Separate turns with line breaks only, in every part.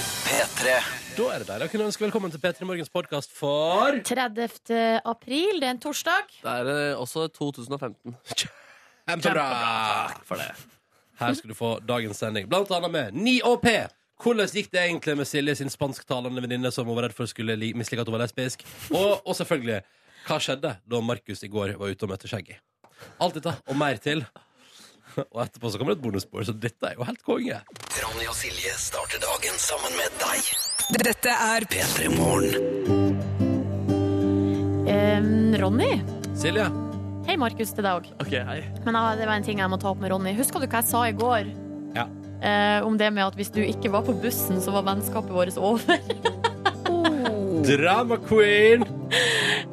P3.
Da er det der. Jeg kunne ønske velkommen til P3 Morgens podkast for
30. april, det er en torsdag.
Det er eh, også 2015.
Kjempebra! Takk for det. Her skal du få dagens sending, blant annet med 9 og P. Hvordan gikk det egentlig med Silje sin spansktalende venninne som hun var redd for skulle li- mislike at hun var lesbisk? Og, og selvfølgelig, hva skjedde da Markus i går var ute og møtte Shaggy? Alt dette og mer til. Og etterpå så kommer det et bonusspor, så dette er jo helt konge.
Ronny og Silje starter dagen sammen med deg.
Dette er
P3 Morgen.
Ehm, Ronny.
Silje,
Hei, Markus, til deg òg.
Ok, hei.
Men ah, det var en ting jeg må ta opp med Ronny. Husker du hva jeg sa i går?
Ja.
Eh, om det med at hvis du ikke var på bussen, så var vennskapet vårt over.
drama queen!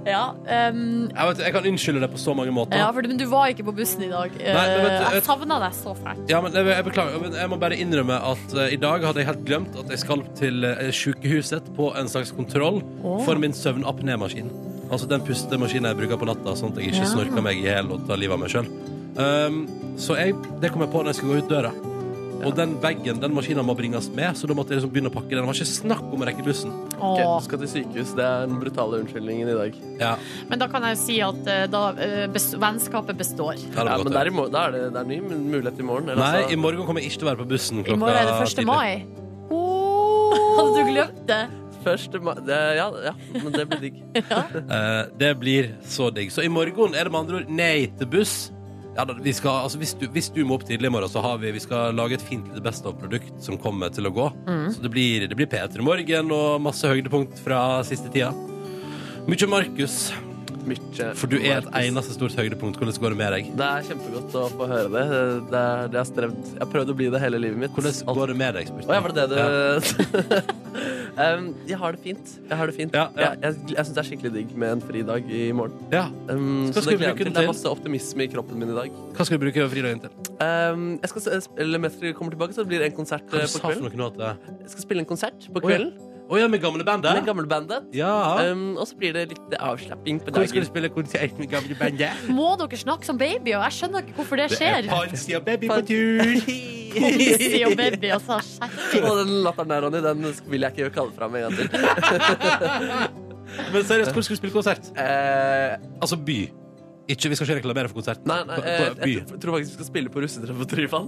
ja, ehm,
Jeg, vet, jeg kan unnskylde deg på så mange måter.
ja for, men du var ikke på bussen i dag. Eh,
Nei, men vet du,
jeg
vet-
savna deg så fælt.
Ja, men jeg, jeg beklager, men jeg må bare innrømme at eh, i dag hadde jeg helt glemt at jeg skal til eh, sykehuset på en slags kontroll
Åh.
for min søvnapnémaskin. Altså den pustemaskinen jeg bruker på natta, sånn at jeg ikke
Ja.
snorker meg i hjel og tar livet av meg sjøl. Um, så jeg, det kom jeg på når jeg skulle gå ut døra. Og den bagen, den maskinen må bringes med, så da måtte jeg liksom begynne å pakke den. Det var ikke snakk om å rekke bussen.
Ok,
Åh.
du skal til sykehus. Det er den brutale unnskyldningen i dag.
Ja,
Men da kan jeg jo si at eh, da, eh, bes vennskapet består.
det hadde
Ja,
gått
men
over.
det er, i mor- da er det, det er ny mulighet i morgen. eller
Nei,
altså-
i morgen kommer jeg ikke til å være på bussen klokka
I morgen er det 1.
tidlig.
mai. Hadde du glemt det?
altså, Først i mai- det, ja, ja, men det blir digg.
Eh, det blir så digg. Så i morgen er det med andre ord nei til buss. Ja, da, vi skal, altså, hvis, du, hvis du må opp tidlig i morgen, så har vi, vi skal lage et fint lite best of-produkt som kommer til å gå. Så det blir, det blir P3 Morgen og masse høydepunkt fra siste tida. Mykje Markus,
Mykje.
for du er et
Markus.
eneste stort høydepunkt. Hvordan går det med deg?
Det er kjempegodt å få høre det. Det, er, det har strevd. Jeg har prøvd å bli det hele livet mitt.
Hvordan går det med deg, spurte
Å ja, var det det du um, Jeg har det fint. Jeg har det fint.
Ja, ja.
Jeg, jeg, jeg syns det er skikkelig digg med en fridag i morgen.
Ja.
Um,
Skal-
så
skal
det gleder jeg
du bruke
meg
den
til. Det
til?
er masse optimisme i kroppen min i dag.
Hva skal du bruke fridagen til?
Um, jeg skal, s- eller Mens dere kommer tilbake, så blir det en konsert eh,
Hva du
på
sa for
kvelden.
noe nå at det
Jeg skal spille en konsert på
Å ja.
kvelden
Å ja, med gamle
med
bandet?
gamlebandet.
Ja.
Um, og så blir det litt avslapping på
Hvor skal du
dagen.
spille konsert med gamle bandet?
Må dere snakke som babyer? Jeg skjønner ikke hvorfor det
Det er
skjer.
Pansy og Baby på tur!
Pomsi og baby, altså. Skjerping.
Og den latteren der, Ronny, den vil jeg ikke kalle fram en gang til.
Men seriøst, hvor skal du spille konsert?
Eh,
Altså by. Ikke, vi skal ikke reklamere for konserten.
nei, nei,
På-
eh,
på, by.
jeg, tror faktisk vi skal spille på russetreff på Tryvann.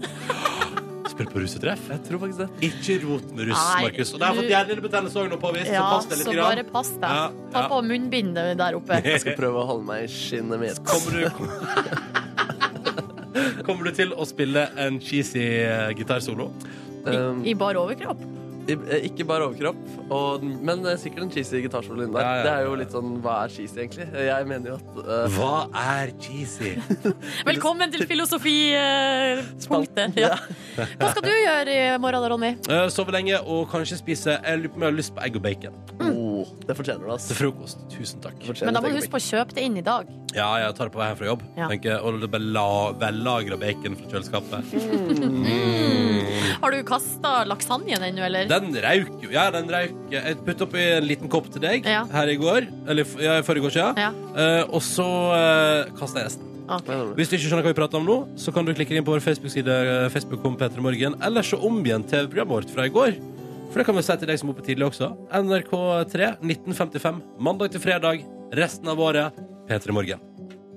Spill på russetreff.
Jeg tror faktisk det.
Ikke rot med
Nei,
russ, Markus. Og det har jeg
du-
fått hjernebetennelse òg nå, påvist.
Ja,
så pass deg litt.
så bare
grann.
pass
Ja,
deg. Ta
ja.
på munnbindet der oppe.
Jeg skal prøve å holde meg i skinnet mitt.
Kommer du Kommer du til å spille en cheesy eh, gitarsolo?
Um,
I bar overkropp.
i- eh, ikke bare overkropp, og, men eh, sikkert en cheesy gitarsolo inni der.
Ja, ja, ja,
Det er jo
ja.
litt sånn Hva er cheesy, egentlig? Jeg mener jo at eh,
Hva er cheesy?
Velkommen til filosofipunktet.
Ja.
Ja. Hva skal du gjøre i morgen da, Ronny?
Eh, Sove lenge og kanskje spise Jeg lurer på om jeg har lyst på egg og bacon
oh,
Mm.
Det fortjener du,
til
altså.
frokost. Tusen takk.
Men da må du huske på å kjøpe det inn i dag.
Ja, jeg tar det på vei hjem fra jobb.
Ja.
Tenker, og det er bare la, vellagra bacon fra kjøleskapet.
Har du kasta lasagnen ennå, eller?
Den røyk jo. Ja, den røyk. Jeg puttet oppi en liten kopp til deg
Ja.
her i går. Eller f- ja, i forrige går siden.
Ja.
Eh, og så uh, kastet jeg resten.
Ok.
på
Hvis du ikke skjønner hva vi prater om nå, så kan du klikke inn på vår Facebook-side, eh, Facebook.com Petremorgen, eller så om igjen TV-programmet vårt fra i går. For det kan vi si til deg som er oppe tidlig også. NRK3 1955, mandag til fredag, resten av året. P3 Morgen.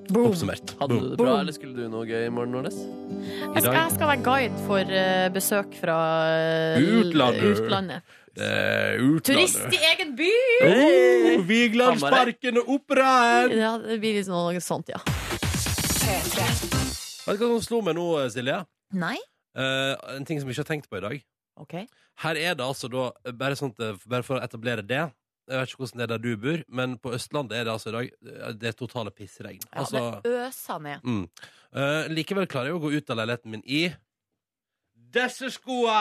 Boom.
Oppsummert.
Hadde du
Boom.
det bra,
Boom.
eller skulle du noe gøy i morgen, Nordnes?
I
Jeg skal,
dag
jeg skal være guide for eh, besøk fra eh,
Utlandet.
utlandet.
eh,
Turist
utlandet.
i egen by!
Oh, Vigelandsparken og operaen!
Ja, det blir liksom noe sånt, ja.
Vet du hva som slo meg nå, Silje?
Nei?
Eh, en ting som vi ikke har tenkt på i dag.
OK.
Her er det altså da, bare, sånn at, bare for å etablere det Jeg vet ikke hvordan det er der du bor, men på Østlandet er det altså i dag eh, Det er totale pissregn.
Ja,
altså,
det øser ned.
mm. Eh, likevel klarer jeg å gå ut av leiligheten min i disse skoa!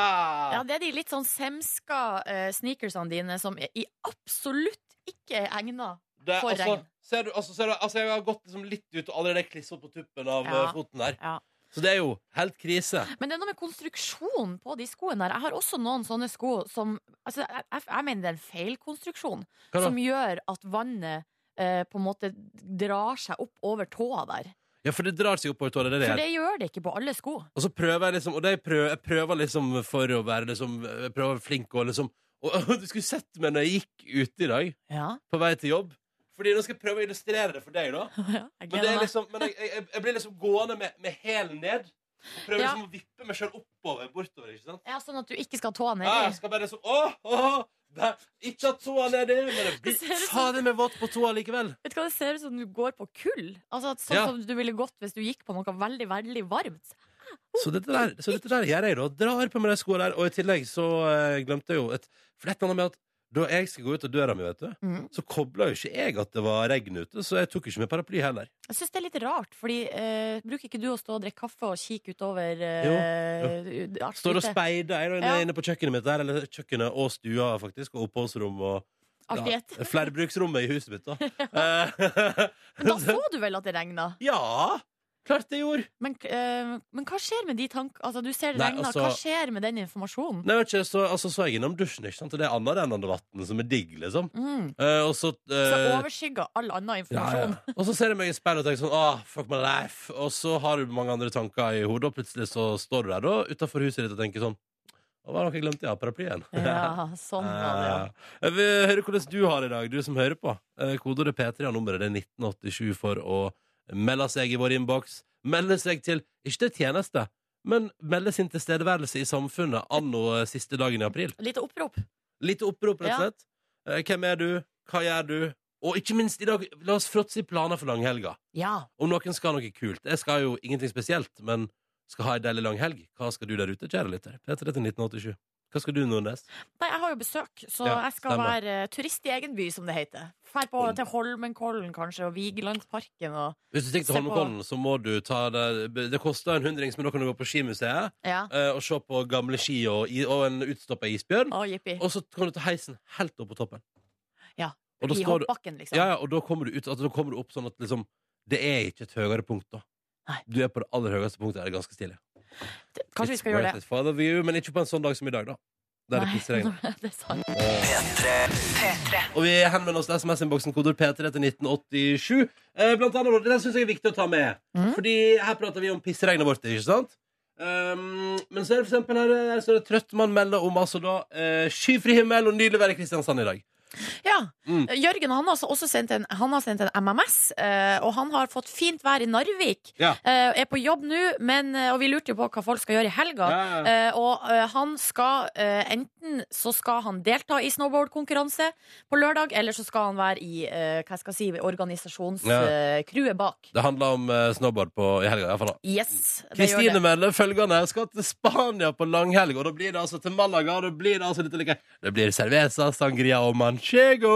Ja, det er de litt sånn semska eh, sneakersene dine som er i absolutt ikke er egna.
Det er
for
altså,
regn.
ser du, altså, ser du, altså, jeg har gått liksom litt ut og allerede klissa på tuppen av
Ja.
eh, foten der.
Ja.
Så det er jo helt krise.
Men det er noe med konstruksjonen på de skoene der. Jeg har også noen sånne sko som altså, jeg, jeg- jeg mener det er en feilkonstruksjon
Hva da?
som gjør at vannet eh, på en måte drar seg opp over tåa der.
Ja, for det drar seg oppover tåa. Det er det
For
jeg-
det gjør det ikke på alle sko.
Og så prøver jeg liksom Og det jeg prøver, jeg prøver liksom for å være liksom Jeg prøver å være flink og liksom Og du skulle sett meg når jeg gikk ute i dag,
Ja.
på vei til jobb. Fordi nå skal jeg prøve å illustrere det for deg, da.
ja jeg
Men, det
gleder
er
meg.
liksom, men jeg, jeg, jeg blir liksom gående med, med hælen ned. Og prøver
Ja.
liksom å vippe meg sjøl oppover. bortover, ikke sant?
Ja, sånn at du ikke skal ha tåa
Ja, jeg
nedi.
skal bare sånn Åh, åh, der. Ikke at tåa nedi, men det
Det ser ut
blir
som-
fader meg våt på tåa likevel.
Vet du hva, Det ser ut som du går på kull. Altså, at Sånn
Ja.
som du ville gått hvis du gikk på noe veldig veldig varmt.
Så dette der, så dette der gjør jeg, da. Drar på meg de skoene der. Og i tillegg så eh, glemte jeg jo et For det er et eller annet med at da jeg skal gå ut av døra mi, vet du,
Mm.
så kobla jo ikke jeg at det var regn ute, så jeg tok jo ikke med paraply heller.
Jeg syns det er litt rart, fordi eh, bruker ikke du å stå og drikke kaffe og kikke utover
Jo,
eh, alt
Står og
ute?
speider jeg da inne,
Ja.
inne på kjøkkenet mitt der, eller kjøkkenet og stua, faktisk, og oppholdsrom og
Alt i ett.
Ja, Flerbruksrommet i huset mitt, da. Eh,
Men da så du vel at det regna?
ja! Klart det gjorde!
Men, eh, men hva skjer med de tankene Altså, du ser det
Nei,
regna.
altså-
Hva skjer med den informasjonen?
Nei, vet ikke, så, altså, så jeg innom dusjen, ikke sant? og det er annet enn andre vann som er digg, liksom.
Mm.
Eh, og så,
Så
eh,
overskygger all annen
ja, ja.
informasjon.
Og så ser jeg meg i speilet og tenker sånn ah, fuck my life. Og så har du mange andre tanker i hodet, og plutselig så står du der da utafor huset ditt og tenker sånn Hva var det jeg glemte? Ja, paraplyen.
Ja, sånn var det, ja.
Eh, Jeg vil høre hvordan du har det i dag, du som hører på. Eh, Kodeordet P3 og nummeret det er 1987 for å melde seg i vår innboks. Melde seg til ikke til tjeneste, men melde sin tilstedeværelse i samfunnet anno eh, siste dagen i april.
Lite opprop.
Litt opprop, rett
Ja.
og slett. Eh, Hvem er du? Hva gjør du? Og ikke minst i dag, la oss fråtse i planer for langhelga.
Ja.
Om noen skal ha noe kult. Jeg skal jo ingenting spesielt, men skal ha ei deilig lang helg. Hva skal du der ute, kjære lytter? P3 til 1987. Hva skal du, Nordnes?
Nei, jeg har jo besøk, så
Ja,
jeg skal
stemmer.
være eh, turist i egen by, som det heter. Fær på
Holm.
til Holmenkollen, kanskje, og Vigelandsparken og
Hvis du stikker til
Se på-
Holmenkollen, så må du ta det Det koster en hundrings, men da kan du gå på skimuseet
Ja.
eh, og se på gamle ski og, i- og en utstoppa isbjørn.
Å, jippi.
Og så kan du ta heisen helt opp på toppen.
Ja,
Og da,
I
står du,
hoppbakken, liksom.
ja, ja, og da kommer du ut altså, Da kommer du opp sånn at liksom Det er ikke et høyere punkt, da.
Nei.
Du er på det aller høyeste punktet. Det er ganske stilig.
Det- Kanskje vi
It's
skal gjøre
worth
det.
it, Father view, men ikke på en sånn dag som i dag, da. Der det Mm.
Nei,
pissregner.
det er sant.
Og vi henvender oss til SMS-innboksen kodord P3 til 1987. Eh, blant annet, og Den syns jeg er viktig å ta med.
Mhm.
Fordi her prater vi om pissregnet vårt, ikke sant? Um, men så er det for eksempel her, her står det Trøttmann melder om altså da eh, skyfri himmel og nydelig vær i Kristiansand i dag.
Ja.
Mm.
Jørgen han har altså også sendt en, han har sendt en MMS, eh, og han har fått fint vær i Narvik.
Ja.
Eh, er på jobb nå, men, eh, og vi lurte jo på hva folk skal gjøre i helga. Eh, og eh, han skal eh, enten så skal han delta i snowboardkonkurranse på lørdag, eller så skal han være i eh, hva skal jeg si,
Ja.
organisasjonscrewet bak.
Det handler om eh, snowboard på, i helga, iallfall.
Yes, det gjør
Kristine
det.
melder følgende skal til Spania på langhelg, og da blir det altså til Malaga. Og da blir det altså litt like Det blir cerveza, sangria og manchego.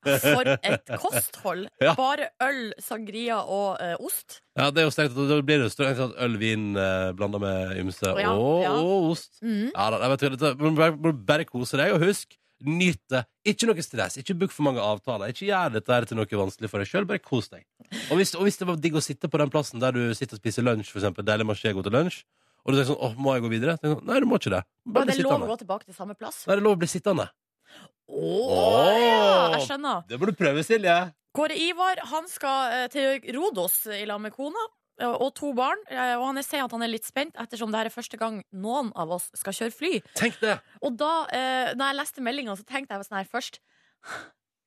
For et kosthold!
Ja.
Bare øl, sangria og eh, ost.
Ja, det er jo strengt, da blir det jo strengt tatt øl, vin eh, blanda med ymse
Ja,
og,
ja.
og ost.
Mm.
Ja da, nei, vet du, dette- må du bare, må du bare kose deg, og husk, nyt det. Ikke noe stress, ikke book for mange avtaler. Ikke gjør dette her til noe vanskelig for deg sjøl, bare kos deg. Og hvis, og hvis det var digg å sitte på den plassen der du sitter og spiser lunsj, for eksempel, deilig manchego til lunsj, og du tenker sånn åh, må jeg gå videre? Tenk sånn, Nei, du må ikke det.
Og
Bare
det
bli
er lov å
sittende.
gå tilbake til samme plass.
Nei, det er lov å bli sittende.
Å,
Åh.
ja, jeg skjønner.
Det må du prøve, Silje.
Kåre Ivar han skal eh, til Rodos i lag med kona eh, og to barn. eh, Og han er- sier at han er litt spent, ettersom det her er første gang noen av oss skal kjøre fly.
Tenk det.
Og da eh, når jeg leste meldinga, så tenkte jeg sånn her først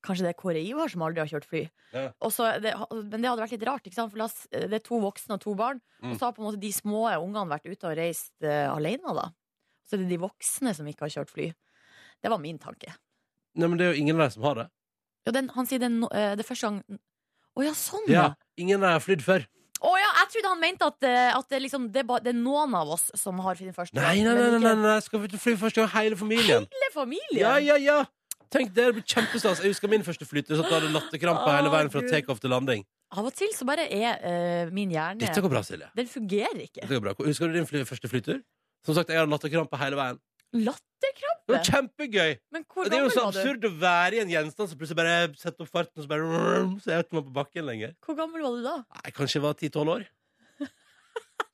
Kanskje det er Kåre Ivar som aldri har kjørt fly.
Ja.
Og så, det, men det hadde vært litt rart, ikke sant? for la oss, eh, det er to voksne og to barn.
Mm.
Og så har på en måte de små ungene vært ute og reist eh, alene, da. Og så er det de voksne som ikke har kjørt fly. Det var min tanke.
Nei, men det er jo ingen av dem som har det.
Ja, den, han sier det, er no, eh, det er første gang Å ja, sånn, ja.
Ja, Ingen av dem har flydd før.
Å ja, jeg trodde han mente at, eh, at det, liksom, det, er ba, det er noen av oss som har den første
Nei, nei,
men
nei, nei, nei,
ikke
nei. skal vi fly første gang, hele familien?
hele familien.
Ja, ja, ja Tenk det, det blir kjempestas Jeg husker min første flytur Så at jeg hadde latterkrampe hele veien
Å,
Fra
Gud.
take-off til landing
Av og til så bare er eh, min hjerne
Dette går bra, Silje
Den fungerer ikke.
Dette går bra Husker du din fly første flytur? Som sagt, jeg hadde latterkrampe hele veien
Latterkrampe?
Det var kjempegøy
Men hvor
Det er jo
gammel
så
var du?
absurd å være i en gjenstand Som plutselig bare setter opp farten Og så bare Så er man på bakken lenger
Hvor gammel var du da?
Nei, kanskje jeg var 10-12 år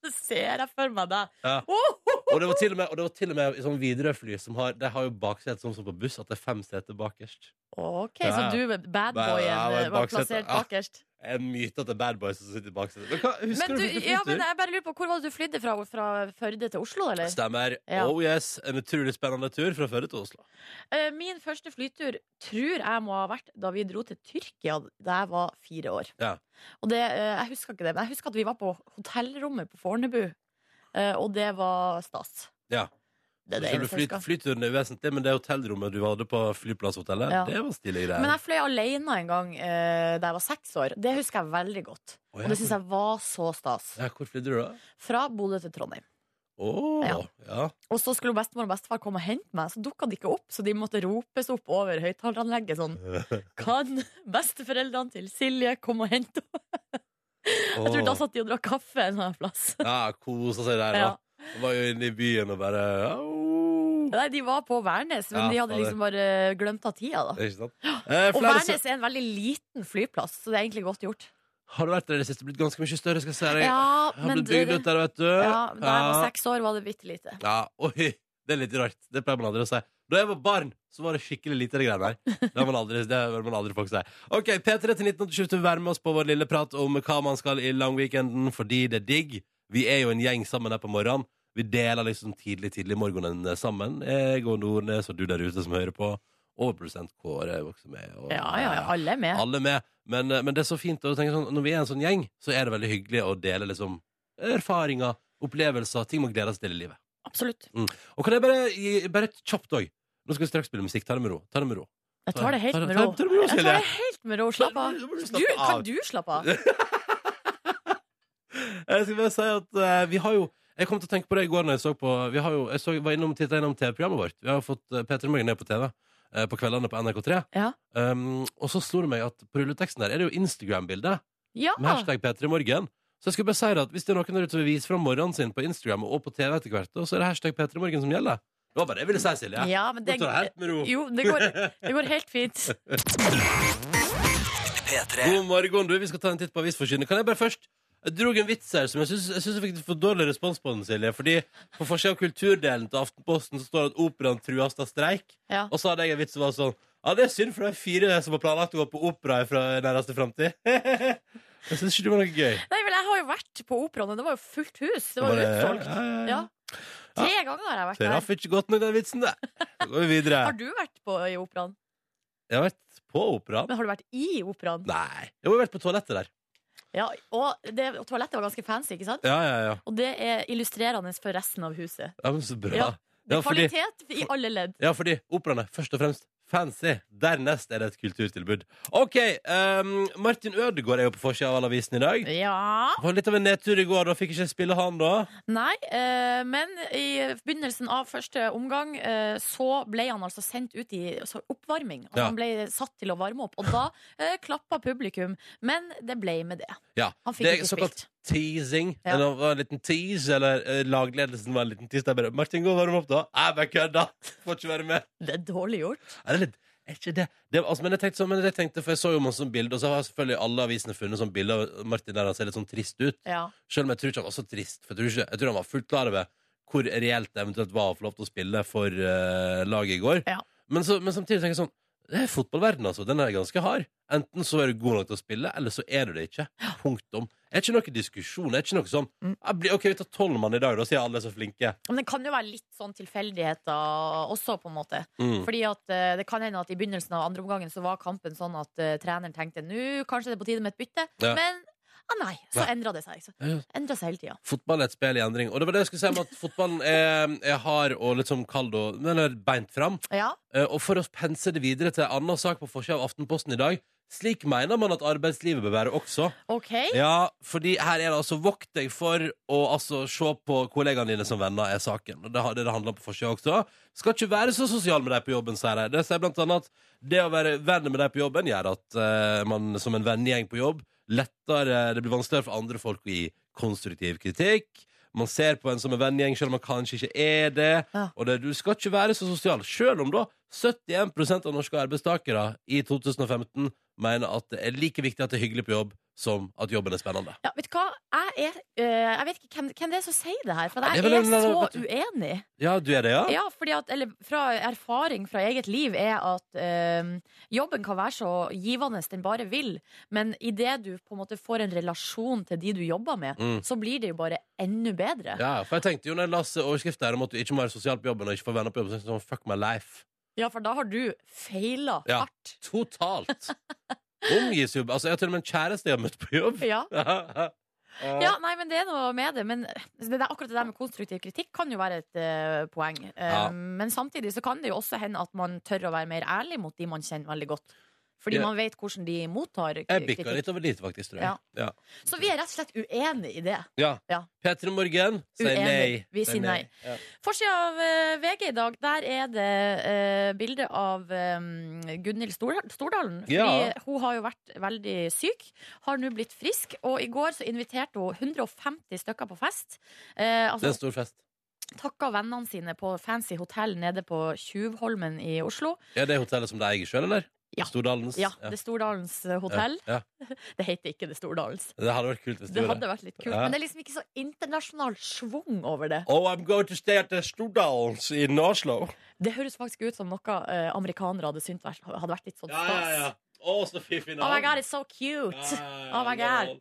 Det ser jeg for meg deg.
Ja.
Oh, oh,
Og det var til og med, og det var til og med i Sånn viderefly som har De har jo bakset Sånn som på buss At det er fem seter bakerst
oh. OK,
Ja,
så
ja.
du,
Nei,
badboyen,
jeg var i
eh, var
baksetet.
plassert
Ja.
bakerst?
Jeg myter at det er bad boys som sitter bak seg. Men hva-
Men
Husker du,
du,
du
ja, men jeg bare lurer på, hvor var det du flydde fra? Fra Førde til Oslo, eller?
Stemmer.
Ja.
Oh yes, en utrolig spennende tur fra Førde til Oslo.
Eh, Min første flytur tror jeg må ha vært da vi dro til Tyrkia da jeg var fire år.
Ja.
Og det, eh, jeg husker ikke det, men jeg husker at vi var på hotellrommet på Fornebu, eh, og det var stas.
Ja.
Det er det
Så
eneste
fly,
jeg husker.
flyturen er uvesentlig, men det hotellrommet du hadde på flyplasshotellet,
Ja.
det var stilige greier.
Men jeg fløy alene en gang eh, da jeg var seks år. Det husker jeg veldig godt.
Å, ja,
Og det syns jeg var så stas.
hvor- ja, Hvor flydde du da?
Fra Bodø til Trondheim.
Å, ja.
Ja. Og så skulle bestemor og bestefar komme og hente meg, så dukka de ikke opp. Så de måtte ropes opp over høyttaleranlegget sånn Kan besteforeldrene til Silje komme og hente henne? Jeg tror da satt de og drakk kaffe en eller annen plass.
Ja, kosa seg der, da.
Ja.
Og Var jo inne i byen og bare au.
Nei, de var på Værnes, men
Ja,
de hadde
fader.
liksom bare glemt av tida, da.
Det er Ikke sant? Eh,
Og
flere,
Værnes er en veldig liten flyplass, så det er egentlig godt gjort.
har du vært der i det siste? Blitt ganske mye større, skal jeg si deg.
Ja,
har
men
blitt bygd
det-
ut der, vet du.
ja, da jeg var
Ja.
seks år, var det bitte lite.
Ja, oi, det er litt rart. Det pleier man aldri å si. Da jeg var barn, så var det skikkelig lite det greiene der. Det har man aldri, det har man aldri folk si. Ok, P3 til 1987 vil være med oss på vår lille prat om hva man skal i langweekenden, fordi det er digg. Vi er jo en gjeng sammen her på morgenen. Vi deler liksom tidlig, tidlig morgenen eh, sammen. Jeg og Nordnes og du der ute som hører på. Og produsent Kåre er jo også med. Og,
Ja, ja, ja, alle er med.
alle er med. Men, eh, men det er så fint å tenke sånn Når vi er en sånn gjeng, så er det veldig hyggelig å dele liksom erfaringer, opplevelser, ting man gleder seg til i livet.
Absolutt.
Og kan jeg bare, gi- bare et kjapt òg Nå skal vi straks spille musikk. Ta det med ro. Ta det med ro.
Jeg tar det helt
Ta det-
med
ta
ro.
det- ta det med ro,
Jeg tar
Silje.
det helt med ro. Slapp av.
Nå må du slappe
Du,
av.
kan du slappe av?
Jeg skal bare si at eh, vi har jo Jeg kom til å tenke på det i går når jeg så på Vi har jo, jeg så, var innom, tittet innom TV-programmet vårt. Vi har jo fått eh, P3 Morgen ned på TV eh, på kveldene på NRK3.
Ja.
Um, og så slo det meg at på rulleteksten der er det jo Instagram-bilde
Ja.
med hashtag P3 Morgen. Så jeg skulle bare si det at hvis det er noen der ute som vil vise fram morgenen sin på Instagram og på TV etter hvert, da, så er det hashtag P3 Morgen som gjelder. Det var bare det jeg ville si, Silje.
ja men
Nå
det,
tar jeg helt med ro.
jo, det går, det går helt fint.
P3.
God morgen, du. Vi skal ta en titt på avisforsynet. Kan jeg bare først Jeg dro en vits her som jeg syns jeg, synes jeg fikk for dårlig respons på den, Silje. Fordi på forsida av kulturdelen til Aftenposten så står det at operaen trues av streik.
Ja.
Og så hadde jeg en vits som var sånn Ja, det er synd, for det er fire som har planlagt å gå på opera i fra nærmeste framtid. jeg syns ikke det var noe gøy.
Nei, vel, jeg har jo vært på operaen, og det var jo fullt hus. Det var jo
Bare-
utsolgt.
Ja, ja,
Ja.
ja.
Tre ganger har jeg vært
Det
der.
Traff ikke godt nok, den vitsen, det. Da går vi videre.
Har du vært på, i operaen?
Jeg har vært på operaen.
Men har du vært i operaen?
Nei. Jeg har vært på toalettet der.
Ja, og, det, og toalettet var ganske fancy, ikke sant?
Ja, ja, ja.
Og det er illustrerende for resten av huset.
ja men så bra.
Ja. Det
Ja,
er
fordi-
kvalitet i alle ledd.
Ja, fordi operaen er først og fremst fancy. Dernest er det et kulturtilbud. OK, ehm, Martin Ødegaard er jo på forsida av all avisen i dag.
Ja
Det var litt av en nedtur i går, da fikk ikke spille han, da.
Nei, eh, men i begynnelsen av første omgang eh, så ble han altså sendt ut i så oppvarming. Altså,
Ja.
Han ble satt til å varme opp, og da eh, klappa publikum. Men det ble med det.
Ja,
Han fikk
det er
ikke
såkalt
spilt.
teasing.
Ja.
Det var en liten tease, eller eh, lagledelsen var en liten tease. Der bare 'Martin, gå og varm opp, da.' 'Jeg bare kødda! Får ikke være med.'
Det er dårlig gjort.
Er det litt er ikke det. det altså, men jeg tenkte sånn, men jeg tenkte, for jeg så jo masse sånn bilder, og så har selvfølgelig alle avisene funnet sånn bilder av Martin der han ser litt sånn trist ut.
Ja.
Selv om jeg tror ikke han var så trist. For jeg, tror ikke, jeg tror han var fullt klar over hvor reelt det eventuelt var å få lov til å spille for eh, laget i går.
Ja.
Men, så, men samtidig tenker jeg sånn Det er fotballverden, altså. Den er ganske hard. Enten så er du god nok til å spille, eller så er du det ikke. Punktum. Er ikke noe diskusjon. Er ikke noe sånn «Jeg blir- OK, vi tar tolv mann i dag, da, sier alle er så flinke.
Men det kan jo være litt sånn tilfeldigheter også, på en måte.
Mm.
Fordi at eh, det kan hende at i begynnelsen av andre omgangen så var kampen sånn at eh, treneren tenkte nå kanskje det er på tide med et bytte,
Ja.
men ah, nei, så
Nei.
endra det seg. Så
Ja.
Endra seg hele tida.
Fotball er et spill i endring. Og det var det jeg skulle si om at fotballen er, er hard og litt sånn kald og Eller beint fram.
Ja.
Eh, Og for å pense det videre til en annen sak på forsida av Aftenposten i dag Slik mener man at arbeidslivet bør være også.
OK.
Ja, fordi her er det altså vokt deg for å altså, se på kollegaene dine som venner, er saken. Og Det har- det det handler om på forsida også. Skal ikke være så sosial med deg på jobben, sier de. Det sier blant annet at det å være venn med deg på jobben gjør at eh, man som en vennegjeng på jobb lettere Det blir vanskeligere for andre folk å gi konstruktiv kritikk. Man ser på en som en vennegjeng selv om man kanskje ikke er det.
Ja.
Og det, du skal ikke være så sosial. Selv om da 71 av norske arbeidstakere i 2015 mener at det er like viktig at det er hyggelig på jobb som at jobben er spennende.
Ja, vet du hva? Jeg, er, eh, jeg vet ikke hvem, hvem det er som sier det her, for
Ja, det
jeg
er vel
er
en eller
så
annen-
uenig.
Ja, du er det, ja?
Ja, fordi at, eller fra erfaring fra eget liv er at eh, jobben kan være så givende den bare vil, men idet du på en måte får en relasjon til de du jobber med,
Mm.
så blir det jo bare enda bedre. Ja,
Ja, for jeg tenkte jo når jeg leste overskriften her om at du ikke må være sosial på jobben og ikke få venner på jobben, så tenkte jeg sånn, fuck my life.
for da har du feila
Ja.
hardt.
Totalt. Omgis jo Altså, jeg har til og med en kjæreste jeg har møtt på jobb.
Ja.
ja.
ja, nei, men det er noe med det. Men det der, akkurat det der med konstruktiv kritikk kan jo være et eh, poeng. Eh,
Ja.
Men samtidig så kan det jo også hende at man tør å være mer ærlig mot de man kjenner veldig godt. Fordi
Ja.
man vet hvordan de mottar k-
Jeg bikka
kritikk.
litt over lite, faktisk, tror jeg.
Ja.
Ja.
Så vi er rett og slett uenige i det.
Ja.
Ja.
P3 Morgen sier
Uenig.
nei.
Vi sier nei. Forsida av eh, VG i dag, der er det uh, bilde av eh, Gunhild Stor Stordalen. Fordi
Ja.
hun har jo vært veldig syk, har nå blitt frisk. Og i går så inviterte hun 150 stykker på fest. Eh,
Det er
altså,
en stor fest.
takka vennene sine på fancy hotell nede på Tjuvholmen i Oslo.
Ja, det er hotellet som de eier sjøl, eller?
Ja.
Stordalens?
Ja, Det Stordalens eh, hotell.
Ja.
Det heter ikke Det Stordalens.
Det hadde vært kult hvis du
Det
gjorde
hadde
det.
vært litt kult,
Ja.
men det er liksom ikke så internasjonal schwung over det.
Oh, I'm going to stay at the Stordalens in Oslo.
Det høres faktisk ut som noe eh, amerikanere hadde syntes vært- hadde vært litt sånn stas.
Å, så fiffig
Oh my god, it's so cute! Oh my god.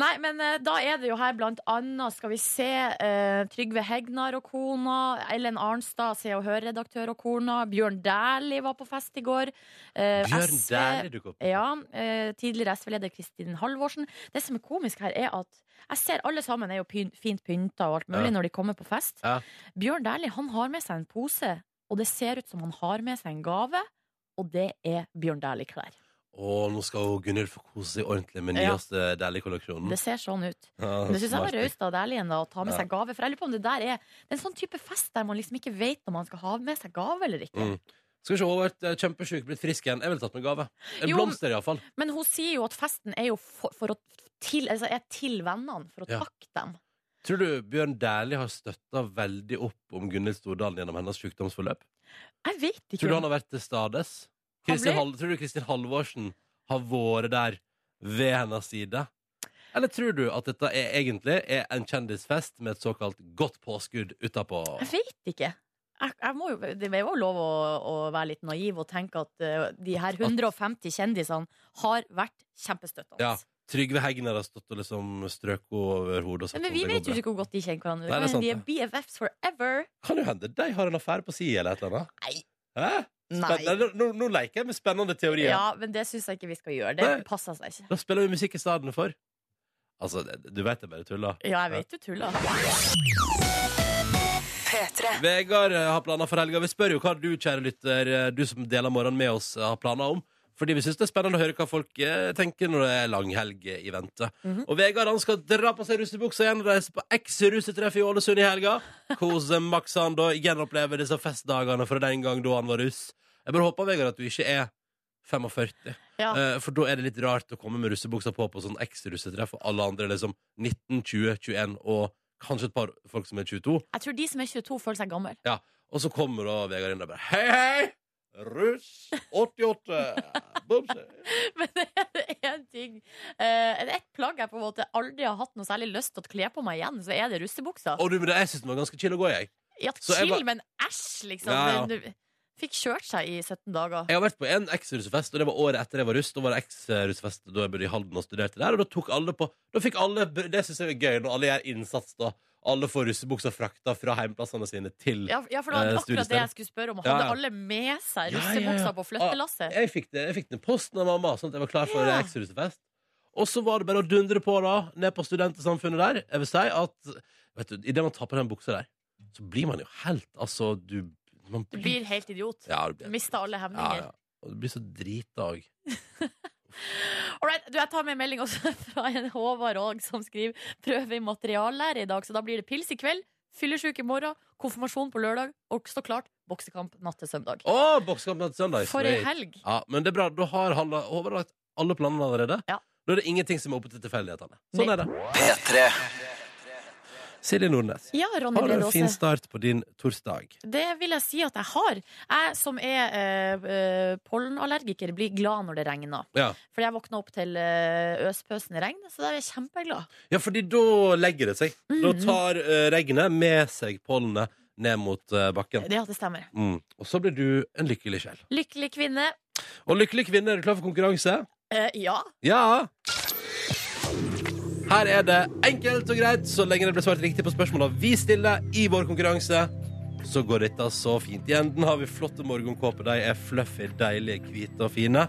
Nei, men eh, da er det jo her blant annet, skal vi se, eh, Trygve Hegnar og kona, Ellen Arnstad, Se og Hør-redaktør og kona, Bjørn Dæhlie var på fest i går. eh,
Bjørn
SV
Dæhlie dukker opp.
Ja, eh, tidligere SV-leder Kristin Halvorsen. Det som er komisk her, er at jeg ser alle sammen er jo pyn fint pynta og alt mulig
Ja.
når de kommer på fest.
Ja.
Bjørn Dæhlie han har med seg en pose, og det ser ut som han har med seg en gave, og det er Bjørn Dæhlie-klær.
Og nå skal jo Gunhild få kose seg ordentlig med
Ja.
nyeste Dæhlie-kolleksjonen.
Det ser sånn ut.
Ja,
Men det syns jeg var
smart.
raust av Dæhlien da, å ta med
Ja.
seg gave. For jeg lurer på om det der er Det er en sånn type fest der man liksom ikke vet om man skal ha med seg gave eller ikke.
Mm. Skal vi se, hun har vært eh, kjempesjuk, blitt frisk igjen. Jeg ville tatt med gave. En
Jo,
blomster, iallfall.
Men hun sier jo at festen er jo for, for å til, altså er til vennene, for å
Ja.
takke dem.
Tror du Bjørn Dæhlie har støtta veldig opp om Gunhild Stordalen gjennom hennes sykdomsforløp?
Jeg vet ikke.
Tror du
om-
han har vært til stades?
Han
Kristin
blir-
Hal tror du Kristin Halvorsen har vært der ved hennes side? Eller tror du at dette er egentlig er en kjendisfest med et såkalt godt påskudd utapå?
Jeg vet ikke. Jeg, jeg må jo, det er jo lov å, å være litt naiv og tenke at eh, de her 150 kjendisene har vært kjempestøttende.
Ja. Trygve Hegnar har stått og liksom strøket henne over hodet og sagt
Men
sånn,
vi
det går
vet jo
bra.
ikke hvor godt de kjenner hverandre.
Nei, det er
Men de er
sant,
BFFs forever.
Kan jo hende de har en affære på si eller et eller annet.
Nei.
Hæ? Nei, Nå, nå, nå leker jeg med spennende teorier.
Ja, men det syns jeg ikke vi skal gjøre. Det
Nei.
passer seg ikke.
Da spiller vi musikk i stedet for. Altså, det- du vet jeg bare tuller.
Ja, jeg vet du tuller.
Vegard eh, har planer for helga. Vi spør jo hva du, kjære lytter, eh, du som deler morgenen med oss, eh, har planer om. Fordi vi syns det er spennende å høre hva folk eh, tenker når det er langhelg i vente. Og Vegard han skal dra på seg russebuksa igjen og reise på eks-russetreff i Ålesund i helga. Kose Max han da gjenoppleve disse festdagene fra den gang da han var russ. Jeg bare håper, Vegard, at du ikke er 45.
Ja.
Eh, For da er det litt rart å komme med russebuksa på på sånn eks-russetreff, og alle andre er liksom 19, 20, 21 og kanskje et par folk som er 22.
Jeg tror de som er 22, føler seg gammel.
Og så kommer da Vegard inn og bare Hei, hei! Russ 88! Bumse.
Men det er én ting eh, er det Ett plagg jeg på en måte aldri har hatt noe særlig lyst til å kle på meg igjen, så er det russebuksa.
Og du, men det, jeg syns den var ganske chill å gå i, jeg.
Ja,
så jeg
chill,
var-
men æsj, liksom.
Ja, ja.
Det- det- Fikk kjørt seg i 17 dager.
Jeg har vært på en eks-russefest, og det var året etter jeg var russ. Da var det eks-russefest da jeg bodde i Halden og studerte der, og da tok alle på Da fikk alle Det syns jeg er gøy, når alle gjør innsats, da. Alle får russebuksa frakta fra heimplassene sine til
Ja, ja, for det var
Eh,
akkurat det
studiested.
jeg skulle spørre om.
Ja,
Hadde
ja.
alle med seg
Ja, ja, Ah. ja.
russebuksa på flyttelasset?
Jeg fikk det, jeg fikk den i posten av mamma, sånn at jeg var klar for
Ja.
ekstrarusefest. Og så var det bare å dundre på da, ned på studentesamfunnet der. Jeg vil si at vet du, idet man tar på den buksa der, så blir man jo helt Altså, du man
Du blir helt idiot.
Ja, du blir,
Mista alle
ja,
hemninger.
ja. Og du blir så drita òg.
Alright, du, jeg tar med en melding også fra en Håvard Aag som skriver prøve i materiallære i dag, så da blir det pils i kveld, fyllesyk i morgen, konfirmasjon på lørdag, og så klart boksekamp natt til søndag.
Å, boksekamp til søndag!
For ei
Sweet.
helg!
Ja, men det er bra. Da har han da overlagt alle planene allerede.
Ja.
Da er det ingenting som er oppe til tilfeldighetene. Sånn
Nei.
er det.
P3.
Silje Nordnes.
Ja, Ronny
Har du
Brede
en fin
Aase.
start på din torsdag?
Det vil jeg si at jeg har. Jeg som er eh, eh, pollenallergiker, blir glad når det regner.
Ja.
For jeg våkna opp til eh, øspøsende regn, så da er jeg kjempeglad.
Ja, fordi da legger det seg. Da tar eh, regnet med seg pollenet ned mot eh, bakken.
Det at det stemmer.
Mm. Og så blir du en lykkelig sjel.
Lykkelig kvinne.
Og lykkelig kvinne, er du klar for konkurranse?
Eh, ja.
Ja! Her er det enkelt og greit, så lenge det blir svart riktig på spørsmåla vi stiller i vår konkurranse. Så går dette så fint. I enden har vi flotte morgenkåper. De er fluffy, deilige, hvite og fine.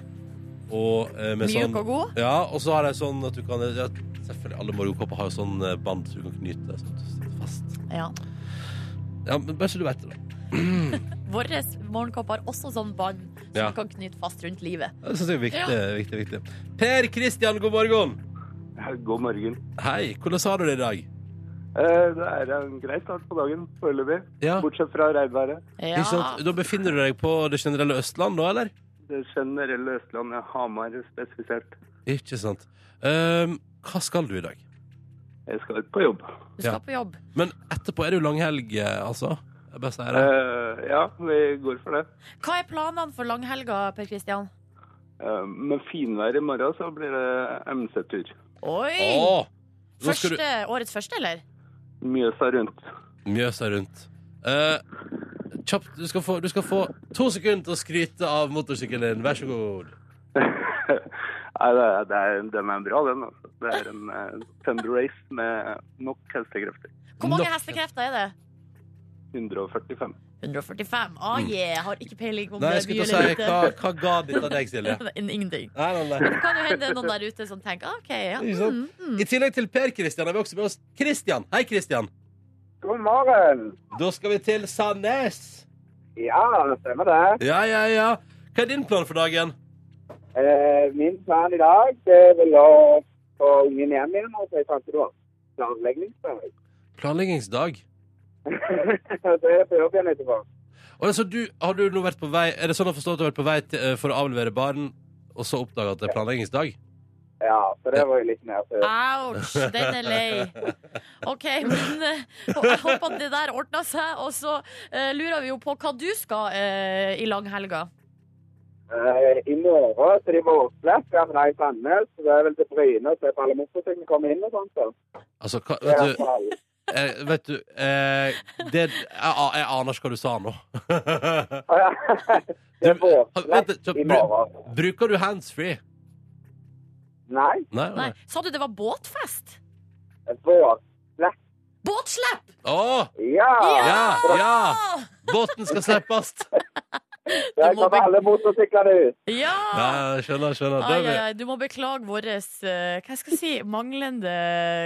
Og, eh, med
Mjuk
sånn-
og god.
Ja, og så har de sånn at du kan ja, Selvfølgelig, alle morgenkåper har jo sånn eh, bånd så du kan knyte sånn at du sitter fast.
ja.
Ja, men bare så du vet det. da.
Vår morgenkopp har også sånn bånd som
Ja.
du kan knyte fast rundt livet.
Det synes jeg er viktig, viktig, viktig. Per Kristian, god morgen.
God morgen.
Hei, hvordan har du det i dag?
Eh, Det er en grei start på dagen foreløpig.
Ja.
Bortsett fra regnværet.
Ja.
Ikke sant? Da befinner du deg på det generelle Østland da, eller?
Det generelle Østlandet, Hamar spesifisert.
Ikke sant. Ehm, hva skal du i dag?
Jeg skal ut på jobb.
Du skal
Ja.
på jobb.
Men etterpå er det jo langhelg, eh, altså. Jeg bare sier det.
Eh, Ja, vi går for det.
Hva er planene for langhelga, Per Kristian?
Eh, Med finvær i morgen så blir det MC-tur.
Oi!
Åh! Nå skal
første,
du
Årets første, eller?
Mjøsa rundt.
Mjøsa rundt. Eh, kjapt, du skal, få, du skal få to sekunder til å skryte av motorsykkelen din. Vær så god.
Nei, det er, det er, den er bra, den. Altså. Det er en eh, tender race med nok hestekrefter.
Hvor mange
Nok-
hestekrefter er det?
145.
145. Ah, yeah. Har ikke peiling om
Mm. Nei,
det
jeg
er
skulle
mye
til å si,
eller
hva, hva ga dette deg, Silje?
lite. Ingenting.
Nei, nei, nei.
Det kan jo hende noen der ute som tenker ah, OK, ja. mm,
Ikke sant? I tillegg til Per Kristian har vi også med oss Kristian. Hei, Kristian.
God morgen!
Da skal vi til Sandnes.
Ja, det stemmer det.
Ja, ja, ja. Hva er din plan for dagen?
Eh, min plan i dag det vil å få ungen hjem igjen. og så jeg fant det var planleggingsdag.
Planleggingsdag.
så er det på jobb igjen etterpå.
Og altså, du, har du nå vært på vei Er det sånn å forstå at du har vært på vei til, eh, for å avlevere barn, og så oppdaga at det er planleggingsdag?
Ja, så det var jo litt nedtur.
Ouch, den er lei. OK, men eh, jeg håper at det der ordna seg. Og så eh, lurer vi jo på hva du skal eh, i langhelga.
Eh, I morgen så de vårflest skal vi dra i Sandnes. så Det er vel til Bryne og se på alle motorsyklene komme inn og sånn. sånt. Så.
Altså, hva,
Det
vet
er
du,
fall.
eh, vet du eh, det, jeg, a- jeg aner ikke hva du sa nå.
Å, ja. Det er
Du, vent litt,
vårflest
så
i
bru-
morgen.
Bruker du handsfree?
Nei,
Nei?
Nei,
nei.
sa du det var båtfest?
vårflest.
Båtslipp!
Å!
Ja!
Ja! Ja!
Ah!
Båten skal slippes!
Der
du må
kommer
be-
alle motorsyklene ut.
Ja!
Ja, skjønner, skjønner. Da
Ai,
er vi-
ai, ai. Du må beklage vår eh, hva skal jeg si, manglende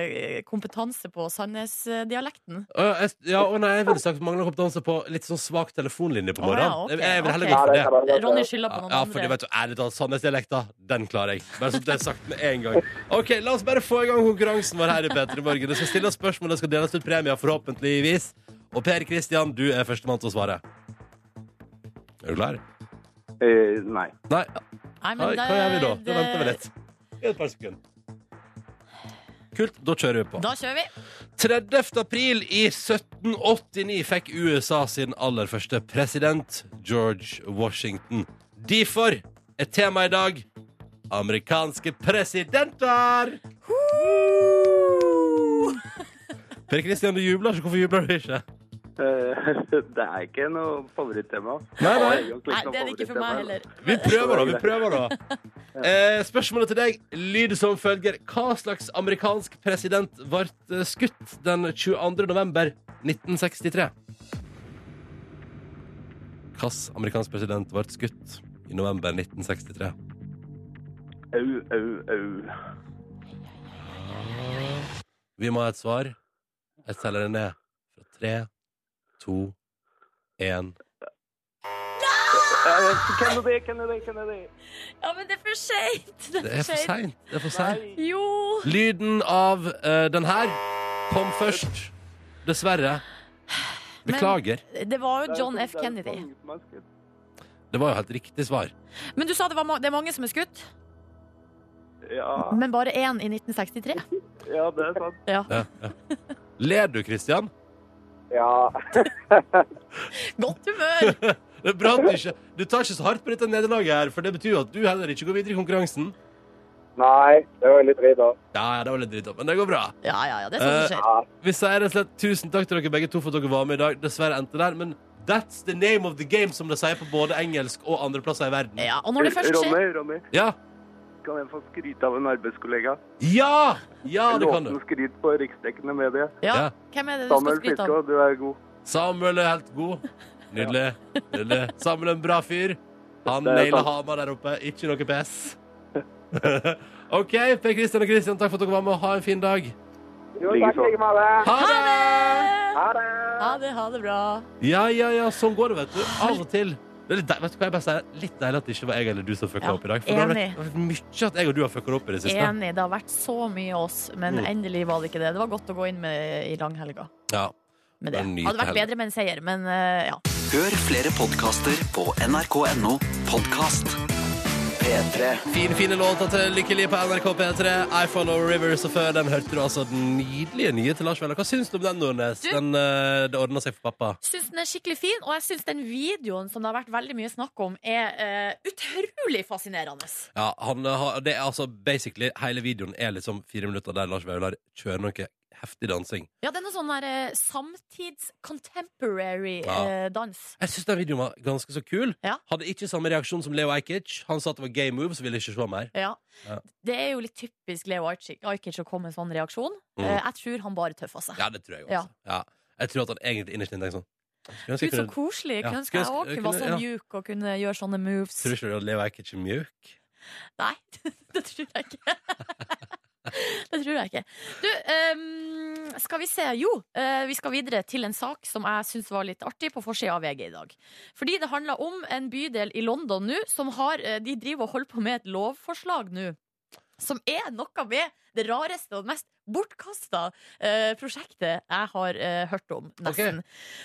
eh, kompetanse på Sandnes-dialekten.
Å, ja, jeg, ja, å nei, jeg ville sagt mangler kompetanse på litt sånn svak telefonlinje
Å,
på morgenen.
ja, ok,
jeg, jeg vil heller
ok.
gå
Ja,
for det.
det kan være godt.
Ronny skylder på noen
Ja, fordi
andre.
vet du, ærlig talt, Sandnes-dialekta, den klarer jeg. Bare så det er sagt med en gang. Ok, La oss bare få i gang konkurransen vår her i P3 Morgen. Det skal stilles spørsmål, det skal deles ut premier, forhåpentligvis. Og Per Kristian, du er førstemann til å svare. Er du klar?
Eh, nei.
Nei,
Nei, men
Oi,
det-
hva gjør vi da?
det-
Da venter vi litt. I et par sekunder. Kult, da kjører vi på.
eh, Da kjører vi.
30. april i 1789 fikk USA sin aller første president, George Washington. Derfor er temaet i dag amerikanske presidenter! Per Kristian, du jubler ikke. Hvorfor jubler du ikke?
Eh, det er ikke noe favorittema.
Nei, nei.
Nei, det er det ikke for meg heller.
Vi prøver, da. vi prøver da eh, Spørsmålet til deg lyder som følger. Hva slags amerikansk president ble eh, skutt den 22. november 1963? Hvilken amerikansk president ble skutt i november 1963?
Au, au, au.
Vi må ha et svar. Jeg teller det ned fra tre, to, én
Eh, Kennedy, Kennedy, Kennedy.
Ja, men det er for seint!
Det er for seint. Det er for seint.
Nei.
Jo.
Lyden av eh, den her kom først. Dessverre. Beklager.
Det var jo John
Det er
F. Kennedy.
kongen som har skutt.
Det var jo helt riktig svar.
Men du sa det, var ma det er mange som er skutt,
Ja,
men bare én i 1963.
ja, det er sant.
Ja.
Ja, ja. Ler du, Kristian?
Ja.
Godt humør!
Det er bra at du ikke Du tar ikke så hardt på dette nederlaget her, for det betyr jo at du heller ikke går videre i konkurransen.
Nei, det var litt dritt, da.
Ja, ja, det var litt dritt, men det går bra.
Ja, ja, ja, det er sånn det skjer.
Ja.
Vi sier rett og slett tusen takk til dere begge to for at dere var med i dag. Dessverre endte der, men that's the name of the game, som de sier på både engelsk og andre plasser i verden.
Ja, og når det først skjer
Ronny, Ronny,
Ja!
kan jeg få skryte av en arbeidskollega?
Ja! Ja, det kan du.
Låten skryt på riksdekkende medie.
ja,
Ja.
Hvem er det du skal
Samuel
skryte av?
Fiskå, du er god.
Samuel er helt god. Nydelig. Nydelig. Samuel er en bra fyr. Han
Det er
nailer
sant.
Hamar der oppe. Ikke noe pes. OK, Per Kristian og Kristian, takk for at dere var med. Ha en fin dag.
Jo,
Ligger
takk
så.
like med det.
Ha det!
Ha det.
Ha det, ha det bra.
Ja, ja, ja, sånn går det, vet du. Av og til. Det er litt deil- vet du hva jeg bare sier? Litt deilig at det ikke var jeg eller du som fucka
Ja,
opp i dag. For det har
enig.
vært- det har vært mye at jeg og du har fucka opp i det siste. Mm.
Enig. Det har vært så mye oss, men endelig var det ikke det. Det var godt å gå inn med i langhelga.
Ja.
Med det.
Men nyt
Hadde vært
helga.
bedre med en seier, men eh, ja.
Hør flere podkaster på nrk.no podkast. P3.
Fine, fine låter til Lykkelig på NRK P3. I Follow Rivers og før den hørte du altså den nydelige nye til Lars Vaular. Hva syns du om den, Nordnes?
Du-
Den, eh, det ordna seg for pappa.
Syns den er skikkelig fin, og jeg syns den videoen som det har vært veldig mye snakk om, er eh, utrolig fascinerende.
Ja, han eh, har Det er altså basically Hele videoen er liksom fire minutter der Lars Vaular kjører noe heftig dansing.
Ja, det er noe sånn der eh, samtids contemporary
Ja.
eh, dans.
Jeg syns den videoen var ganske så kul.
Ja.
Hadde ikke samme reaksjon som Leo Ajkic. Han sa at det var gay moves, ville ikke se mer.
Ja.
Ja.
Det er jo litt typisk Leo Ajkic Ajkic å komme med en sånn reaksjon.
Mm.
Eh, jeg tror han bare tøffer seg.
Ja, det tror jeg også.
Ja.
Ja. Jeg tror at han egentlig innerst inne tenker sånn Skulle ønske
Gud, så
jeg kunne-
koselig.
Ja.
Kunne ønske jeg
Skulle ønske-
òg var så
kunne- ja.
mjuk og kunne gjøre sånne moves.
Tror du ikke Leo Ajkic er mjuk?
Nei, det tror jeg ikke. Det tror jeg ikke. Du, ehm, skal vi se. Jo, eh, vi skal videre til en sak som jeg syns var litt artig, på forsida av VG i dag. Fordi det handler om en bydel i London nå som har eh, De driver og holder på med et lovforslag nå. Som er noe med det rareste og mest bortkasta eh, prosjektet jeg har eh, hørt om, nesten.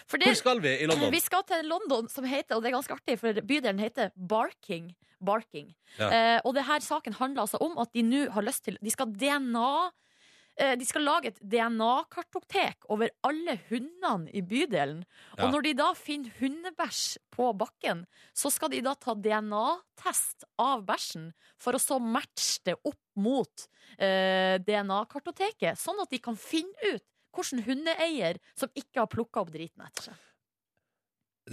For
Hvor
det-
skal vi i London?
Eh, vi skal til London, som heter, og det er ganske artig, for bydelen heter Barking. Barking.
Ja.
Eh, og det her saken handler altså om at de nå har lyst til De skal DNA eh, De skal lage et DNA-kartotek over alle hundene i bydelen.
Ja.
Og når de da finner hundebæsj på bakken, så skal de da ta DNA-test av bæsjen for å så matche det opp mot eh, DNA-kartoteket, sånn at de kan finne ut hvilken hundeeier som ikke har plukka opp driten etter seg.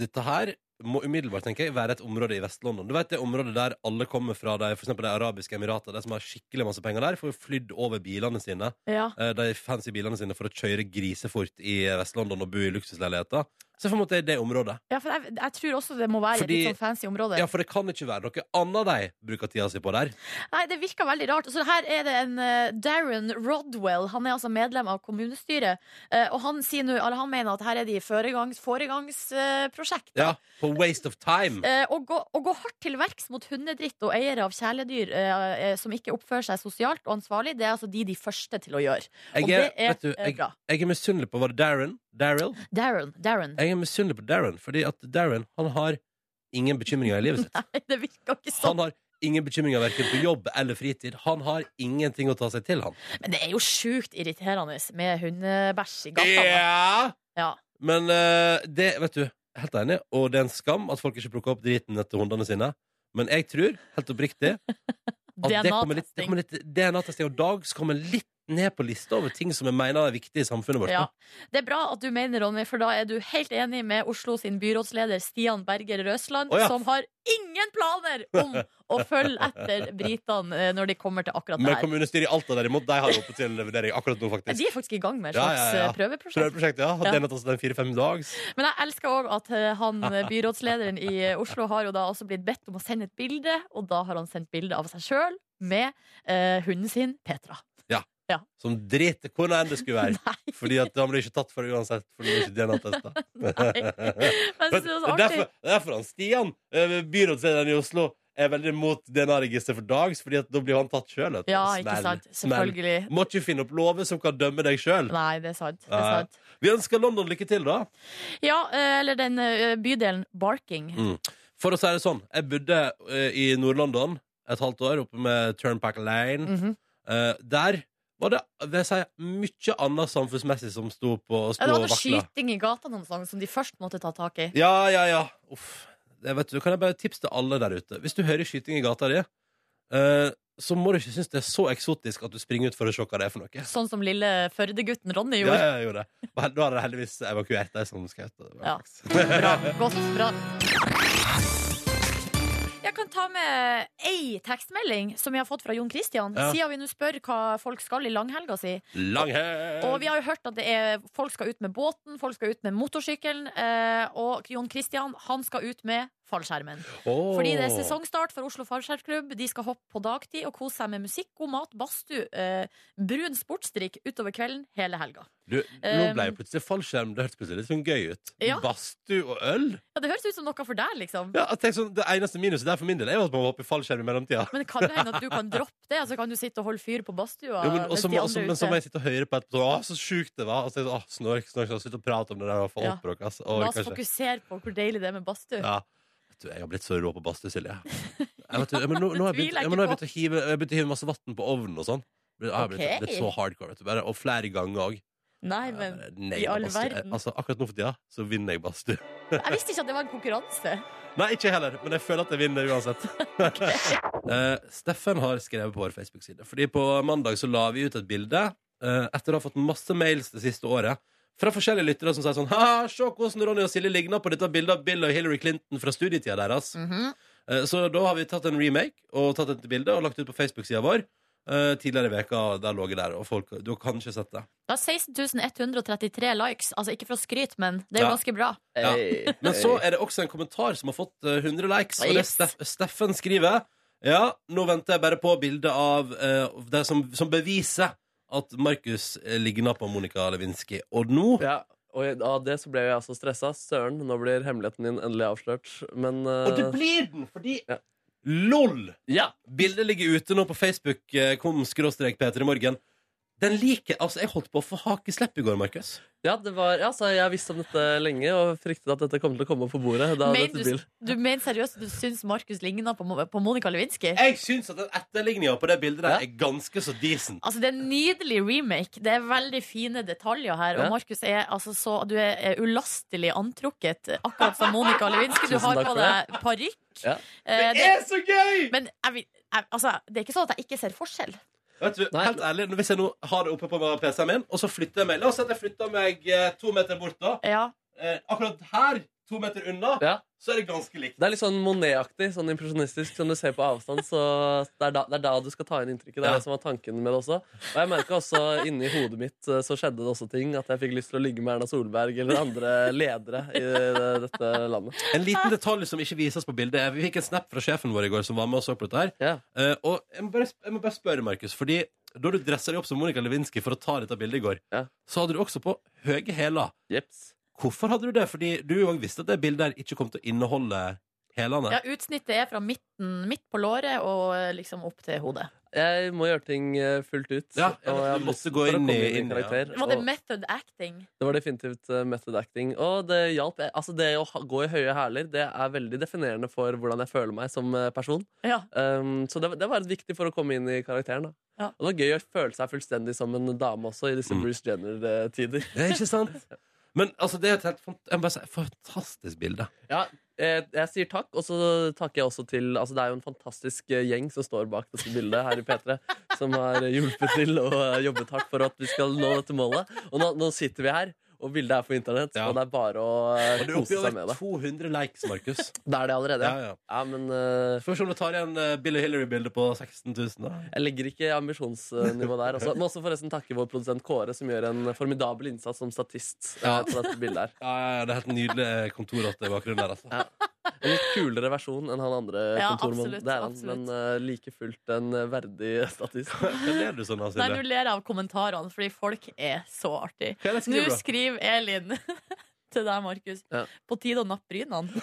Dette her må umiddelbart tenker jeg, være et område i Vest-London. Du vet det området der alle kommer fra, de, for eksempel de arabiske emirater, de som har skikkelig masse penger der, får jo flydd over bilene sine,
Ja.
eh, de fancy bilene sine, for å kjøre grisefort i Vest-London og bo i luksusleiligheter. Så for en måte er det området.
Ja, for jeg, jeg tror også det må være
Fordi-
et litt sånn fancy område.
Ja, for det kan ikke være noe annet de bruker tida si på der.
Nei, det virker veldig rart. Så her er det en eh, Darren Rodwell. Han er altså medlem av kommunestyret. eh, og han sier nå, eller han mener at her er de foregangs, foregangsprosjekt. Eh,
Ja, På waste of time.
å, gå, å gå hardt til verks mot hundedritt og eiere av kjæledyr eh, eh, som ikke oppfører seg sosialt og ansvarlig, det er altså de de første til å gjøre.
Jeg
og
er,
det er
vet du,
eh,
jeg,
bra.
jeg er misunnelig på Var det Darren? Daryl?
Darren. Darren.
Jeg er misunnelig på Darren, fordi at Darren han har ingen bekymringer i livet sitt.
Nei, det virker ikke sånn.
Han har ingen bekymringer verken på jobb eller fritid. Han har ingenting å ta seg til, han.
Men det er jo sjukt irriterende med hundebæsj i gata. da.
Ja!
Ja.
Men eh, det, vet du, helt enig, og det er en skam at folk ikke plukker opp driten etter hundene sine. Men jeg tror, helt oppriktig, at det kommer litt,
DNA-testing.
det kommer litt DNA-testing, og Dag skal komme litt ned på lista over ting som jeg mener er viktig i samfunnet vårt.
Ja.
da.
Det er bra at du mener, Ronny, for da er du helt enig med Oslo sin byrådsleder Stian Berger Røsland,
Å, ja.
som har ingen planer om å følge etter britene eh, når de kommer til akkurat det
Men
her.
kommunestyret i Alta derimot, de har oppe til vurdering akkurat nå, faktisk.
De er faktisk i gang med et
Ja,
slags
ja, ja.
eh, prøveprosjekt.
Prøveprosjektet, ja.
Ja.
Den har tatt seg fire-fem dags.
Men jeg elsker òg at eh, han eh, byrådslederen i eh, Oslo har jo da også blitt bedt om å sende et bilde, og da har han sendt bilde av seg sjøl med eh, hunden sin Petra.
Som driter hvordan enn det skulle være.
Nei,
Fordi at han blir ikke tatt for det uansett. For det blir ikke DNA-testa.
men
Det
jeg
er
synes det var så
derfor,
artig.
det er derfor han Stian, eh, byrådslederen i Oslo, er veldig mot DNA-registeret for Dags, Fordi at da blir han tatt sjøl.
Ja, ikke sant. Selvfølgelig.
Må ikke finne opp lover som kan dømme deg sjøl.
Nei, det er sant. Det er
Ja.
sant.
Vi ønsker London lykke til, da.
Ja, eh, eller den eh, bydelen Barking.
Mm. For å si det sånn, jeg bodde eh, i Nord-London et halvt år, oppe med Turnpack Lane.
Mhm.
Eh, der var det vil jeg si, mye annet samfunnsmessig som sto på og
Ja,
sto
det var
og
noe
vakla.
skyting i gatene noen ganger som de først måtte ta tak i.
Ja, ja, ja. Uff. Det vet du, kan jeg bare tipse til alle der ute. Hvis du hører skyting i gata di, eh, så må du ikke synes det er så eksotisk at du springer ut for å se hva det er for noe.
Sånn som lille Førde-gutten Ronny
Ja,
gjorde.
ja, jeg gjorde det. Og Da hadde jeg heldigvis evakuert de som skjøt. og det var
Ja.
flaks.
Bra. Godt. Bra. Jeg kan ta med ei tekstmelding som jeg har fått fra Jon Christian.
Ja.
Siden vi nå spør hva folk skal i langhelga si.
Langhelg!
Og vi har jo hørt at det er, folk skal ut med båten, folk skal ut med motorsykkelen. Eh, og Jon Christian han skal ut med fallskjermen.
Åh.
Fordi det er sesongstart for Oslo fallskjermklubb. De skal hoppe på dagtid og kose seg med musikk, god mat, badstue, eh, brun sportsdrikk utover kvelden hele helga.
Du, nå ble jeg plutselig fallskjerm. Det hørtes plutselig litt sånn gøy ut.
Ehm. Ja.
Badstue og øl?
Ja, Det høres ut som noe for deg, liksom.
Ja, jeg tenker sånn, Det eneste minuset der for min del er jo at man må hoppe i fallskjerm i mellomtida.
Men det kan jo hende at du kan droppe det, og så kan du sitte og holde fyr på badstua.
Jo, men,
mens
også,
de
må- også,
andre
men så
er
må
ute.
jeg sitte og høre på etterpå. Å, så sjukt det var! Og så, tenker jeg sånn, å, snork, snork, snork, Slutt å prate om det der. og få
Ja.
oppbråk, altså. ass.
La
Og,
oss
kanskje,
fokusere på hvor deilig det er med badstue.
ja. Vet du, jeg har blitt så rå på badstue, Silje. Jeg vet, du, jeg, men nå, nå har
tviler jeg
jeg begynt, jeg, men nå har
ikke
jeg begynt å hive, jeg har begynt å hive masse vann på ovnen og sånn. Jeg har blitt,
Ok.
blitt så hardcore, vet du. Bare, og flere ganger òg.
Nei, men i all verden.
Altså, akkurat nå for tida så vinner jeg badstue.
Jeg visste ikke at det var en konkurranse.
Nei, ikke heller, men jeg føler at jeg vinner uansett. Eh, Steffen har skrevet på vår Facebook-side. Fordi på mandag så la vi ut et bilde eh, etter å ha fått masse mails det siste året fra forskjellige lyttere som sier sånn Haha, se hvordan Ronny og Silje ligner på dette bildet av Bill og Hillary Clinton fra studietida deres. Eh, Så da har vi tatt en remake og tatt et bilde og lagt ut på Facebook-sida vår. eh, tidligere i veka der lå jeg der, og folk Du har kanskje sett det.
Det er 16.133 likes. Altså ikke for å skryte, men det er
Ja.
jo ganske bra.
Ja.
Hey,
Men så
hey.
er det også en kommentar som har fått eh, 100 likes, og det er
Yes.
Steff Steffen skriver Ja, nå venter jeg bare på bildet av eh, det som, som beviser at Markus eh, ligner på Monica Lewinsky. Og nå
ja. Og av det så ble jeg så stressa. Søren, nå blir hemmeligheten din endelig avslørt. Men
Og det
eh,
blir den, fordi
Ja.
LOL!
Ja!
Bildet ligger ute nå på Facebook. eh, Kom skråstrek Peter i morgen. Den liker Altså, jeg holdt på å få hakeslepp i går, Markus.
Ja, det var, ja, så jeg visste om dette lenge og fryktet at dette kom til å komme opp på bordet. Da
Men
dette
du,
bil.
du mener seriøst at du syns Markus ligner på, Mo- på Monica Lewinsky?
Jeg syns at den etterligninga på det bildet
Ja.
der er ganske så decent.
Altså, Det er en nydelig remake. Det er veldig fine detaljer her.
Ja.
Og Markus er altså så Du er eh, ulastelig antrukket, akkurat som Monica Lewinsky. Du
Tusen
har
takk
på
for
deg parykk.
Ja.
Eh,
Det er så gøy!
men jeg, vil- jeg, altså, det er ikke sånn at jeg ikke ser forskjell.
Vet du,
Nei.
helt ærlig, Hvis jeg nå har det oppe på PC-en min, og så flytter jeg meg La oss si at jeg flytter meg eh, to meter bort, da.
Ja.
Eh, akkurat her, to meter unna,
Ja.
så er det ganske likt.
Det er litt sånn Monet-aktig, sånn impresjonistisk, som du ser på avstand. Så det er da, det er da du skal ta inn inntrykket. Det er
Ja.
det som var tanken med det også. Og jeg merka også inni hodet mitt eh, så skjedde det også ting. At jeg fikk lyst til å ligge med Erna Solberg eller andre ledere i eh, dette landet.
En liten detalj som ikke vises på bildet. er- Vi fikk en snap fra sjefen vår i går som var med og så på dette her.
Ja.
Eh, og jeg må, bare, sp- jeg må bare spørre, Markus, fordi da du dressa deg opp som Monica Lewinsky for å ta dette bildet i går,
Ja.
så hadde du også på høye hæler.
Jeps.
Hvorfor hadde du det? Fordi du jo også visste at det bildet her ikke kom til å inneholde hælene.
ja, utsnittet er fra midten, midt på låret og eh, liksom opp til hodet.
Jeg må gjøre ting eh, fullt ut.
Ja,
og jeg har
du
lyst
måtte gå
for å
inn
komme
i- inn i, ja.
karakter.
Var det
og-
method acting?
Det var definitivt eh, method acting. Og det hjalp. Eh, Altså, det å ha- gå i høye hæler det er veldig definerende for hvordan jeg føler meg som eh, person.
Ja.
Um, så det, var- det var viktig for å komme inn i karakteren. da
Ja.
Og det var gøy å føle seg fullstendig som en dame også i disse
Mm.
Bruce Jenner-tider.
Det er ikke sant? Men altså, det er et helt fant jeg må bare si, fantastisk bilde.
Ja, eh, jeg sier takk, og så takker jeg også til altså Det er jo en fantastisk eh, gjeng som står bak dette bildet her i P3, som har hjulpet til og eh, jobbet hardt for at vi skal nå dette målet. Og nå, nå sitter vi her, og bildet er på internett,
Ja.
og det er bare å eh,
Og du er oppe i
kose seg med
over
det.
200 likes, Markus.
Det er det allerede.
ja,
Ja,
ja.
ja men eh,
Får vi se om du tar igjen eh, Bill og Hillary-bildet på 16 000. Da.
jeg legger ikke ambisjonsnivå der. Også. Må også forresten takke vår produsent Kåre, som gjør en formidabel innsats som statist eh,
Ja.
på dette bildet her.
Ja, ja, ja, det er helt nydelig eh, kontorrotte i bakgrunnen der. Altså.
Ja. En litt kulere versjon enn han andre
Ja,
kontormannen.
absolutt,
Det er han,
absolutt.
men eh, like fullt en eh, verdig statist.
Hva ler du sånn av,
Nei, nå
Silje?
ler jeg av kommentarene, fordi folk er så artig.
Hva
Nå
er det jeg skriver, da?
skriver Elin til deg, Markus.
Ja.
På tide å nappe brynene.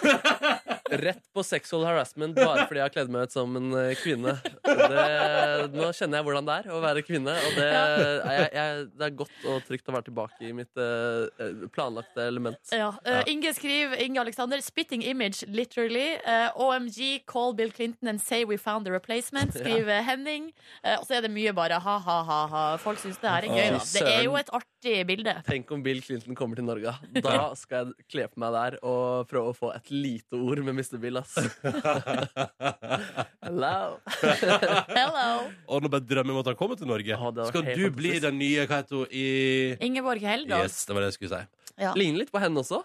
Rett på sexual harassment bare fordi jeg har kledd meg ut som en eh, kvinne. Det, nå kjenner jeg hvordan det er å være kvinne, og det, er jeg, jeg, det er godt og trygt å være tilbake i mitt eh, eh, planlagte element.
Ja. eh, Inge skriver Inge Alexander, 'spitting image, literally'. Eh, OMG, call Bill Clinton and say we found the replacement, skriver Henning. Eh, og så er det mye bare ha-ha-ha. Folk syns det her er gøy.
Å,
Da.
fy
Det er jo
søren.
et artig bilde.
Tenk om Bill Clinton kommer til Norge. Da skal jeg kle på meg der og prøve å få et lite ord med Mr. Bill. Ass. Hello.
Hello.
Og nå bare drømmer jeg om at han kommer til Norge.
Ja, det var
Skal du
helt
bli
fantastisk.
den nye hva heter hun, i
Ingeborg Heldal.
Yes, det var det jeg skulle si.
Ja.
Ligner litt på henne også.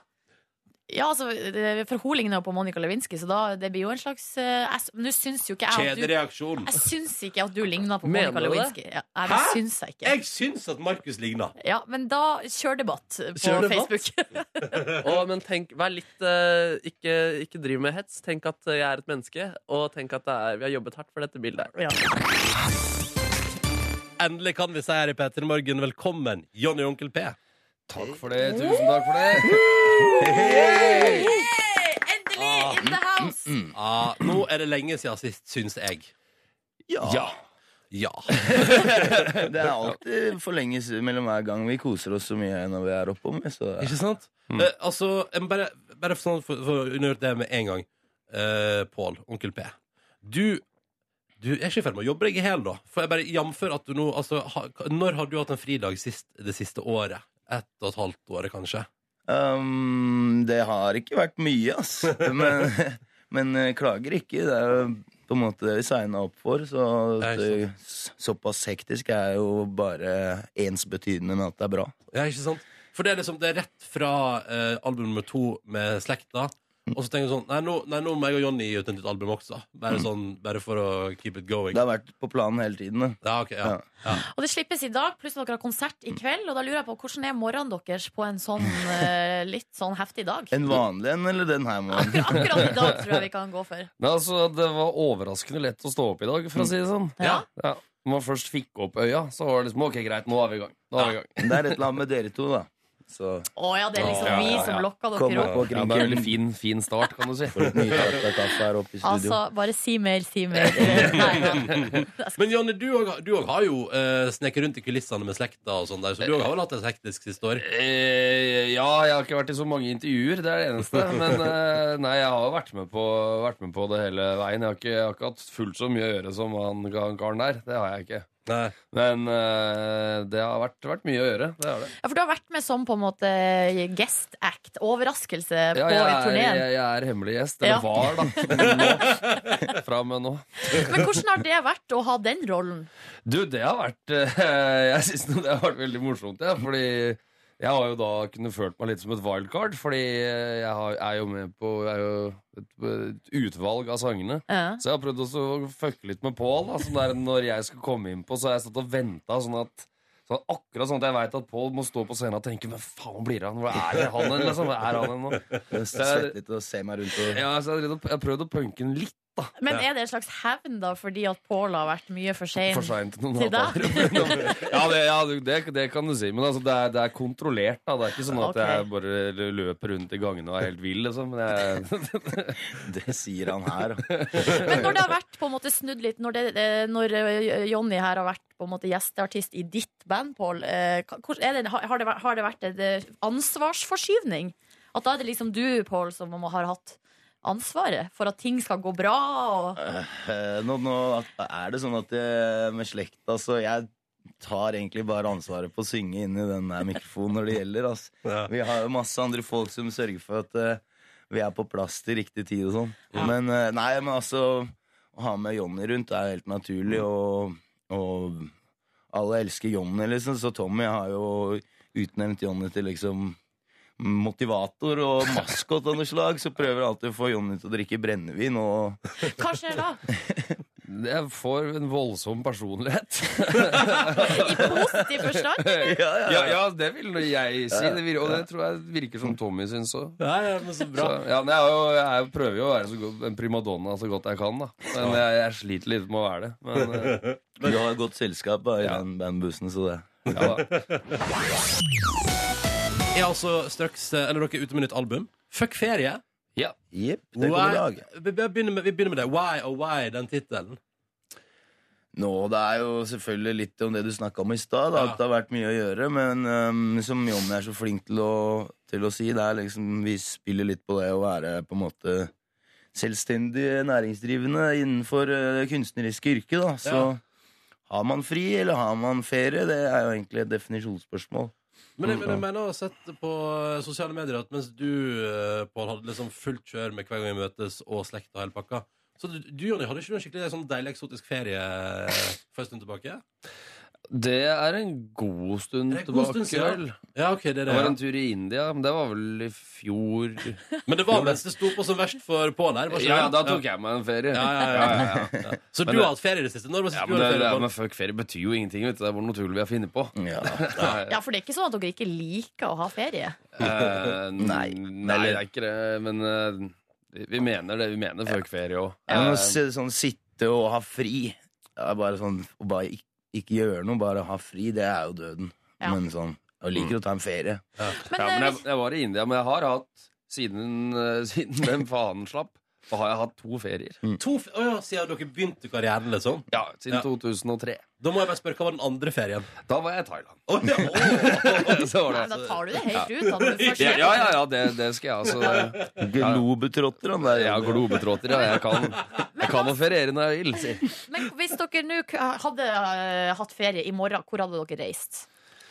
Ja, altså, det- for hun ligner jo på Monica Lewinsky, så da, det blir jo en slags eh, jeg s- Nå syns jo ikke jeg at du
Kjedereaksjon.
Altså,
Jeg syns ikke at du ligner på
Mener
Monica
du det?
Lewinsky. Ja, nei, det
Hæ?
syns jeg ikke.
Jeg syns at Markus ligner.
Ja, men da kjør debatt på
Kjør debatt?
Facebook.
Å, men tenk, vær litt eh, ikke, ikke driv med hets. Tenk at jeg er et menneske, og tenk at det er, vi har jobbet hardt for dette bildet. her.
ja.
Endelig kan vi si her i P3 Morgen velkommen, Johnny og Onkel P.
Takk for det. Tusen takk for det.
Hey, endelig in the house!
Ah, nå er det lenge siden sist, syns jeg.
Ja.
Ja.
Det er alltid for lenge s- mellom hver gang. Vi koser oss så mye når vi er oppom. Så
Ikke sant? Eh, altså, jeg må bare, bare for, sånn- for, for å undergjøre det med en gang. Eh, Pål, onkel P. Du, du er ikke i ferd med å jobbe deg i hjel, da. For jeg bare jamfør at du nå altså, ha, Når har du hatt en fridag sist, det siste året? Ett og et halvt året, kanskje?
um, det har ikke vært mye, ass. Men, men eh, klager ikke. Det er jo på en måte det vi signa opp for. Så
Det
at
er
det, s- såpass hektisk er jo bare ensbetydende med at det er bra.
Ja, ikke sant? For det er liksom, det er rett fra eh, album nummer to med Slekta. Og så tenker jeg sånn Nei, nå, nei, nå må jeg og Johnny gi ut et nytt album også. Bare, sånn, bare for å keep it going.
Det har vært på planen hele tiden. Da.
Ja, ok, ja.
Ja.
Og det slippes i dag, pluss dere har konsert i kveld. Og da lurer jeg på hvordan er morgenen deres på en sånn eh, litt sånn heftig dag?
En vanlig en eller den her? må-
Akkurat i dag tror jeg vi kan gå for.
Nei, altså, det var overraskende lett å stå opp i dag, for å si det sånn.
Ja.
Ja. Når man først fikk opp øya, så var det liksom OK, greit, nå er vi i gang. Nå er vi i gang.
Men Det er et eller annet med dere to, da. Så
Å ja, det er liksom
Ja,
vi
ja,
som
ja.
lokka
Kom
dere
opp
opp.
på
Ja, det er en
krinken.
veldig fin, fin start, kan du si.
For et nytakta kaffe her oppe i studio.
Altså, bare si mer, si mer. Eller, Nei, da.
Men Johnny, du òg du og har jo uh, sneket rundt i kulissene med slekta, og sånn der, så du òg har vel hatt et hektisk siste år?
Eh, ja, jeg har ikke vært i så mange intervjuer, det er det eneste. Men eh, nei, jeg har jo vært med på, vært med på det hele veien. Jeg har, ikke, jeg har ikke hatt fullt så mye å gjøre som han han karen der. Det har jeg ikke.
Nei.
Men eh, det har vært, vært mye å gjøre. Det har det.
Ja, for du har vært med som på en måte eh, guest act, overraskelse,
Ja,
på
jeg, er,
turneen.
jeg, jeg er hemmelig gjest.
Ja.
Eller var, da. Nå. Fra og med nå.
Men hvordan har det vært å ha den rollen?
Du, det har vært eh, Jeg synes det har vært veldig morsomt, ja, fordi jeg har jo da kunnet følt meg litt som et wildcard, fordi eh, jeg har, er jo med på jeg er jo et, et utvalg av sangene.
Ja.
Så jeg har prøvd også å fucke litt med Pål. da, sånn der når jeg skulle komme innpå, så har jeg stått og venta sånn at sånn at akkurat sånn at jeg veit at Pål må stå på scenen og tenke 'Hva faen blir det av han? Hvor er det han hen?' Liksom? Hvor er han hen nå?
Svett litt og se meg rundt og
Ja, så jeg har drevet og- jeg har prøvd å punke den litt
Men er det en slags hevn da, fordi at Pål har vært mye for sein?
for seint til noen
Til deg?
avtaler. Ja, det, ja du- det, det kan du si. Men altså, det, er, det er kontrollert. Da. Det er ikke sånn at
Ok.
jeg bare løper rundt i gangene og er helt vill. Liksom. Men jeg,
Det sier han her.
Men når det har vært på en måte snudd litt Når, det, eh, når eh, Jonny her har vært på en måte gjesteartist i ditt band, Pål eh, hvor- er det- har, det vært- har det vært en eh, ansvarsforskyvning? At da er det liksom du, Pål, som må- har hatt ansvaret for at ting skal gå bra? Og...
Eh, Nå, nå er det sånn at jeg, med slekta så jeg tar egentlig bare ansvaret på å synge inn i den der mikrofonen når det gjelder. ass.
Ja.
Vi har jo masse andre folk som sørger for at eh, vi er på plass til riktig tid og sånn.
Ja.
Men eh, nei, men altså Å ha med Jonny rundt er helt naturlig,
Mm.
og, og alle elsker Jonny, liksom. Så Tommy har jo utnevnt Jonny til liksom motivator og maskot av noe slag. Så prøver alltid å få Jonny til å drikke brennevin og
Hva skjer da?
jeg får en voldsom personlighet.
I positiv forstand?
Ja, ja, det vil nå jeg si. Det vir- og det tror jeg virker som Tommy syns òg.
Ja, ja, men så
Så,
bra.
ja, men jeg, er jo, jeg prøver jo å være så god, en primadonna så godt jeg kan, da. Men jeg, jeg sliter litt med å være det. Men, eh,
Du har godt selskap da, i
Ja.
den bandbussen, så det
ja, da.
Er altså straks eh, Eller dere er ute med nytt album. Fuck ferie.
Ja.
Jepp, det er god dag.
Vi, vi, begynner med, vi begynner med det. Why og why, den tittelen.
Nå, Det er jo selvfølgelig litt om det du snakka om i stad. da,
Ja.
At det har vært mye å gjøre. Men øhm, som Jonny er så flink til å, til å si, det er liksom vi spiller litt på det å være på en måte selvstendig næringsdrivende innenfor øh, kunstneriske yrke. da, Så
Ja.
har man fri, eller har man ferie? Det er jo egentlig et definisjonsspørsmål.
Men jeg, men jeg mener å ha sett på eh, sosiale medier at mens du, eh, Pål, hadde liksom fullt kjør med hver gang vi møtes og slekt og hele pakka Så du, du Jonny, hadde ikke du en skikkelig sånn deilig eksotisk ferie eh, for en stund tilbake?
Det er en god stund
Det er en god stund
tilbake.
siden.
vel?
Ja, ok, det er
Det var en
det.
tur i India, men det var vel i fjor.
Ja. Men det var mens det sto på som verst for Pål her. var ikke
Ja,
det?
da tok jeg meg en ferie.
Ja, ja, ja, ja.
ja. Men
Så du
det-
har hatt ferie i det siste? Når var
Ja,
sist du
men, det, det,
hadde ferie? Mm. Pål?
men fuck, ferie betyr jo ingenting. Vet du. Det er bare noe tull vi har funnet på.
Ja.
Ja, for det er ikke sånn at dere ikke liker å ha ferie.
Eh, n-
Nei.
Nei, det er ikke det. Men eh, vi- vi mener det. Vi mener fuck ferie Eh, òg.
Ja, men å
Eh,
se- sånn sitte og ha fri det er bare sånn, Å bare ikke, ikke gjøre noe, bare ha fri, det er jo døden.
Ja.
Men sånn Jeg
Mm.
liker å ta en ferie.
Men,
ja, men
eh,
jeg, jeg var i India, men jeg har hatt Siden, eh, siden den faen slapp Så har jeg hatt to ferier
To fe- Å ja, siden dere begynte karrieren, liksom?
Ja, siden
Mm. Ja.
2003
Da må jeg bare spørre, hva var den andre ferien?
Da var jeg i Thailand
Å, ja.
Så var
nei, men
det
da
altså-
tar du det helt ut. Da, når du først
ja, ja, ja, ja, det, det skal jeg altså
Globetrotter, han der.
Jeg har globetråter, ja, jeg kan Jeg kan å feriere når jeg vil sier.
Men hvis dere nå k- hadde eh, hatt ferie i morgen, hvor hadde dere reist?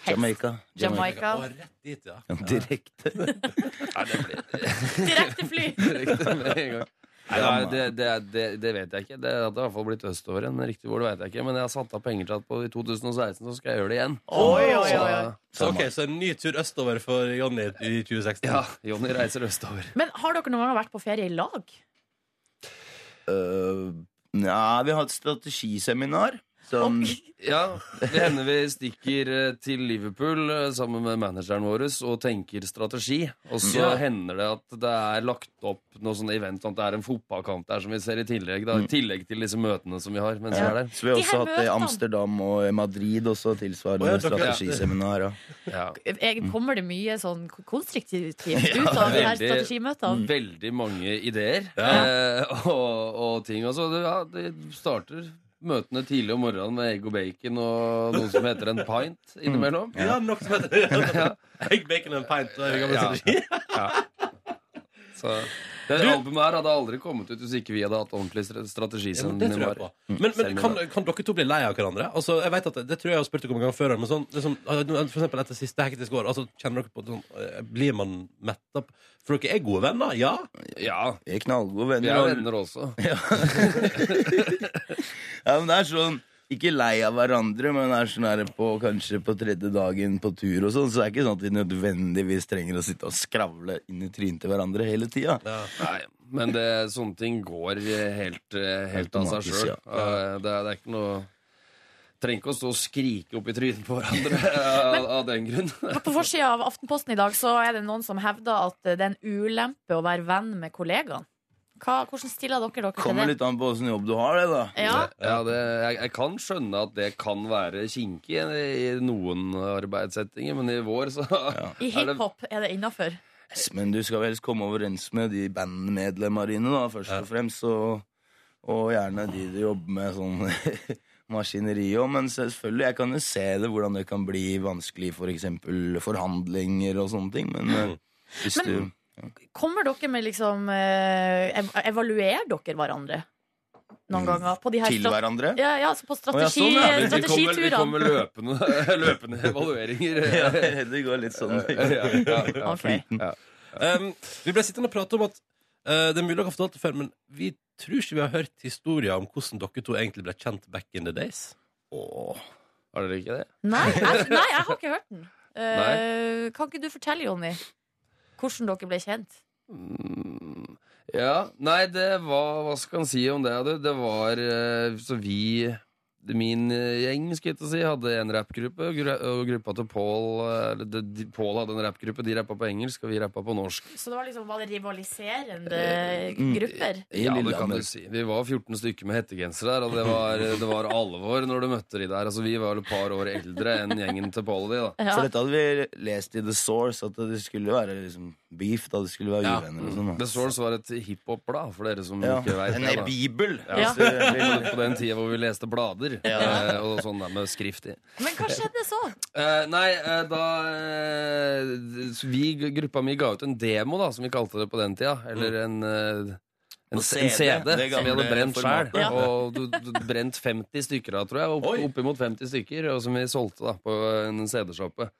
Helst.
Jamaica.
Jamaica.
Å, rett dit, ja.
Ja, Direkte.
Nei, det blir
Direkte fly.
direkte med en gang Nei, det, det, det, det vet jeg ikke Det hadde i hvert fall blitt østover enn riktig hvor, det vet jeg ikke Men jeg har satt av penger til at på i 2016 så skal jeg gjøre det igjen
Oi, oi, oi, oi.
Så-
Så, ok, så en ny tur østover for Jonny i 2016.
Ja, Jonny reiser østover
Men har dere noen gang vært på ferie i lag?
Øh, Nja, vi har et strategiseminar. Som,
Ja, det hender vi stikker eh, til Liverpool eh, sammen med manageren vår og tenker strategi. Og så
Ja.
hender det at det er lagt opp noe sånn event, sånn at det er en fotballkamp der som vi ser i tillegg. Da, I tillegg til disse møtene som vi har mens vi er der.
Så vi har
De her
også hatt det i
møtene.
Amsterdam og i Madrid også tilsvarende
Å, ja, dere-
strategiseminar. Ja.
Ja.
Jeg, kommer det mye sånn konstruktivt ut av de her
veldig.
Mm.
strategimøtene?
Veldig mange ideer eh, og, og ting. Altså, det, ja, det starter møtene tidlig om morgenen med egg og bacon og noe som heter en pint innimellom.
Mm. Ja, nok som heter Egg, bacon and pint. Det er jo gammel
Ja.
strategi.
Så, det albumet her hadde aldri kommet ut hvis ikke vi hadde hatt ordentlig stra- strategi.
Ja,
som Mm.
men det tror jeg
var.
på. Men, men
Seminar.
kan, kan dere to bli lei av hverandre? Altså, jeg vet at Det tror jeg jeg har spurt dere om en gang før. Men sånn, liksom, for eksempel etter siste hektiske år, altså, kjenner dere på sånn, eh, blir man metta? på- For dere er gode venner, ja?
Ja,
Vi er knallgode
vi
venner.
er
og-
venner også.
Ja, men det er sånn ikke lei av hverandre, men er sånn her på, kanskje på tredje dagen på tur og sånn, så det er ikke sånn at vi nødvendigvis trenger å sitte og skravle inn i trynet til hverandre hele tida.
Nei, men det, sånne ting går eh, helt, eh, helt av seg
Automatisk,
sjøl.
ja.
Det, er- det er ikke noe Trenger ikke å stå og skrike opp i trynet på hverandre av, av den grunn.
På forsida av Aftenposten i dag så er det noen som hevder at det er en ulempe å være venn med kollegaen. Hva, hvordan stiller dere dere til
Kommer
det?
litt an på åssen jobb du har, det, da.
Ja,
Ja, det, jeg, jeg kan skjønne at det kan være kinkig i, i noen arbeidssettinger, men i vår så
I
er det
hiphop er det innafor.
Men du skal vel helst komme overens med de bandmedlemmene dine, da, først og fremst, og, og gjerne de du jobber med sånn maskineri òg, men selvfølgelig, jeg kan jo se det, hvordan det kan bli vanskelig, for eksempel forhandlinger og sånne ting, men
Mm.
eh, hvis
Men-
du
Kommer dere med liksom eh, ev Evaluerer dere hverandre noen ganger? På de her
Til
stra-
hverandre?
Ja, ja, altså på
ja,
strategi,
sånn, ja.
Vi- Vi kommer, vi
strategiturene.
kommer løpende, løpende evalueringer.
Ja, det går litt sånn.
Ja, ja, ja.
Ok.
Ja.
Um, vi ble sittende og prate om at eh, Det er mulig dere har fortalt det før, men vi tror ikke vi har hørt historier om hvordan dere to egentlig ble kjent back in the days.
Åh.
Har dere ikke det?
Nei, jeg, nei, jeg har ikke hørt den. Eh,
Nei.
kan ikke du fortelle, Jonny, hvordan dere ble kjent?
Mm, Ja, nei, det var Hva skal en si om det? Det, det var eh, Så vi Min eh, gjeng skulle jeg til å si hadde en rappgruppe, og gru- og gruppa til Pål eh, eller de- de- Pål hadde en rappgruppe. De rappa på engelsk, og vi rappa på norsk.
Så det var liksom var det rivaliserende Mm. grupper?
I
Ja, det kan
Lillehammer.
du si. Vi var 14 stykker med hettegensere der, og det var, eh, det var alvor når du møtte de der. Altså, vi var vel et par år eldre enn gjengen til Pål og de, da.
Ja.
For dette hadde vi lest i The Source, at det skulle være liksom beef da det skulle være
Ja.
uvenner og sånn. da.
The Source var et hiphop-blad, for dere som
Ja.
ikke veit
En
det. da.
bibel!
Ja.
hvis du vil.
På den tida hvor vi leste blader eh, og sånn der med skrift i.
Men hva skjedde så?
Eh, nei, eh, da eh, Vi, gruppa mi, ga ut en demo, da, som vi kalte det på den tida. Eller
Mm.
en eh, en,
En
c- en CD,
CD, det
som vi
gamle
hadde brent sjæl.
formatet. Ja.
Og du, du brent 50 stykker av, tror jeg. Opp,
Oi.
oppimot 50 stykker, og som vi solgte da på eh, en CD-shoppe.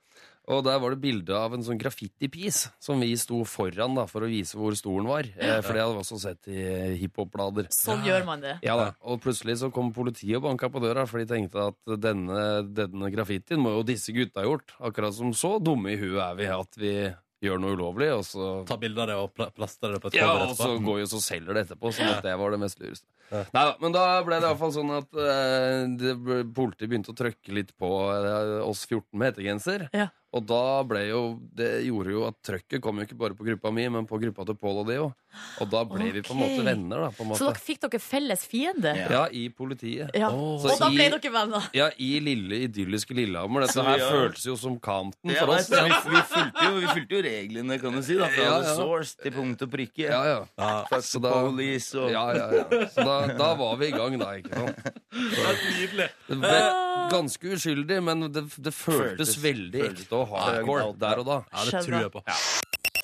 Og der var det bilde av en sånn graffiti-piece som vi sto foran da, for å vise hvor stor den var. Eh, for det hadde vi også sett i hiphop-blader.
Sånn gjør man det.
Ja da, Og plutselig så kom politiet og banka på døra, for de tenkte at denne, denne graffitien må jo disse gutta ha gjort. Akkurat som så dumme i huet er vi at vi gjør noe ulovlig, og så
Ta bilder av det og pla- plastre det på et
ja, altså,
cover
og så
etterpå.
går jo så selger det etterpå, sånn at det var det mest lureste. Nei da, men da ble det iallfall sånn at eh, det, ble- politiet begynte å trøkke litt på eh, oss 14 med hettegenser.
Ja.
Og da ble jo Det gjorde jo at trøkket kom jo ikke bare på gruppa mi, men på gruppa til Pål og de òg. Og da ble vi på en måte
Ok.
venner, da. På en
Så
måte.
dere fikk dere felles fiende?
Ja.
Ja, i politiet.
Ja.
Så
Og da
i-
ble dere venner?
Ja, i lille, idylliske Lillehammer. Dette
Så
her
vi, ja.
føltes jo som Compton
Ja,
for
nei,
oss.
så Sånn vi, vi, fulgte jo, vi fulgte jo reglene, kan du si. da Fra
Ja,
the
ja.
source til punkt og prikke.
Ja, ja.
Fuck
Så
the
da-
police og
Ja, ja, ja. Så da, da var vi i gang, da. ikke sant?
Nydelig.
Det var ganske uskyldig, men det, det føltes
Føltes-
veldig
føltes-
ekte og hardcore
Føltes-
der og da.
Ja, det
Skjønner.
tror jeg på.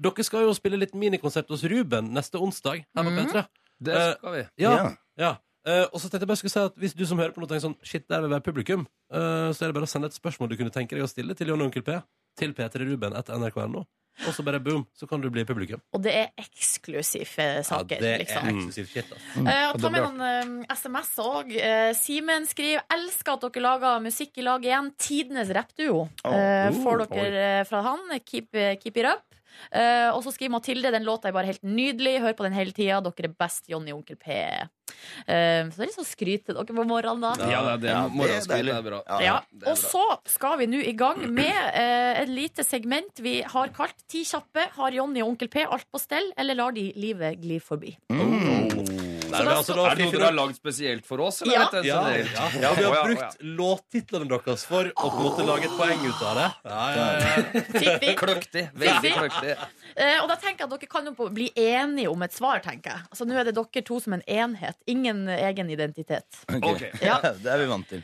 Dere skal jo spille litt minikonsert hos Ruben neste onsdag her på
Mhm.
P3.
Det skal vi.
Ja,
Ja.
ja. Eh, og så tenkte jeg bare skulle si at Hvis du som hører på noe tenker sånn Shit, der vil være publikum, eh, så er det bare å sende et spørsmål du kunne tenke deg å stille til Jon og Onkel P. Til p3ruben etter nrk.no. Og så bare boom, så kan du bli publikum.
Og det er eksklusive saker,
det er
liksom.
eksklusivt shit, altså. ass.
Eh, og ta
Mm, det
med
blir
noen eh, SMS òg. Eh, Simen skriver 'Elsker at dere lager musikk i lag igjen'. Tidenes rappduo.
oh,
Eh, får dere eh, fra han. Keep, keep it up. Eh, og så skriver Mathilde den låta er bare helt nydelig. Hør på den hele tida. Dere er best, Jonny og Onkel P. Eh, så det er litt sånn skryt til dere på morgenen, da.
Ja, det er det.
Ja, det er
Morgenskritt
deilig.
er bra.
Ja.
Ja,
det er
og
bra.
så skal vi nå i gang med eh, et lite segment vi har kalt Ti kjappe. Har Jonny og Onkel P alt på stell, eller lar de livet gli forbi?
Så
Er
da
det altså
skal-
noe dere har lagd spesielt for oss? Eller
Ja.
er dette en
Ja,
generell?
ja. ja, vi har
Å, ja, å, ja.
brukt låttitlene deres for å på en måte lage et poeng ut av det. Ja, ja, ja.
Fikk vi?
Kløktig. Veldig
Ja.
kløktig.
Eh, og da tenker jeg at dere kan jo på- bli enige om et svar, tenker jeg. Altså, nå er det dere to som en enhet. Ingen egen identitet.
Ok.
Ja.
Det er vi vant til.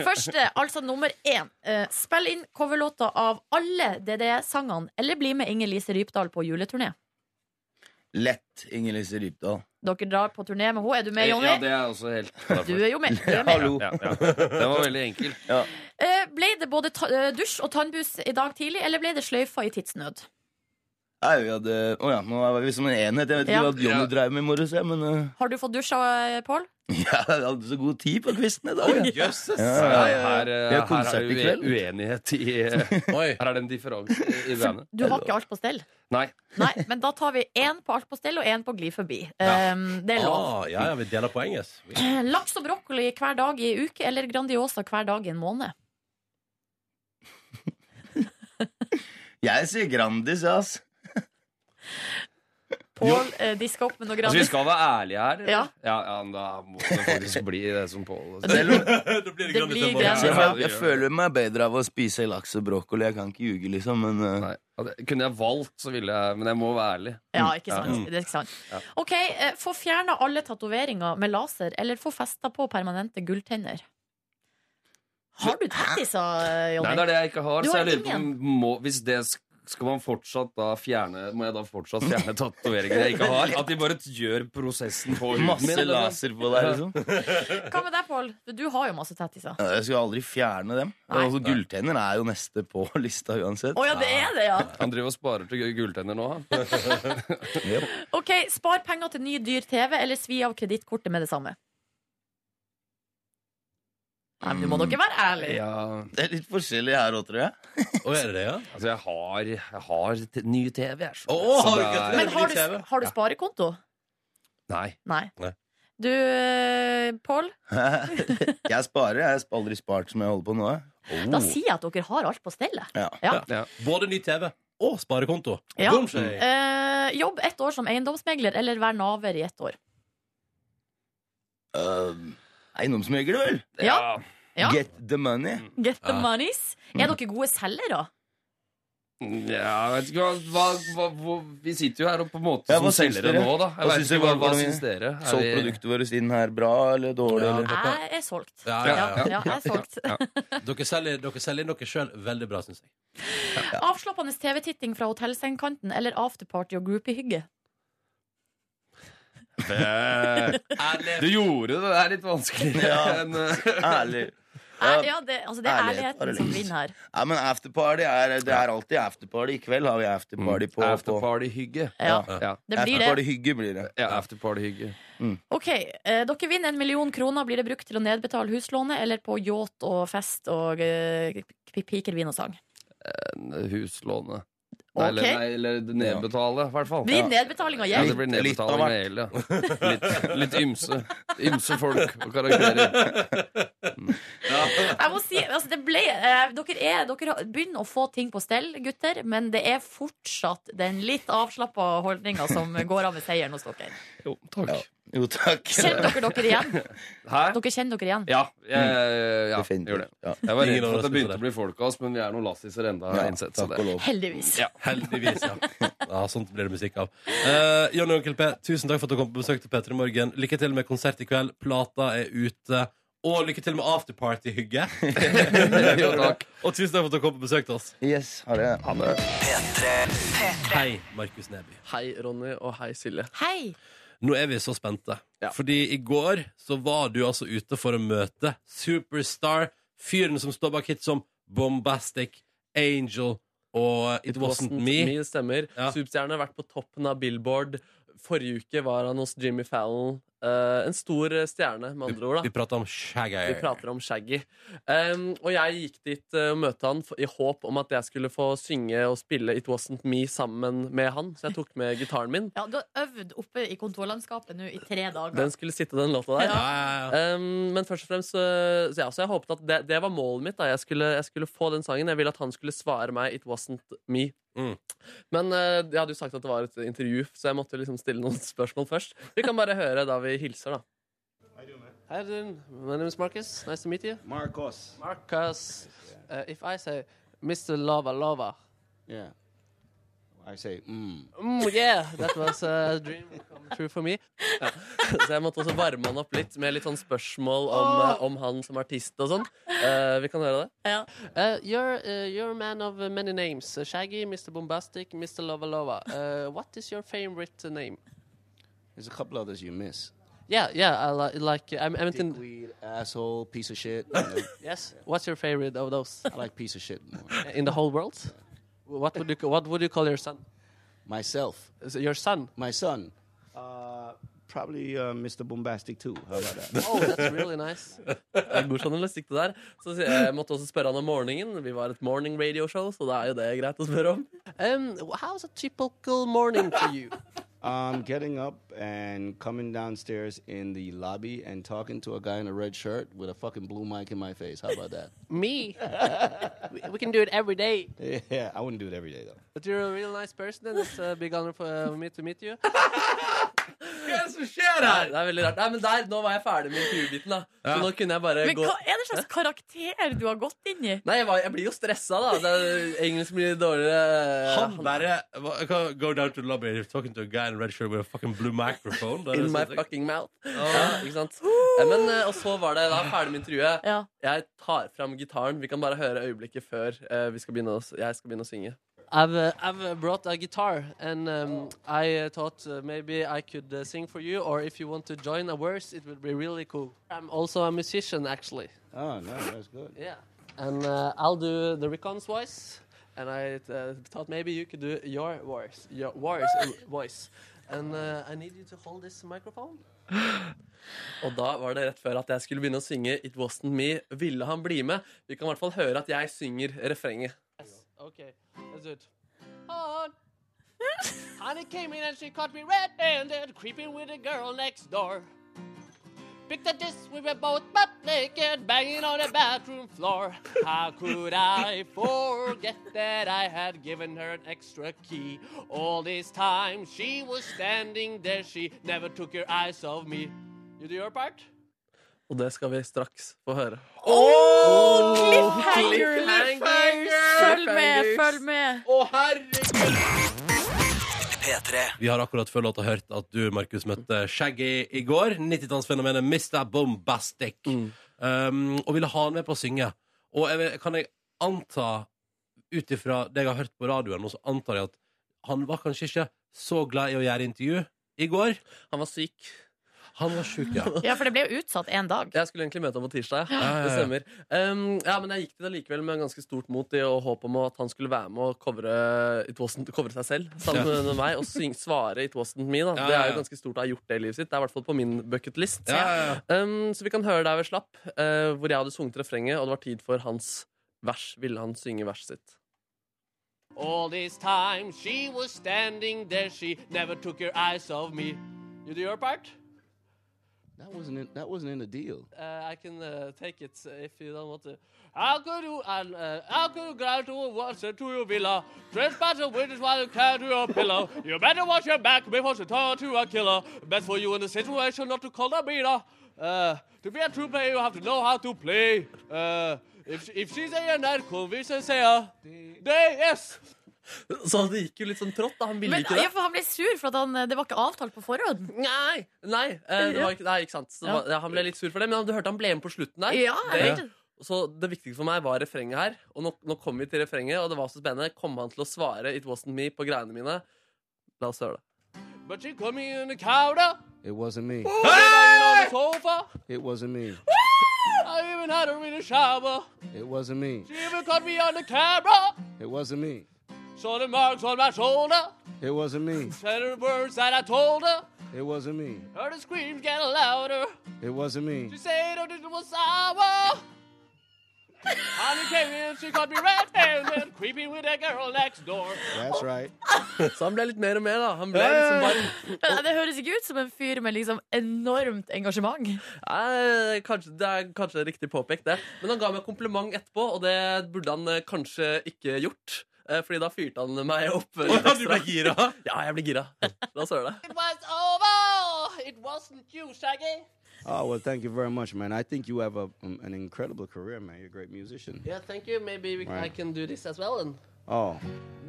Første, altså nummer én. Eh, spill inn coverlåter av alle DDE-sangene, eller bli med Inger Lise Rypdal på juleturné.
Lett Inger Lise Rypdal.
Dere drar på turné med henne. Er du med, Jonny?
Eh, Ja, det er også helt klar
Du
for.
er jo med. Du er med.
Hallo.
Ja, ja. Det var veldig enkelt.
Eh, ble det både ta eh, dusj og tannbuss i dag tidlig, eller ble det sløyfa i tidsnød?
Nei, vi hadde Å ja, nå er vi som en enhet. Jeg vet ikke
Ja.
hva Johnny
Ja.
drev med i morges, jeg, men eh,
Har du fått dusja, eh, Pål?
ja, jeg hadde så god tid på kvisten i dag. jeg.
Jøsses!
Ja, ja,
Her,
ja.
her, eh,
Vi har
her
konsert
er
i
det
kveld.
ue- uenighet i eh,
Oi.
Her er det en differanse i- i bandet.
Du har ikke alt på stell.
Nei. altså,
Nei, men da tar vi én på alt på stell og én på gli forbi. Eh, det er lov.
Ah, ja, ja, vi deler poeng, ass.
Laks og brokkoli hver dag i en uke eller Grandiosa hver dag i en måned?
Jeg sier Grandis, ja, ass.
Pål eh, diska opp med noe
Altså, vi
Grandis.
skal være ærlige her. eller?
Ja.
Ja, ja, men da må det faktisk bli det som Pål
Selv om
Da blir
Det
Grandis
blir
Tempo.
Grandis.
jeg, har,
vi
jeg
gjør
føler meg bedre av å spise laks og brokkoli. Jeg kan ikke ljuge, liksom, men eh,
Nei. Ja, det- Kunne jeg valgt, så ville jeg Men jeg må være ærlig.
Ja, ikke sant. Det er ikke sant. Ok, eh, Få fjerna alle tatoveringer med laser, eller få festa på permanente gulltenner? Har du tattiser, eh,
Nei, det er
Jonny?
det jeg ikke har.
Du
Så
har
jeg lurer på om
ingen.
må, Hvis det sk- skal man fortsatt da fjerne Må jeg da fortsatt fjerne tatoveringer jeg ikke har? At de bare gjør prosessen på huden min,
masse
eller noe?
laser på deg, liksom.
Hva med deg, Pål? Du har jo masse tattiser.
Ja, Jeg skal aldri fjerne dem.
Nei.
Altså, Gulltenner er jo neste på lista uansett.
Å ja, det er det, ja!
Han driver og sparer til gulltenner nå, han.
Ok, Spar penger til ny, dyr TV, eller svi av kredittkortet med det samme? Nei, men Du må dere være ærlige.
Mm. Ja.
Det er litt forskjellig her òg, tror jeg.
Å, er det det, ja?
Altså, jeg har, jeg har t ny TV, jeg. skjønner.
Å,
Så
har du
det
ikke
er-
det?
Men har du,
Ny TV?
har du sparekonto?
Nei.
Nei.
Nei.
Du, eh, Pål?
Jeg sparer. Jeg har aldri spart som jeg holder på nå. jeg.
Da sier jeg at dere har alt på stellet.
Ja.
Ja.
Oh. Både ny TV og sparekonto.
Ja.
Boomshay.
Eh, jobb ett år som eiendomsmegler, eller vær naver i ett år.
Øh, Eiendomsmegler, vel?
Ja. Ja.
Get the money.
Mm.
Get the
Ja.
monies. Er dere gode selgere?
Ja, jeg vet ikke hva, hva, hva, hvor- Vi sitter jo her og på en måte
Ja,
som
hva syns
selgere
dere?
nå, da. Jeg
Hva
vet
syns
ikke
dere?
hva, hva
Hvordan vi-
syns dere? Er
Solgt
vi-
produktet vårt inn her bra eller dårlig?
Ja.
Eller?
Jeg er solgt.
Ja,
Ja,
ja, ja.
ja, jeg er solgt.
Dere selger, dere selger inn dere sjøl veldig bra, syns jeg.
Avslappende TV-titting fra hotellsengkanten eller afterparty og groupie-hygge.
Eh, Du gjorde det der litt vanskeligere
Ja.
enn eh,
Ærlig.
Ja,
Ja.
ja, det, altså, det er
Ærlighet,
ærligheten
bare
som
lyst.
vinner her.
Ja, men afterparty er, det er alltid afterparty. I kveld har vi
Mm.
afterparty på, på.
Afterparty-hygge.
Ja,
Ja.
det blir det.
Afterparty-hygge blir det.
Ja, afterparty-hygge.
Ok, eh, Dere vinner en million kroner. Blir det brukt til å nedbetale huslånet eller på yacht og fest og eh, p- piker, vin og sang?
Huslånet.
Ok.
Eller, eh, nei, eller nedbetale, i hvert fall.
Blir nedbetaling av
Ja,
gjeld?
det blir
Litt- litt av
nedbetaling av gjeld, ja. Litt, litt ymse. Ymse folk og karakterer.
Jeg må si, altså det ble, eh, dere, er, dere har- begynner å få ting på stell, gutter, men det er fortsatt den litt avslappa holdninga som går av med seieren hos dere.
Jo, takk.
Jo, takk.
Kjenner dere dere igjen?
Hæ?
Dere kjenner dere igjen?
Ja, jeg, ja,
Definitivt.
gjorde det.
Ja.
Jeg var redd
Ingen
for at det
overraskelse
begynte
der.
å bli folk av oss, men vi er noen lassiser enda, har
Ja,
jeg innsett. Så
takk og
det.
lov.
Heldigvis.
Ja.
Heldigvis, ja. ja. Sånt blir det musikk av. Eh, Jonny og Onkel P, tusen takk for at du kom på besøk til P3 Morgen. Lykke til med konsert i kveld. Plata er ute. Og lykke til med afterparty-hygge.
Jo, takk.
Og tusen takk for at du kom på besøk til oss.
Yes, har det.
Hei, Markus Neby.
Hei, Ronny, og hei, Silje.
Hei!
Nå er vi så spente.
Ja.
Fordi i går så var du altså ute for å møte Superstar, fyren som står bak hit som Bombastic, Angel og It, wasn't, Me.
stemmer.
Ja.
Superstjerne har vært på toppen av Billboard. Forrige uke var han hos Jimmy Fallon. Eh, en stor eh, stjerne, med andre ord. da
Vi prata om Shaggy.
Vi prater om Shaggy. Um, og jeg gikk dit eh, og møtte han f- i håp om at jeg skulle få synge og spille It Wasn't Me sammen med han. Så jeg tok med gitaren min.
Ja, du har øvd oppe i kontorlandskapet nå i tre dager.
Den skulle sitte, den låta der.
Ja, ja, ja.
Um, men først og fremst eh, så, ja, så jeg håpet at det, det var målet mitt. Da. Jeg, skulle, jeg skulle få den sangen. Jeg ville at han skulle svare meg It Wasn't Me.
Mm.
Men eh, jeg hadde jo sagt at det var et intervju, så jeg måtte liksom stille noen spørsmål først. Vi kan bare høre da vi hilser, da. Hi, Rune. My name is Marcus. Nice to meet you.
Marcos.
Marcus, uh, if I say Mr. Lava Lava,
Yeah. I say, mm.
mm, yeah, that was a dream come true for me. Ja. Så jeg måtte også varme han opp litt med litt sånn spørsmål om, eh, om han som artist og sånn. Eh, vi kan høre det.
Ja.
Uh, you're, uh, you're a man of many names. Eh, Shaggy, Mr. Bombastic, Mr. Lava Lava. Uh, what is your favorite name?
There's a couple others you miss.
Yeah, yeah, I li like I, I meant in...
Dickweed, asshole, piece of shit. you know.
Yes, what's your favorite of those
I like piece of shit more.
in the whole world? What would you, ca- what would you call your son?
Myself,
Is it Your son?
my son. Uh, probably uh, Mr. Bombastic too. How about that?
Oh, that's really nice. God journalistikk, det der. Så sier jeg jeg måtte også spørre han om morgenen. Vi var et morning radio show, så da er jo det greit å spørre om. Um, how's a typical morning for you?
um, getting up and coming downstairs in the lobby and talking to a guy in a red shirt with a fucking blue mic in my face. How about that?
Me? We can do it every day.
yeah, I wouldn't do it every day though.
But you're a real nice person, and it's a big honor for uh, me to meet you.
Hva er det som skjer
Nei, det er veldig rart. Nei, men der, nå var jeg ferdig med intervjubiten, da. Så nå kunne jeg bare
Men
gå
hva er det slags karakter du har gått inn i?
Nei, jeg, var, jeg blir jo stressa, da. Det er, engelsk blir dårligere.
Han bare hva- hva- Go down to the lobby you're talking to a guy in a red shirt with a fucking blue microphone. Det er
In
det
my
som-
fucking mouth. Ja, ikke sant? Eh, Men, eh, og så var det da ferdig med intervjuet.
Ja.
Jeg tar fram gitaren. Vi kan bare høre øyeblikket før eh, vi skal begynne å, s- jeg skal begynne å synge. I've, eh, brought a guitar, and um, I eh, thought maybe I could eh, sing for you, or if you want to join a verse, it would be really cool. I'm also a musician, actually.
Oh no, that's good.
Yeah, and uh, I'll do the recons voice, and I uh, thought maybe you could do your voice, your voice, voice. And uh, I need you to hold this microphone. Og da var det rett før at jeg skulle begynne å synge It Wasn't Me. Ville han bli med? Vi kan i hvert fall høre at jeg synger refrenget. Yes, okay, that's good.
on. Honey came in and she caught me red-handed, creeping with a girl next door. Picked at this, we were both butt naked, banging on the bathroom floor. How could I forget that I had given her an extra key? All this time she was standing there, she never took her eyes off me. You do your part?
Og det skal vi straks få høre.
Oh,
Cliffhanger! Følg med,
Cliffhangers.
følg med.
Å, herregud!
P3.
Vi har akkurat før låta hørt at du, Markus, møtte Shaggy i går. 90-tallsfenomenet Mr. Bombastic.
Mm.
Um, og ville ha han med på å synge. Og jeg, vil- kan jeg anta, ut ifra det jeg har hørt på radioen, nå, så antar jeg at han var kanskje ikke så glad i å gjøre intervju i går.
Han var syk.
Han var sjuk, ja.
Ja, for det ble jo utsatt en dag.
Jeg skulle egentlig møte ham på tirsdag. Ja.
ja, ja.
Det stemmer. Um, ja, men jeg gikk til det likevel med ganske stort mot i å håpe om at han skulle være med og covre, It Wasn't, covre seg selv sammen
Ja.
med meg og syng, svare It Wasn't Me. Da.
Ja,
Det
ja,
er
ja.
jo ganske stort å ha gjort det i livet sitt. Det er i hvert fall på min bucketlist.
Ja, ja, ja.
Um, så vi kan høre der vi slapp, eh, hvor jeg hadde sunget refrenget, og det var tid for hans vers. Ville han synge verset sitt?
All this time she was standing there, she never took her eyes off me. You do your part?
That wasn't in, that wasn't in the deal.
Eh,
Uh, I can uh, take it if you don't want to.
How could you, and uh, how could you go to what's to your villa? Trespass a witness while you carry to your pillow. You better watch your back before she turn to a killer. Best for you in the situation not to call a beater. Uh, to be a true player, you have to know how to play. Uh, if, if she's a night convince her, say her. Day, yes!
Så det gikk jo litt sånn trått, da. Han ville
Men
ikke det.
ja, for han ble sur, for at han, det var ikke avtalt på forhånd.
Nei! Nei, eh, det var ikke, nei, ikke sant. Så det var, ja, han ble litt sur for det, men du hørte han ble med på slutten der.
Ja, jeg vet
det,
det.
så det viktige for meg var refrenget her. Og nå, nå kom vi til refrenget, og det var så spennende. Kom han til å svare 'It wasn't me' på greiene mine? La oss høre det.
But she coming in the counter,
It wasn't me.
hey! on the sofa.
It wasn't me.
I even had her in the shower.
It wasn't me.
She even caught me on the camera.
It wasn't me.
Saw the marks on my shoulder.
It wasn't me.
Said the words that I told her.
It wasn't me.
Heard the screams get louder.
It wasn't me.
She said, oh, this was sour. Honey came in, she caught me red-handed, creeping with that girl next door.
That's right.
Så han ble litt mer og mer, da. Han ble liksom varm.
Men det høres ikke ut som en fyr med liksom enormt engasjement.
Nei, kanskje, det er kanskje riktig påpekt, det. Men han ga meg kompliment etterpå, og det burde han eh, kanskje ikke gjort. eh, Fordi da fyrte han meg opp. eh, litt
du
ekstra.
ble gira?
Ja, jeg ble gira. La oss høre det.
It was over. It wasn't you, Shaggy.
Oh well, thank you very much, man. I think you have a, um, an incredible career, man. You're a great musician.
Yeah, thank you. Maybe we,
Right. I
can do this as well. And
Oh,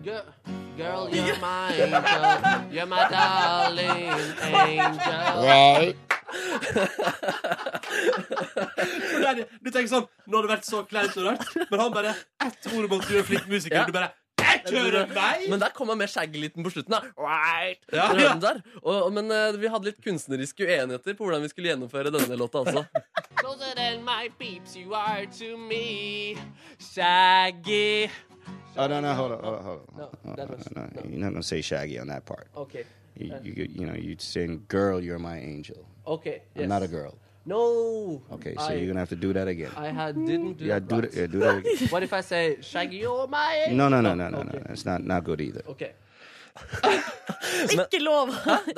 Girl, girl, you're my angel. You're my darling angel.
right.
Der, du tenker sånn Nå har det vært så kleint og rart, men han bare Ett ord om at du er flink musiker,
Ja.
og du bare Jeg kjører meg!
Men der kom han med skjeggliten på slutten. da Right.
Ja,
Dere
ja.
hørte den Der. Og, og, men eh, vi hadde litt kunstneriske uenigheter på hvordan vi skulle gjennomføre denne låta. Altså.
Closer than my peeps you are to me. Shaggy.
Oh no, no, hold on, hold on, hold on.
No,
hold on,
that
hold
was-
on. You're not gonna say Shaggy on that part.
Okay,
You, you, you know, you're saying, "Girl, you're my angel."
okay.
I'm
yes.
not a girl.
No.
Okay, so
I,
you're gonna have to do that again.
I had didn't do
yeah,
that.
do
right.
that. Yeah, do that again.
What if I say Shaggy, you're my angel?
No, no, no, no, no,
okay.
no. It's not not good either.
Okay.
Ikke lov,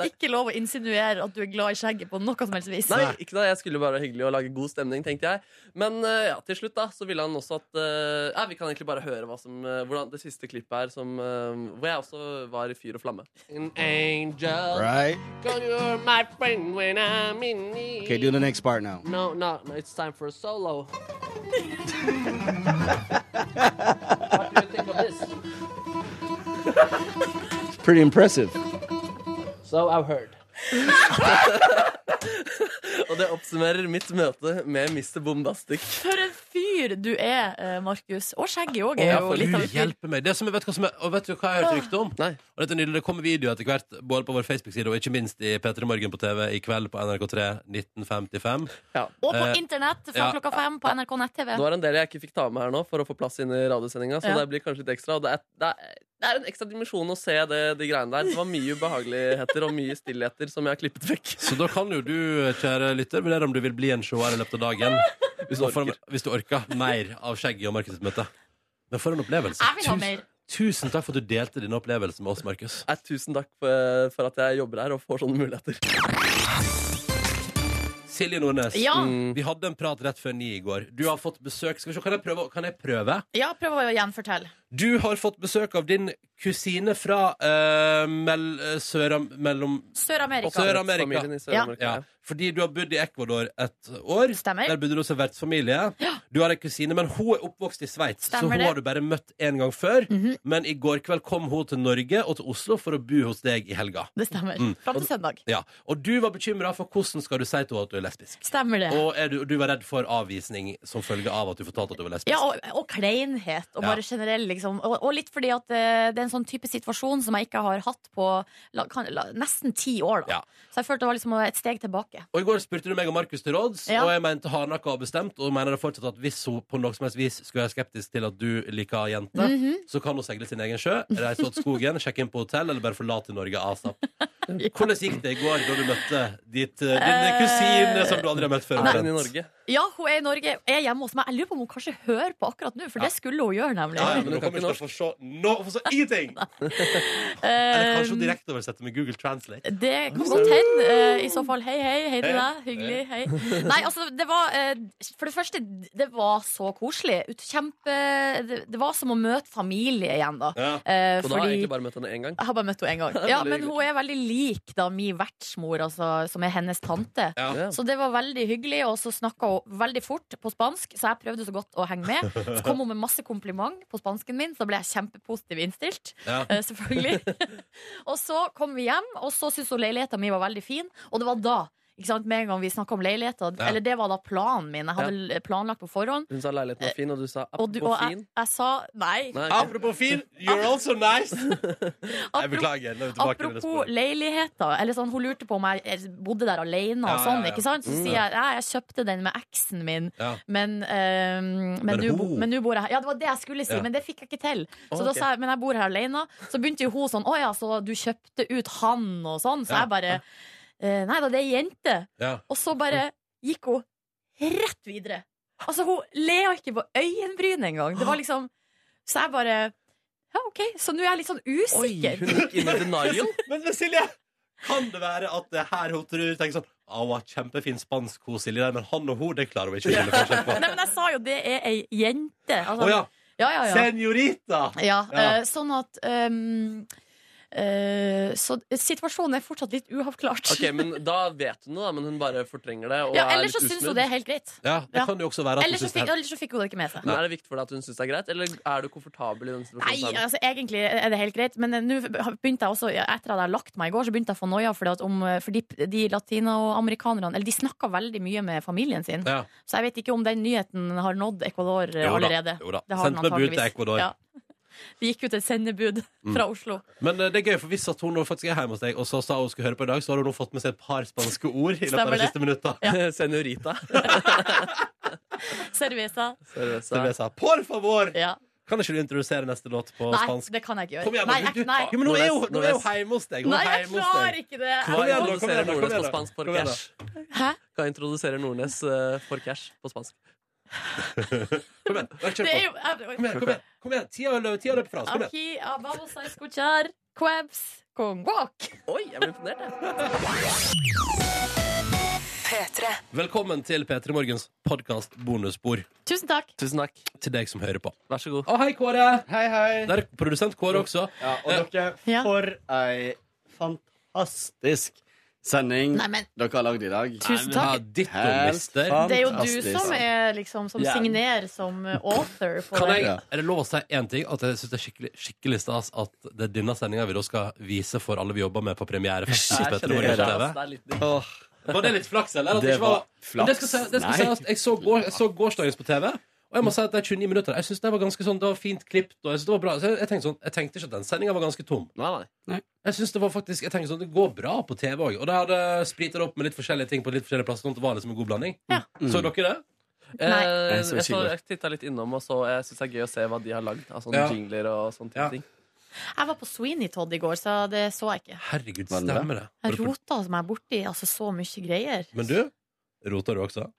ikke lov å insinuere at du er glad i skjegget på noe som helst vis.
Nei, ikke da, Jeg skulle bare være hyggelig og lage god stemning, tenkte jeg. Men eh, ja, til slutt da, så ville han også at eh, Nei, Vi kan egentlig bare høre hva som, eh, hvordan det siste klippet her, som, eh, hvor jeg også var i fyr og flamme.
An angel.
Right?
Cause you're my friend when I'm in need.
Okay, do the next part now.
No, no, no, it's time for a solo. what do you think of this?
It's pretty impressive.
So I've heard.
Og det oppsummerer mitt møte med Mr. Bombastic.
For en fyr du er, eh, Markus. Og skjegget òg er
ja,
jo
for
litt av en fyr.
Gud
Ah,
hjelpe meg. Det som jeg vet hva som er, og vet du hva jeg har hørt rykte om?
Nei.
Og dette er nydelig, Det kommer videoer etter hvert, både på vår Facebook-side og ikke minst i P3 Morgen på TV i kveld på NRK3 1955.
Ja.
Og på
Eh,
internett fra
ja.
klokka fem på NRK nett-TV.
Det var en del jeg ikke fikk ta med her nå for å få plass inn i radiosendinga. Så
Ja.
det blir kanskje litt ekstra. Og det er, det er, det er en ekstra dimensjon å se det, de greiene der. Det var mye ubehageligheter og mye stillheter som jeg har klippet vekk.
Så da kan jo du, kjære lytter, vurdere om du vil bli en seer i løpet av dagen. Hvis du, orker. Hvis du orker mer av skjegget og Markus' møte. Men for en opplevelse.
Jeg vil ha mer.
Tusen takk for at du delte denne opplevelsen med oss, Markus.
Nei, tusen takk for, for at jeg jobber her og får sånne muligheter.
Silje Nordnes,
Ja,
vi hadde en prat rett før ni i går. Du har fått besøk. Skal vi se, kan jeg prøve? Kan jeg prøve?
ja prøv å gjenfortelle.
Du har fått besøk av din kusine fra eh, mel, Sør, mellom,
Sør-Amerika.
Sør-Amerika.
Familien i Sør-Amerika,
Ja.
ja.
Fordi du har bodd i Ecuador et år.
Stemmer.
Der bodde du også i vertsfamilie. Du har en kusine, men hun er oppvokst i Sveits, så
Stemmer
hun
det. Mhm.
har du bare møtt én gang før. Men i går kveld kom hun til Norge og til Oslo for å bo hos deg i helga.
Det stemmer.
Mm.
Fram til søndag.
Ja, Og du var bekymra for hvordan skal du si til henne at du er lesbisk.
Stemmer det.
Og er du, du var redd for avvisning som følge av at du fortalte at du var lesbisk.
Ja, og, og kleinhet, og
Ja.
bare generell, liksom. Og, og litt fordi at eh, det er en sånn type situasjon som jeg ikke har hatt på la, kan, la, nesten ti år, da. Så jeg følte det var liksom et steg tilbake.
Og I går spurte du meg og Markus til råds,
Ja.
og jeg mente hardnakka og bestemt. Og mener det fortsatt at hvis hun på noe som helst vis skulle være skeptisk til at du liker jenter,
Mhm.
så kan hun seile sin egen sjø, reise til skogen, sjekke inn på hotell eller bare forlate Norge asap. Hvordan gikk det i går da du møtte ditt, eh, din
Eh,
kusine som du aldri har møtt før?
er hun i
omtrent?
Norge?
Ja, hun er i Norge, er hjemme hos meg. Jeg lurer på om hun kanskje hører på akkurat nå, for det skulle hun gjøre, nemlig.
Ja, ja, men hun kommer ikke til å få se no, hun får se ingenting! Eller kanskje
Eh,
hun direkteoversetter med Google Translate.
Det kan godt hende. eh, I så fall, hei, hei, hei til
Hei.
deg. Hyggelig, hei. Nei, altså, det var eh, For det første, det var så koselig. Ut- Kjempe Det det var som å møte familie igjen, da. Eh,
Og da har jeg egentlig bare møtt henne én gang.
Jeg har bare møtt henne én gang. Ja, Men hun er veldig lik da min vertsmor, altså, som er hennes tante.
Ja.
Så det var veldig hyggelig, og så snakka hun veldig fort på spansk, så jeg prøvde så godt å henge med. Så kom hun med masse kompliment på spansken min, så da ble jeg kjempepositiv innstilt.
Ja.
eh, Selvfølgelig. og så kom vi hjem, og så syntes hun leiligheta mi var veldig fin, og det var da. Ikke sant? Med en gang vi snakka om leiligheter,
Ja.
eller det var da planen min. Jeg hadde
Ja.
l- planlagt på forhånd.
Hun sa leiligheten var fin, og du sa
Og, du,
apropos
og jeg,
fin.
jeg sa nei.
Nei.
Apropos fin, you're also nice! Jeg beklager. nå er vi tilbake til det
Apropos
sporet.
leiligheter. Eller sånn, hun lurte på om jeg bodde der alene.
Ja,
og sånn,
ja, ja.
ikke sant? Så
Mm.
sier jeg ja, jeg kjøpte den med eksen min,
Ja.
men, eh, men,
Men
du, bo-
hun-
men nå bor jeg her. Ja, det var det jeg skulle si,
Ja.
men det fikk jeg ikke til. Så
Å,
da
ok.
sa jeg men jeg bor her alene. Så begynte jo hun sånn å ja, så du kjøpte ut han og sånn. Så
Ja.
jeg bare eh, nei da, det er ei jente.
Ja.
Og så bare gikk hun rett videre. Altså, hun lea ikke på øyenbrynet engang. Det var liksom Så jeg bare ja, OK. Så nå er jeg litt sånn usikker.
Men, men Silje, kan det være at det er her hun tror tenker sånn «Å, hun har kjempefin spansk, hun Silje der, men han og hun, det klarer hun ikke å skille forskjell på.
Nei, men jeg sa jo det er ei jente. Altså,
Å ja.
Ja, ja, ja.
Senorita!
Ja, eh, sånn at ehm, eh, Så situasjonen er fortsatt litt uavklart.
Ok, men Da vet hun det, da, men hun bare fortrenger det. Og
ja,
er
ellers så
litt
syns
usmidd.
hun det er helt greit.
Ja, det kan jo også være at hun
Ellers så,
syns det
fikk,
er
ellers så fikk hun det ikke med seg.
Men Er det viktig for deg at hun syns det er greit, eller er du komfortabel i den situasjonen?
Nei,
selv?
altså egentlig er det helt greit, men eh, nå begynte jeg også, ja, etter at jeg hadde lagt meg i går, så begynte jeg å få noia, fordi at om, eh, for de, de latinoamerikanerne Eller de snakker veldig mye med familien sin,
Ja.
så jeg vet ikke om den nyheten har nådd Ecuador eh,
Jo da,
allerede.
jo da.
Det har den
Sendt med bud til
antageligvis.
Ecuador.
Ja. Det gikk ut et sendebud
Mm.
fra Oslo.
Men eh, det er gøy, for hvis at hun nå faktisk er hjemme hos deg, og så sa hun skulle høre på i dag, så har hun nå fått med seg et par spanske ord i løpet av
Stemmer
de
det?
siste minutta.
Senorita.
Cerveza.
Cerveza. Por favor!
Ja.
Kan ikke du introdusere neste låt på
Nei,
spansk?
det kan jeg ikke gjøre.
Kom igjen,
nei,
men du-
jeg, nei.
Jo, men nå er jo- nå er jo hjemme hos deg. Hun er
Nei, jeg
hjemme hos
klarer
deg.
ikke det.
Hva
igjen, da, kom
introduserer
igjen, da, kom
Nordnes
igjen,
på
da.
spansk for
Kom igjen, da.
cash? Hva introduserer Nordnes eh, for cash på spansk?
Kom igjen, kjør
Det er jo-
på. Kom igjen, kom igjen. Kom igjen. Tida løper, tida løper fra oss. Kom igjen.
Aquí ah, vamos a escuchar Quabs con guac.
Oi, jeg ble imponert,
P3.
Velkommen til P3 Morgens podkast bonusbord.
Tusen takk.
Tusen takk.
Til deg som hører på.
Vær så god.
Å, hei, Kåre.
Hei, hei.
Der er produsent Kåre også.
Ja,
Eh.
og dere, for ei fantastisk sending
Nei, men-
dere har lagd i dag.
Tusen takk. Ja,
ditto,
Helt
mister.
Det er jo du
fantastisk.
som er liksom Som
Ja.
signerer som eh, author på
Kan jeg,
det.
er det lov å si én ting? At jeg synes det er skikkelig, skikkelig stas at det er denne sendinga vi da skal vise for alle vi jobber med på premierefest. i
Shit,
Petter
det
Morgen
er
på
rart.
TV.
Det er litt
Åh. Var det litt flaks, eller? At
Det
det ikke var...
var flaks.
Men det skal si- det skal
Nei.
sies at jeg så, går, jeg så gårsdagens på TV. Og jeg må si at de 29 minutter, jeg synes det var ganske sånn, det var fint klippt. Og jeg synes det var bra. Så jeg, jeg, tenkte sånn, jeg tenkte ikke at den sendinga var ganske tom. Jeg synes det var faktisk, jeg tenkte sånn, det går bra på TV òg. Og det hadde spritet opp med litt forskjellige ting på litt forskjellige plasser. Sånn at det var liksom en god blanding. Så dere det? eh,
Nei. Eh, Jeg,
så
så-
ikke.
jeg titta litt innom, og så eh, jeg syns det er gøy å se hva de har lagd av sånne
Ja.
jingler og sånne type ting.
Jeg var på Sweeney Todd i går, så det så jeg ikke.
Herregud, stemmer det?
Jeg rota meg borti altså, så mye greier.
Men du, rota du også?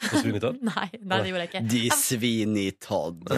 På Svinitodd?
Nei, nei, det gjorde jeg ikke.
De svin i Todd.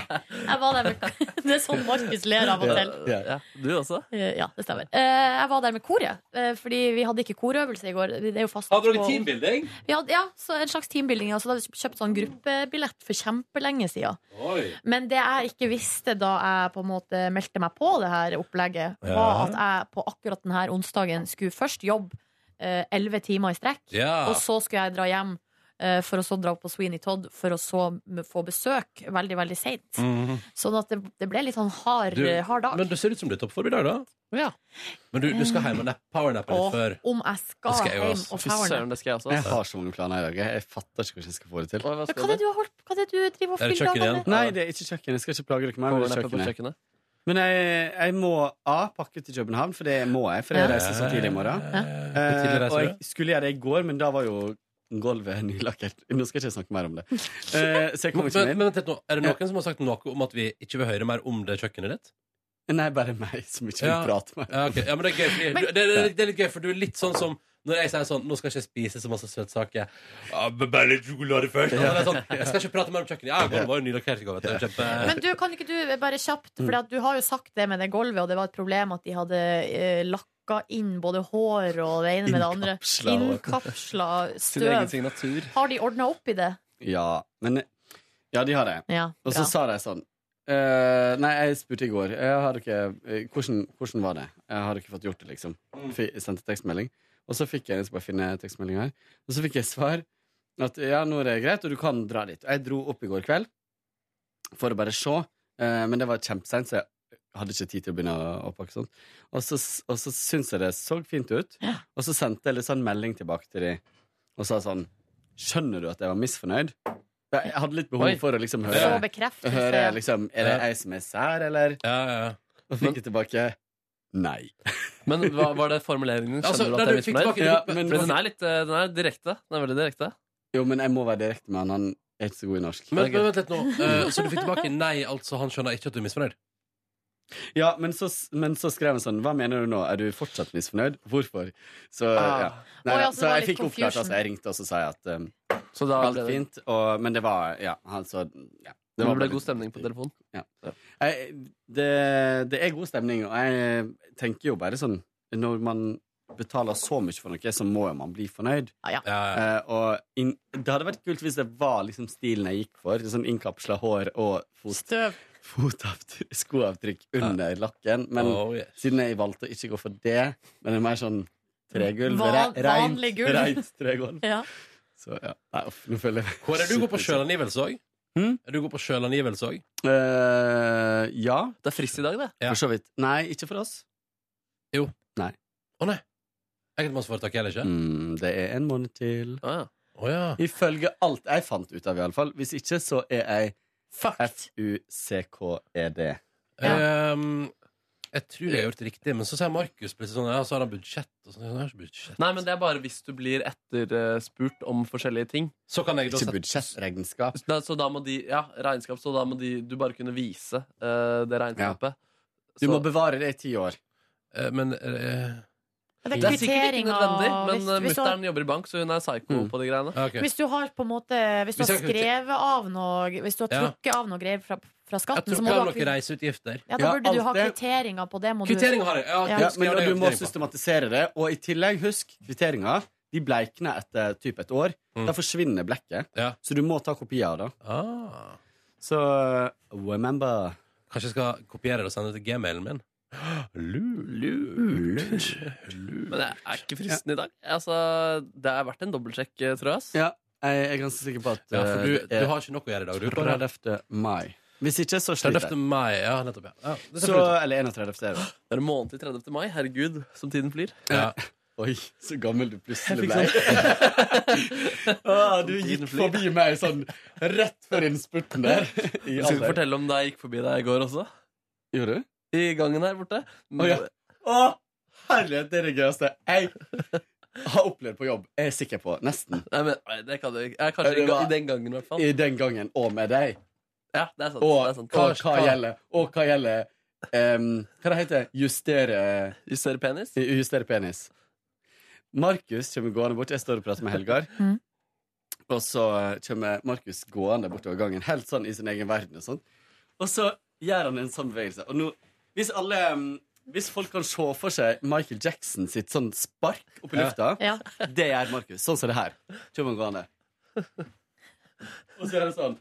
Jeg var der med, det er sånn Markus ler av og til.
Ja, ja. Du også?
Ja, det stemmer. Eh, Jeg var der med koret, eh, fordi vi hadde ikke korøvelse i går. Det er jo fast
Hadde dere
på-
teambuilding?
Vi hadde, ja, så en slags teambuilding. Altså, da hadde vi kjøpt sånn gruppebillett for kjempelenge siden.
Oi.
Men det jeg ikke visste da jeg på en måte meldte meg på det her opplegget, var
Ja.
at jeg på akkurat denne onsdagen skulle først jobbe eh, elleve timer i strekk,
Ja.
og så skulle jeg dra hjem. eh, For å så dra opp på Sweeney Todd for å så m- få besøk veldig veldig seint.
Mhm.
Sånn at det, det ble litt sånn hard,
Du,
hard dag.
men du ser ut som du er toppform i dag, da.
Ja.
Men du, du skal
Eh.
hjem og nap- powernappe litt
Og
før.
om jeg skal, hjem og powerne.
det skal jeg også. altså.
Jeg har så mange planer i dag. Jeg- Jeg fatter ikke hvordan jeg skal få det til.
Men hva er det du har holdt Hva er det du driver og
Er det
fyller
kjøkkenet
dagene
igjen? Nei, det er ikke kjøkkenet. Jeg skal ikke plage dere mer. men det er
Powernappe på kjøkkenet.
Men jeg, jeg må A. pakke til København, for det må jeg, for jeg
Ja.
reiser så tidlig i morgen.
Ja. Hvor
Eh,
tidlig reiser
og
du?
jeg skulle gjøre det i går, men da var jo gulvet nylakkert. Nå skal ikke jeg snakke mer om det. Eh, så jeg
Men,
kommer ikke
men,
med.
men vent litt nå. Er det noen som har sagt noe om at vi ikke vil høre mer om det kjøkkenet ditt?
Nei, bare meg som ikke vil
Ja.
prate med
Ja, ok. ja, men det er gøy, fordi, du, det, det, det er litt gøy, for du er litt sånn som når jeg sier sånn 'Nå skal jeg ikke spise så masse søtsaker'. Ja, men bare litt sjokolade først. Ja. det er Sånn, jeg skal ikke prate mer om kjøkkenet. Ja, gulvet var jo nylakkert i går. vet du. Kjempe...
Men du, kan ikke du bare kjapt For at du har jo sagt det med det gulvet, og det var et problem at de hadde eh, lakka inn både hår og det ene med det andre.
Innkapsla hår.
Innkapsla
Sin egen
støv.
signatur.
Har de ordna opp i det?
Ja, men Ja, de har det.
Ja,
og så
bra.
sa de sånn eh, Nei, jeg spurte i går. Jeg har ikke, eh, hvordan, hvordan var det? Jeg har ikke fått gjort det, liksom. F sendte tekstmelding. Og så fikk jeg jeg skal bare finne tekstmeldingen her. Og så fikk jeg svar at ja, nå er det greit, og du kan dra dit. Og jeg dro opp i går kveld for å bare se, eh, men det var kjempeseint, så jeg hadde ikke tid til å begynne å, å pakke sånt. Og så, og så syntes jeg det så fint ut, og så sendte jeg litt sånn melding tilbake til de og sa sånn Skjønner du at jeg var misfornøyd? Jeg hadde litt behov
Oi.
for å liksom høre,
Så bekreftelse.
høre liksom, Er det
Ja.
jeg som er sær, eller? Og fikk jeg tilbake nei.
Men hva var det formuleringen din?
Altså,
Skjønner du
da
at det
du
er
fikk
misfornøyd?
tilbake-
Ja,
men-
men den er litt eh, Den er direkte. Den er veldig direkte.
Jo, men jeg må være direkte med han. Han er ikke så god i norsk.
Men, men vent litt nå. Eh, så du fikk tilbake nei, altså han skjønner ikke at du er misfornøyd?
Ja, men så, men så skrev han sånn Hva mener du nå? Er du fortsatt misfornøyd? Hvorfor? Så,
Ah.
ja. Nei,
Oi,
da,
altså, det
så
var
jeg
litt
fikk oppklart,
confusion.
altså. Jeg ringte og så sa jeg at um,
da
alt
ble det-
fint. Og, men det var Ja, altså ja.
Det,
var
ble
bare-
god stemning på telefonen.
Ja. Jeg, det, det er god stemning, og jeg tenker jo bare sånn Når man betaler så mye for noe, så må jo man bli fornøyd. Eh, og inn- det hadde vært kult hvis det var liksom stilen jeg gikk for. Sånn innkapsla hår og fot,
Støv.
fotavtryk, skoavtrykk under lakken. Men
Oh, yes.
siden jeg valgte å ikke gå for det, men det er mer sånn tregulv.
Van-
re- reint-
vanlig gulv.
Reint tregulv.
Ja.
Så ja. Nei, uff, nå føler jeg
Hvor er du går på sjølangivelse òg?
Hmm?
Er du går på sjølangivelse òg?
Eh, ja.
Det er frist i dag, det.
For så vidt. Nei, ikke for oss.
Jo.
Nei.
Å nei. Enkeltmannsforetak heller ikke?
Mm, det er en måned til. Ifølge alt jeg fant ut av, iallfall. Hvis ikke, så er jeg F-U-C-K-E-D.
Ehm, jeg tror jeg har gjort det riktig, men så sier Markus plutselig sånn Ja, så har han budsjett og sånn. Jeg har ikke budsjett.
Nei, men det er bare hvis du blir etterspurt om forskjellige ting.
Så kan jeg da
Ikke budsjett, regnskap.
Nei, så da må de, ja, regnskap, så da må de, du bare kunne vise eh, det regnskapet.
Du må bevare det i ti år.
eh, men
Det er
Det er sikkert
kvittering
ikke nødvendig,
av-
men
hvis- hvis du har-
mutter'n jobber i bank, så hun er psycho på de greiene.
Hvis du har på en måte Hvis du
Hvis
har
jeg kan-
skrevet av noe Hvis du har
Ja.
trukket av noe greier fra, fra
Jeg
skatten,
tror
så må
ikke jeg
du
har
ha
noen
kvitt-
reiseutgifter.
ja, da burde du ha kvitteringer på det. Må du-
Kvittering har jeg, ja,
Ja.
Ja, men,
det
og
er
du må
kvittering på.
systematisere det. Og i tillegg, husk, kvitteringer de bleikner etter typ et år. Da forsvinner blekket. Så du må ta kopi av det. Så uh, remember.
Ah, Kanskje jeg skal kopiere det og sende det til gmailen min? Lurt.
Men det er ikke fristen i dag. Altså, det er verdt en dobbeltsjekk, eh, tror jeg. ass.
Ja, jeg er ganske sikker på at
Ja, for du-
eh, det er
du har ikke nok å gjøre i dag, du, bare.
30. mai. Hvis ikke, så sliter
30.
jeg.
mai, ja, nettopp, ja. det skal
så,
vi ta.
eller 31. er det.
Det er en måned til 30. mai. Herregud, som tiden flyr.
Ja.
Oi, så gammel du
Jeg
plutselig ble.
fikk
ah, du gikk forbi meg sånn rett før innspurten der. I
Skal du
alder.
fortelle om da jeg gikk forbi deg i går også?
Gjorde du?
I gangen her borte.
Å, ja. Å, herlighet, det er det gøyeste jeg har opplevd på jobb. Jeg er sikker på. Nesten.
Nei, men nei, det kan du ikke. Eh, Kanskje
Det
i ga-
var-
i den gangen, i hvert fall.
I den gangen, og med deg.
Ja, det er sant.
Og,
det er sant.
og hva gjelder Og hva gjelder em, Hva det heter Justere
Justere penis?
Justere penis. Markus kommer gående bort. Jeg står og prater med Helgar. eh,
Mm.
Og så kommer Markus gående bortover gangen, helt sånn i sin egen verden. og sånt Og så gjør han en sånn bevegelse. Og nå, hvis alle mm, Hvis folk kan se for seg Michael Jackson sitt sånn spark opp i
Ja.
lufta,
Ja.
det gjør Markus. Sånn som det her. Kjør man gående. Og så gjør han sånn.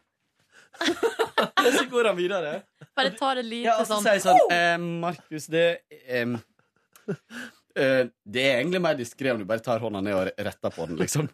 Og så går han videre.
Bare tar et lite
Ja, og så
sånn,
sier jeg sånn eh, Markus, det em, eh, Det er egentlig mer diskré om du bare tar hånda ned og retter på den, liksom.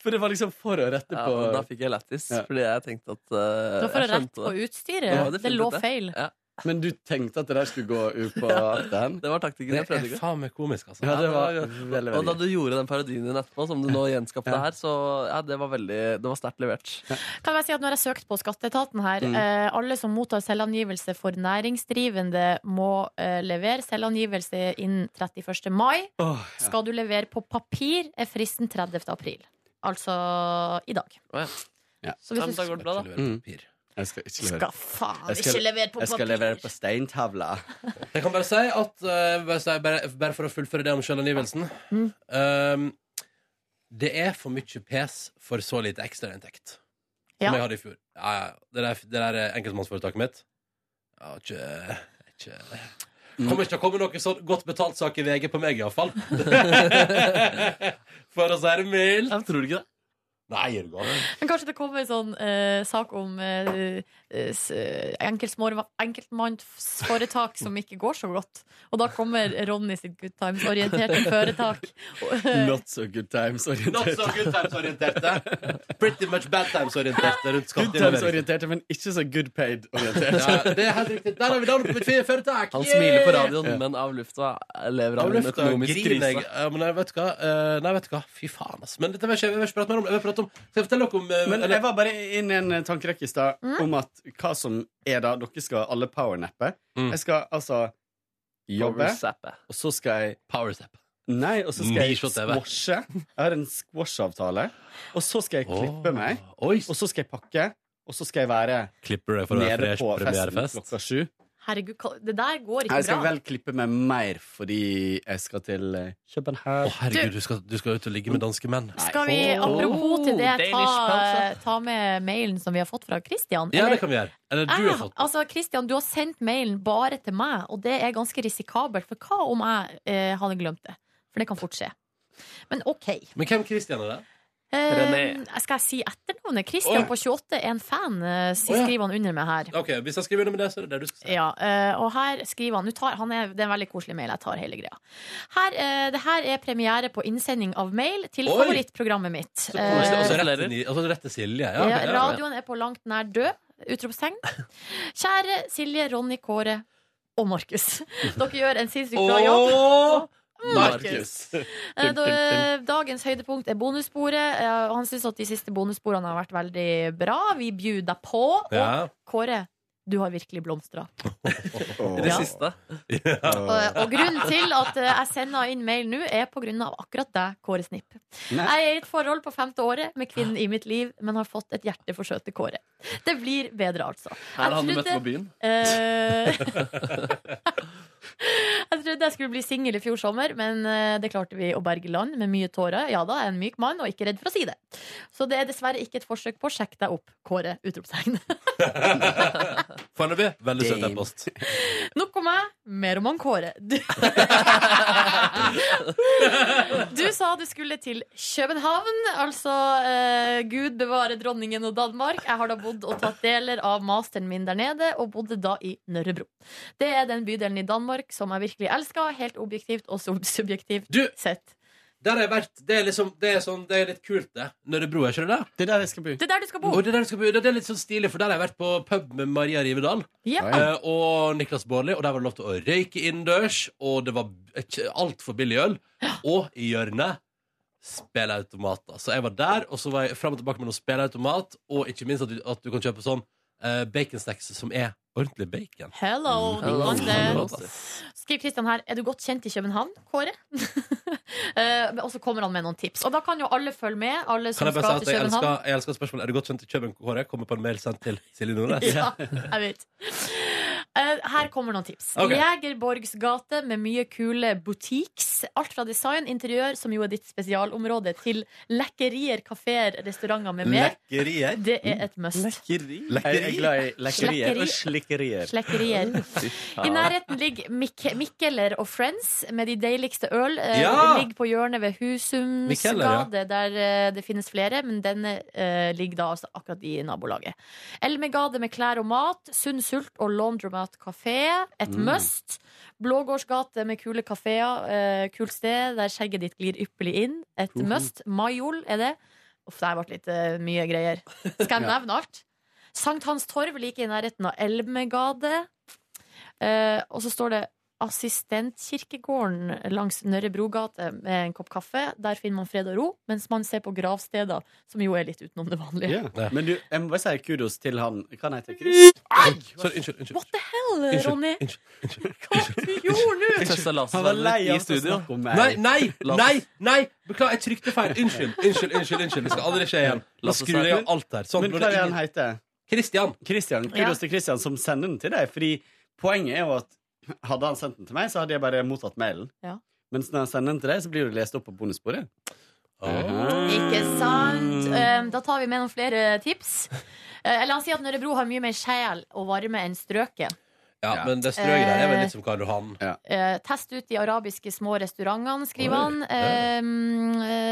For det var liksom for å rette
Ja,
på
og da fikk jeg lættis, fordi jeg tenkte at
Det var for å rette på utstyret. det, lå feil.
Men du tenkte at det der skulle gå ut på
Ja,
akten?
Det var taktikken jeg prøvde.
Det er
ikke?
faen meg komisk, altså.
Ja, det var
Ja,
veldig, veldig
Og da du gjorde den parodien din etterpå, som du nå gjenskapte her, så ja, det var veldig Det var sterkt levert.
Kan jeg si at Når jeg søkte på Skatteetaten her
Mm.
eh, Alle som mottar selvangivelse for næringsdrivende, må eh, levere selvangivelse innen 31. mai.
Åh, ja.
Skal du levere på papir, er fristen 30. april. Altså i dag.
Ja.
Så hvis Ja, men du- da går det bra, da.
Mm. Jeg skal ikke levere.
Skal faen
Jeg skal-
ikke levere på
Jeg skal
papir.
levere på steintavla.
Jeg kan bare si at eh, bare, si- bare, bare for å fullføre det om selvangivelsen
Mm.
ehm, Det er for mye pes for så lite ekstrainntekt.
Ja.
Som jeg hadde i fjor. Ja, ja. Det der, det der eh, enkeltmannsforetaket mitt ja, ikke, ikke.
Mm.
Kommer ikke til å komme noe sånn godt betalt sak i VG på meg, iallfall. for å si det mildt.
tror du ikke det?
Nei, er du gal?
Men kanskje det kommer en sånn eh, sak om eh, s- enkeltsmå- enkeltmannsforetak som ikke går så godt. Og da kommer Ronny sitt Good Times-orienterte foretak.
Not so good times orienterte.
Not so good times-orienterte. Pretty much bad times-orienterte rundt
Good
skatteinnlevering.
times-orienterte, men ikke så good
Ja,
paid-orienterte.
det er helt riktig. Der har vi navnet på mitt fine foretak!
Han
Yeah!
smiler på radioen, men av lufta lever
Av
han i en
lufta
økonomisk
griner jeg.
krise.
Ja, men nei, vet du hva? Eh, Nei, vet du hva? Fy faen, ass. Men dette vil jeg ikke- jeg vil ikke prate mer om. Jeg vil prate om Skal jeg fortelle dere om eh,
Men
eller-
jeg var bare inne i en eh, tankerekke i stad om at hva som er da Dere skal alle powernappe. Jeg skal altså jobbe,
Powerzappe.
og så skal jeg
Powerzap.
Nei, og så skal jeg
Bislett TV.
squashe. Jeg har en squashavtale. Og så skal jeg klippe meg, og så skal jeg pakke, og så skal jeg være
Klipper det for å være
nede
fresh
på
premierefest?
festen klokka sju.
Herregud, hva- det der går ikke
Jeg skal
bra.
vel klippe meg mer fordi jeg skal til eh, København.
Å, herregud, du skal, du skal ut og ligge med danske menn.
Skal vi, apropos til det,
Danish
ta,
pølse.
ta med mailen som vi har fått fra Christian?
Ja, det kan vi gjøre. Eller du har
Ah,
fått
altså, Christian, du har sendt mailen bare til meg, og det er ganske risikabelt. For hva om jeg eh, hadde glemt det? For det kan fort skje. Men OK.
Men hvem Christian er det?
Eh,
René.
skal jeg si etternavnet? Christian
Oi.
på 28 er en fan, eh,
Å, ja.
skriver han under meg her.
Ok, Hvis han skriver under med det, så er det det du skal si.
Ja, eh, og her skriver han, nå tar, han er, Det er en veldig koselig mail. Jeg tar hele greia. Her, eh, det her er premiere på innsending av mail til
Oi!
favorittprogrammet mitt.
Koselig.
Eh,
Altså rett til Ni- altså, rett til Silje. Ja,
ja,
ok, ja.
radioen er på langt nær død. Utropstegn. Kjære Silje, Ronny, Kåre og Markus. Dere gjør en sinnssykt bra jobb.
Og Markus.
Eh, Da, dagens høydepunkt er bonussporet. eh, og Han syns at de siste bonussporene har vært veldig bra. Vi bjuder deg på. Og
Ja.
Kåre, du har virkelig blomstra.
I det siste.
Og, Eh, og grunnen til at eh, jeg sender inn mail nå, er på grunn av akkurat deg, Kåre Snipp.
Nei.
Jeg er i et forhold på femte året med kvinnen i mitt liv, men har fått et hjerte for søte Kåre. Det blir bedre, altså.
Her er han du
Jeg
møtte
trodde-
på byen.
Eh, jeg trodde jeg skulle bli singel i fjor sommer, men eh, det klarte vi å berge land med mye tårer. Ja da, jeg er en myk mann og ikke redd for å si det. Så det er dessverre ikke et forsøk på å sjekke deg opp, Kåre. Utropstegn.
Foreløpig veldig søt e-post.
Nok om meg, mer om han Kåre. Du, du sa du skulle til København, altså eh, Gud bevare dronningen og Danmark. Jeg har da bodd og tatt deler av masteren min der nede, og bodde da i Nørrebro. Det er den bydelen i Danmark som jeg virkelig elsker, helt objektivt og sub- subjektivt sett.
Der har jeg vært. Det er, liksom, det er, sånn, det er litt kult, det. Nørrebro, er ikke det det?
Det er der jeg skal bo.
Det er der du skal bo.
Og det, er der du skal bo. det er litt sånn stilig, for der har jeg vært på pub med Maria Rivedal
Ja.
eh, og Niklas Baarli, og der var det lov til å røyke innendørs, og det var altfor billig øl. Og i hjørnet spilleautomater. Så jeg var der, og så var jeg fram og tilbake med noen spilleautomat, og ikke minst at du, at du kan kjøpe sånn eh, baconsnacks som er ordentlig bacon.
Hello,
Mm.
Hello.
Hello.
Skriv Kristian her Er du godt kjent i København, Kåre? Eh, og så kommer han med noen tips. Og da kan jo alle følge med. Alle som
Kan jeg bare
skal
si at
til
jeg
København.
elsker, jeg elsker spørsmålet Er du godt kjent i København, Kåre? Kommer på en mail sendt til Silje Nordnes.
Ja, jeg vet. Eh, her kommer noen tips.
Ok.
Jegerborgs gate med mye kule boutiques. Alt fra design, interiør, som jo er ditt spesialområde, til lekkerier, kafeer, restauranter med mer.
Lekkerier?
Det er et must.
Lekkeri?
Jeg er glad i lekkerier og slikkerier.
Slekkerier. I nærheten ligger Mik Mikkeller og Friends med de deiligste øl. Eh,
Ja!
Ligger på hjørnet ved Husumsgade,
Mikkeller,
der eh, det finnes flere, men denne eh, ligger da altså akkurat i nabolaget. Elmegade med klær og mat, Sunn Sult og Laundromat kafé, et
Mm.
must. Blågårdsgate med kule kafeer, eh, kult sted der skjegget ditt glir ypperlig inn, et
Mhm.
must. Majol er det. Uff, det her ble litt eh, mye greier. Skal jeg
Ja.
nevne alt? Sankt Hans Torv like i nærheten av Elmegade. Eh, og så står det Assistentkirkegården langs Nørre Brogate med en kopp kaffe. Der finner man fred og ro, mens man ser på gravsteder, som jo er litt utenom det vanlige.
Ja. Men du, jeg må bare si kudos til han Hva heter han?
Sorry, unnskyld. unnskyld.
What the hell,
Unnskyld,
Ronny? Hva du gjorde nå?
Testa
Han var lei av å snakke om meg.
Nei, nei, nei! nei Beklager, jeg trykte feil. Unnskyld. unnskyld, unnskyld, unnskyld Det skal aldri skje igjen. Nå
Lasse
skrur jeg av
Sæter.
alt her. Sånn,
Men
nå er
hva
det
er han
ingen-
heter?
Christian.
Kudos
Ja.
til Christian som sender den til deg. Fordi poenget er jo at hadde han sendt den til meg, så hadde jeg bare mottatt mailen.
Ja.
Mens når han sender den til deg, så blir du lest opp på bonussporet.
Ikke sant? Eh, Da tar vi med noen flere tips. Eh, Eller han sier at Nørrebro har mye mer sjel og varme enn strøket.
Ja, men det strøket der er vel litt som Karl Johan.
Eh, test ut de arabiske små restaurantene, skriver
Oi,
han. Eh,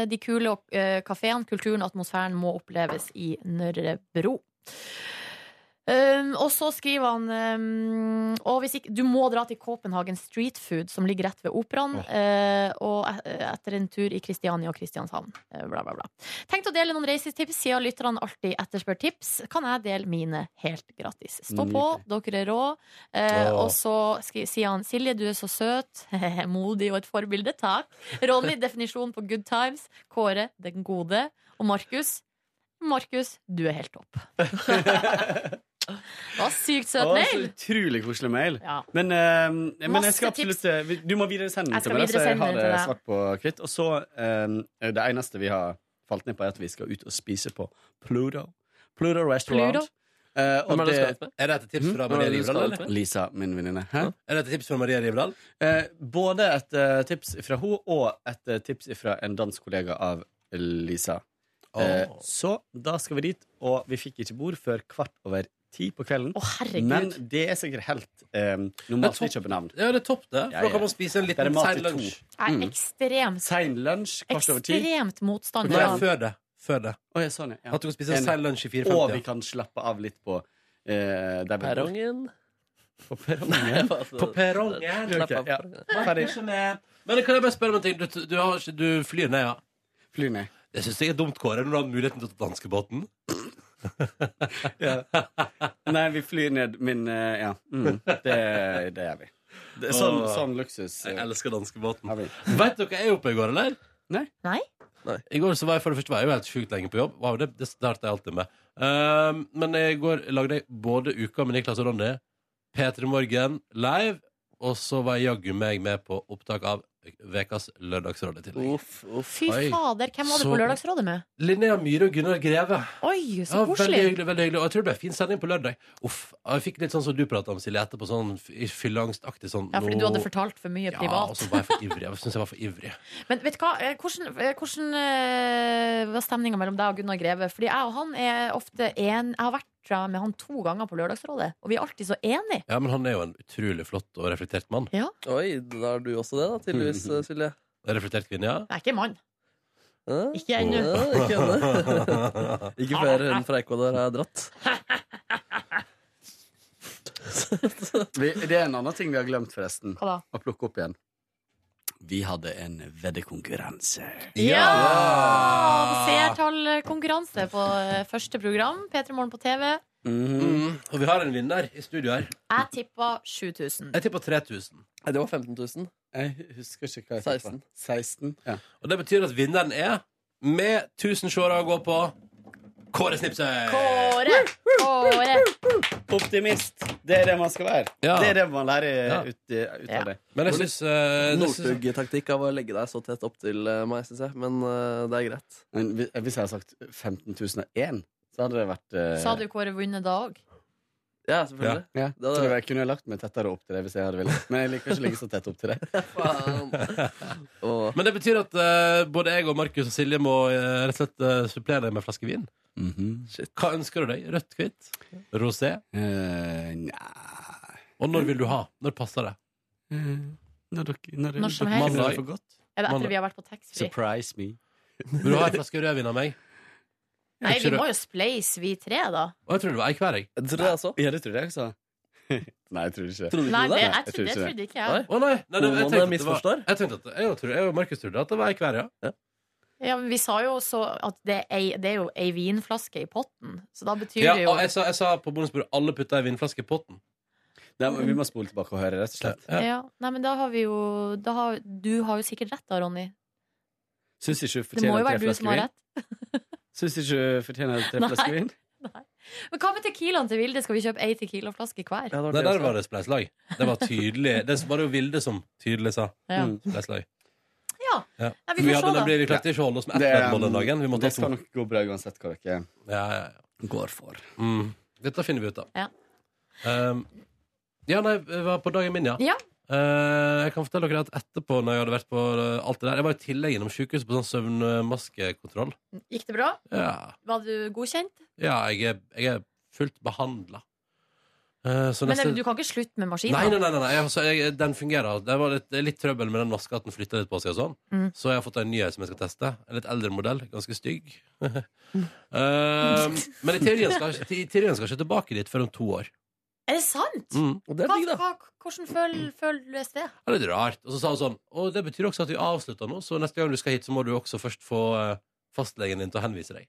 eh, de kule uh, kafeene, kulturen og atmosfæren må oppleves i Nørrebro. Um, og så skriver han um, Og hvis ikke, du må dra til Copenhagen Street Food, som ligger rett ved operaen. eh, og e- etter en tur i Kristiania og Kristianshavn. eh, bla, bla, bla. Tenk å dele noen reisetips, siden lytterne alltid etterspør tips. Kan jeg dele mine helt gratis? Stå på, dere er rå. Eh,
Åh.
Og så skri- sier han Silje, du er så søt, modig og et forbilde. Takk. Ronny, definisjonen på good times. Kåre, den gode. Og Markus, Markus, du er helt topp. Det var sykt søt
Å,
mail!
Så utrolig koselig mail.
Ja.
Men, eh, men jeg
Masse
skal absolutt eh, Du må videresende
Jeg
den
skal
til meg, da, så jeg
videresende
har
den
det
til deg.
svart på hvitt. Og så eh, Det eneste vi har falt ned på, er at vi skal ut og spise på Pluto. Pluto Restaurant.
Pluto?
Eh, og
Hvem er det du
det-
skal ut med? Mhm. Er det et tips fra
Hm?
Maria
Hvem er det du
Livdal,
skal ut
eller?
med? Lisa, min venninne. Hæ?
Er dette tips fra Maria Rivdal?
Eh, både et eh, tips fra hun og et eh, tips fra en dansk kollega av Lisa. Eh, så da skal vi dit, og vi fikk ikke bord før kvart over ti på kvelden.
herregud.
Men det er sikkert helt eh, normalt i København.
Ja, det er topp, det. For da
Ja, ja.
kan man spise en
Der er
liten
mat
sein
til to.
lunsj.
Jeg er ekstremt,
Sein lunsj kvart over ti.
ekstremt motstander
Nei,
av
før det. Før det.
Å, ja, sånn, ja, ja.
At du kan spise en
Enig.
sein lunsj i 4.50.
Og vi kan slappe av litt på eh, der vi bor.
Perrongen.
På perrongen.
På perrongen.
Ok, ja. Ferdig.
Men kan jeg bare spørre om en ting? Du, du, har, ikke- du flyr ned, ja?
Flyr ned.
Det syns jeg er dumt, Kåre, når du har muligheten til å ta danskebåten.
Nei, vi flyr ned, men eh, ja. Mm, det, det gjør vi. Det er sånn,
Åh.
sånn luksus.
Jeg elsker danskebåten.
Har vi.
Vet dere hva jeg gjorde på i går, eller?
Nei.
Nei?
I går så var jeg for det første var jeg jo helt sjukt lenge på jobb. Wow, det, det starter jeg alltid med. Ehm, men i går lagde jeg både Uka med Niklas og Ronny, P3 Morgen live, og så var jeg jaggu meg med på opptak av Vekas Lørdagsråd i tillegg.
Fy
Oi.
fader, hvem var du
Så-
på Lørdagsrådet med?
Linnea Myhre og Gunnar Greve.
Oi, så
Veldig
koselig.
hyggelig, veldig hyggelig. Og jeg tror det ble en fin sending på lørdag. Uff, Jeg fikk litt sånn som du prata om, Silje, etterpå. Sånn f- fylleangstaktig sånn
Ja, fordi
nå-
du hadde fortalt for mye
Ja, altså- og
privat.
så var jeg for ivrig. Jeg syns jeg var for ivrig.
Men vet du hva, Eh, hvordan, eh, hvordan eh, var stemninga mellom deg og Gunnar Greve? Fordi jeg og han er ofte en Jeg har vært tror jeg, med han to ganger på Lørdagsrådet, og vi er alltid så enige.
Ja, men han er jo en utrolig flott og reflektert mann.
Ja.
Oi, da er du også det, da, tydeligvis,
Mm.
eh, Silje.
Reflektert kvinne, ja.
Jeg er ikke mann. Ikke
Ja,
ennå.
ikke ennå. Ikke før hun fra Ecuador har dratt.
Vi, det er en annen ting vi har glemt, forresten.
Hva da?
Å plukke opp igjen. Vi hadde en veddekonkurranse.
Ja! Seertallkonkurranse på eh, første program. P3 Morgen på TV.
Mm, og vi har en vinner i studio her.
Jeg tippa 7000.
Jeg tipper 3000.
Nei, det var 15 000.
Jeg husker ikke hva jeg
16.
16. Ja.
Og det betyr at vinneren er, med 1000 seere å gå på, Kåre Snipsøy!
Kåre! Kåre!
Optimist. Det er det man skal være.
Ja.
Det er det man lærer
Ja.
ut, ut av det.
Men jeg
Det var
syns
litt Northug-taktikk av å legge deg så tett opp til eh, meg, syns jeg. Men eh, det er greit.
Men hvis hvis jeg hadde sagt 15 001, så hadde det vært eh,
Sa du Kåre vunnet da òg?
Ja, selvfølgelig.
Ja.
Det hadde-
Tror du jeg kunne lagt meg tettere opp til deg hvis jeg hadde villet. Men jeg liker ikke å ligge så tett opp til deg.
Men det betyr at eh, både jeg og Markus og Silje må eh, rett og slett eh, supplere deg med en flaske vin.
Mhm.
Hva ønsker du deg? Rødt, hvitt? Rosé?
Eh,
Og når vil du ha? Når passer det?
Eh, Når, dere,
Når som helst. Er det etter vi har vært på taxfree?
Surprise me.
Vil du ha en flaske rødvin av meg?
Nei, vi må jo spleise, vi tre, da.
Og jeg tror det var ei hver, jeg.
Tror du det også?
Ja, det tror jeg også. Nei, jeg tror ikke
Nei, det, jeg trodde, det trodde ikke jeg.
Å nei, nei, nei, jeg
Hormonene
tenkte at det var-
misforstår.
Jeg tenkte at jeg, tror, jeg og Markus trodde at det var ei hver, ja.
Ja, men vi sa jo også at det er, ei, det er jo ei vinflaske i potten, så da betyr
ja
det jo
og jeg, sa, jeg sa på bonusbordet alle putta ei vinflaske i potten.
vi må spole tilbake og høre, rett og slett.
ja. Nei, men da har vi jo da har, Du har jo sikkert rett da, Ronny.
Syns
Det
ikke du
må
fortjener
jo
tre
være du som
flasker
har
vin?
rett.
Syns ikke du fortjener tre
Nei.
flasker vin?
Men hva med Tequilaen til Vilde? Skal vi kjøpe ei Tequila-flaske hver?
Nei, der var det spleiselag. Det var tydelig. Det var det jo Vilde som tydelig sa.
Ja.
Spleiselag.
Ja. Nei, vi
Vi,
får
hadde
se, da.
nemlig, vi klarte ikke å holde oss med ett
Det,
veddemål den dagen. Vi måtte
det
ha
skal
to.
nok gå bra uansett hva dere
Ja, ja, ja.
går for.
Mm. Dette finner vi ut av.
Ja.
Um, ja, nei, det var på dagen min, ja.
Ja.
Eh, jeg kan fortelle dere at etterpå, når jeg hadde vært på eh, alt det der Jeg var i tillegg innom sykehuset på sånn søvnmaskekontroll.
Gikk det bra?
Ja,
Var du godkjent?
ja jeg, er, jeg er fullt behandla.
Men du kan ikke slutte med maskinen?
Nei, nei, nei, nei, nei. Jeg, altså, jeg, den fungerer. Det var litt, det er litt trøbbel med den maska, at den flytta litt på seg. og sånn
Mm.
Så jeg har fått en ny her som jeg skal teste. En litt eldre modell. Ganske stygg.
Mm.
Eh, men i teorien skal jeg ikke- i teorien skal jeg ikke tilbake dit før om to år.
Er det sant?
Mm.
Hva, hva, hvordan føl, føles det?
Det er litt rart. Og så sa han sånn Og det betyr også at vi avslutter nå, så neste gang du skal hit, så må du også først få eh, fastlegen din til å henvise deg.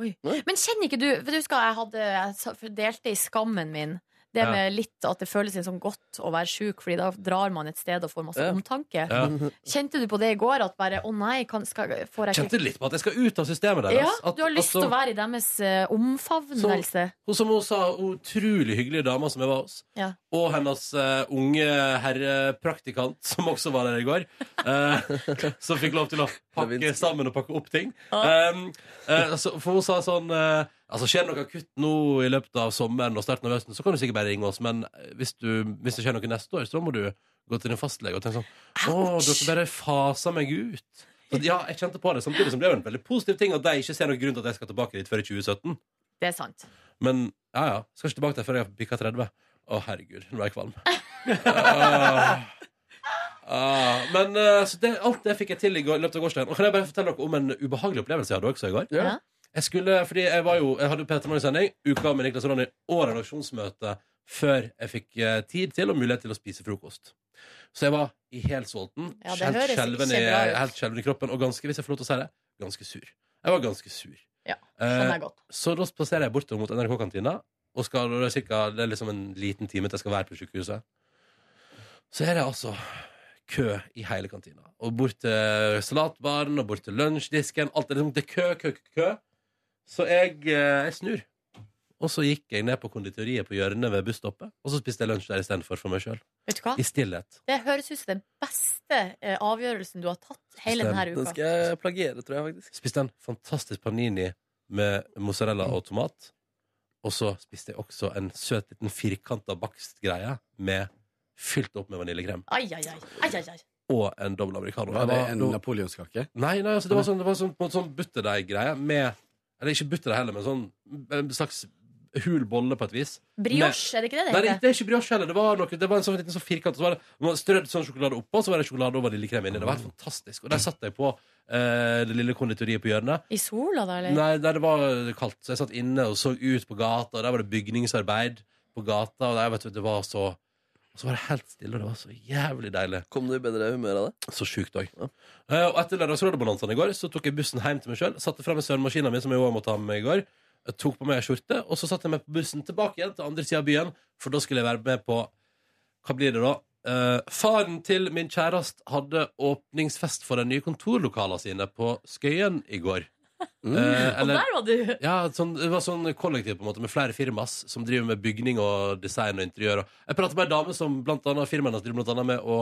Oi. Men kjenner ikke du For du husker jeg, hadde, jeg sa- delte i skammen min det
Ja.
med litt at det føles litt sånn godt å være sjuk, Fordi da drar man et sted og får masse
Ja.
omtanke.
Ja.
Kjente du på det i går? At bare 'Å nei, kan, skal, får jeg
Kjente litt på at jeg skal ut av systemet deres.
Ja,
At-
du har lyst til
altså-
å være i deres eh, omfavnelse.
Hun som hun sa, utrolig hyggelige dama som jeg var hos.
Ja.
Og hennes eh, unge herrepraktikant, som også var der i går. eh, som fikk lov til å pakke sammen og pakke opp ting. Um, eh, altså, for hun sa sånn eh, Altså Skjer det noe akutt nå i løpet av sommeren og starten av høsten, så kan du sikkert bare ringe oss, men hvis, du, hvis det skjer noe neste år, så må du gå til din fastlege og tenke sånn Å, dere bare faser meg ut. Så, ja, jeg kjente på det, samtidig som det er jo en veldig positiv ting at de ikke ser noen grunn til at jeg skal tilbake dit før i 2017.
Det er sant.
Men ja, ja. Skal ikke tilbake der før jeg har pikka 30. Å, herregud, nå er jeg kvalm. Ah. Ah, men eh, så det, alt det fikk jeg til i går, i løpet av gårsdagen. Og kan jeg bare fortelle dere om en ubehagelig opplevelse jeg hadde også i går?
Ja.
Jeg skulle, fordi jeg var jo Jeg hadde Peter Morgen-sending, uka med Niklas og Ronny og redaksjonsmøte før jeg fikk eh, tid til og mulighet til å spise frokost. Så jeg var i helsolten,
Ja, det
helt
høres
skjelven i,
ikke bra ut.
helt skjelven i kroppen og ganske, hvis jeg får lov til å si det, ganske sur. Jeg var ganske sur.
Ja,
Eh,
skjønner jeg Sånn godt.
Så da spaserer jeg bortover mot NRK-kantina, og skal, og det, er cirka, det er liksom en liten time til jeg skal være på sykehuset. Så er det altså kø i hele kantina. Og bort til salatbaren, og bort til lunsjdisken. Alt er liksom det er kø, kø, kø, kø. Så jeg, eh, jeg snur. Og så gikk jeg ned på konditoriet på hjørnet ved busstoppet, og så spiste jeg lunsj der istedenfor for meg sjøl.
Vet du hva?
I stillhet.
Det høres ut som den beste eh, avgjørelsen du har tatt hele
Stem.
denne uka.
jeg plagiere, tror jeg faktisk. Spiste en fantastisk panini med mozzarella og tomat. Og så spiste jeg også en søt liten firkanta bakstgreie med fylt opp med vaniljekrem.
Ai, ai, ai. ai, ai, ai.
Og en dobbel americano.
Var det
Jeg
en
nå-
napoleonskake?
Nei, nei altså, det var sånn, det var sånn, på en måte sånn butterdeig-greie med Eller ikke butterdeig heller, men sånn en slags hul bolle på et vis.
Brioche, er det ikke det det
Nei, det,
heter?
det er ikke brioche heller. Det var, noe, det var en sånn liten sånn firkant. og Så var det, man strødde sånn sjokolade oppå, og så var det sjokolade og vaniljekrem inni. Det var helt fantastisk. Og der satt jeg på eh, det lille konditoriet på hjørnet.
I sola, da, eller?
Nei, der det var kaldt. Så jeg satt inne og så ut på gata, og der var det bygningsarbeid på gata, og der, vet du, det var så og så var det helt stille, og det var så jævlig deilig. Kom du i bedre humør av det? Så sjukt òg. Eh, og etter Lørdagsrådebonanzaen i går Så tok jeg bussen hjem til meg sjøl, satte fra meg søvnmaskina mi, som jeg også måtte ha med meg i går, jeg tok på meg ei skjorte, og så satte jeg meg på bussen tilbake igjen til andre sida av byen, for da skulle jeg være med på Hva blir det da? Eh, faren til min kjæreste hadde åpningsfest for de nye kontorlokalene sine på Skøyen i går.
Mm.
Eh, eller-
og der var du!
ja, sånn, det var sånn kollektiv på en måte med flere firmas som driver med bygning og design og interiør. og- Jeg pratet med en dame som blant annet firmaet hennes driver blant annet med å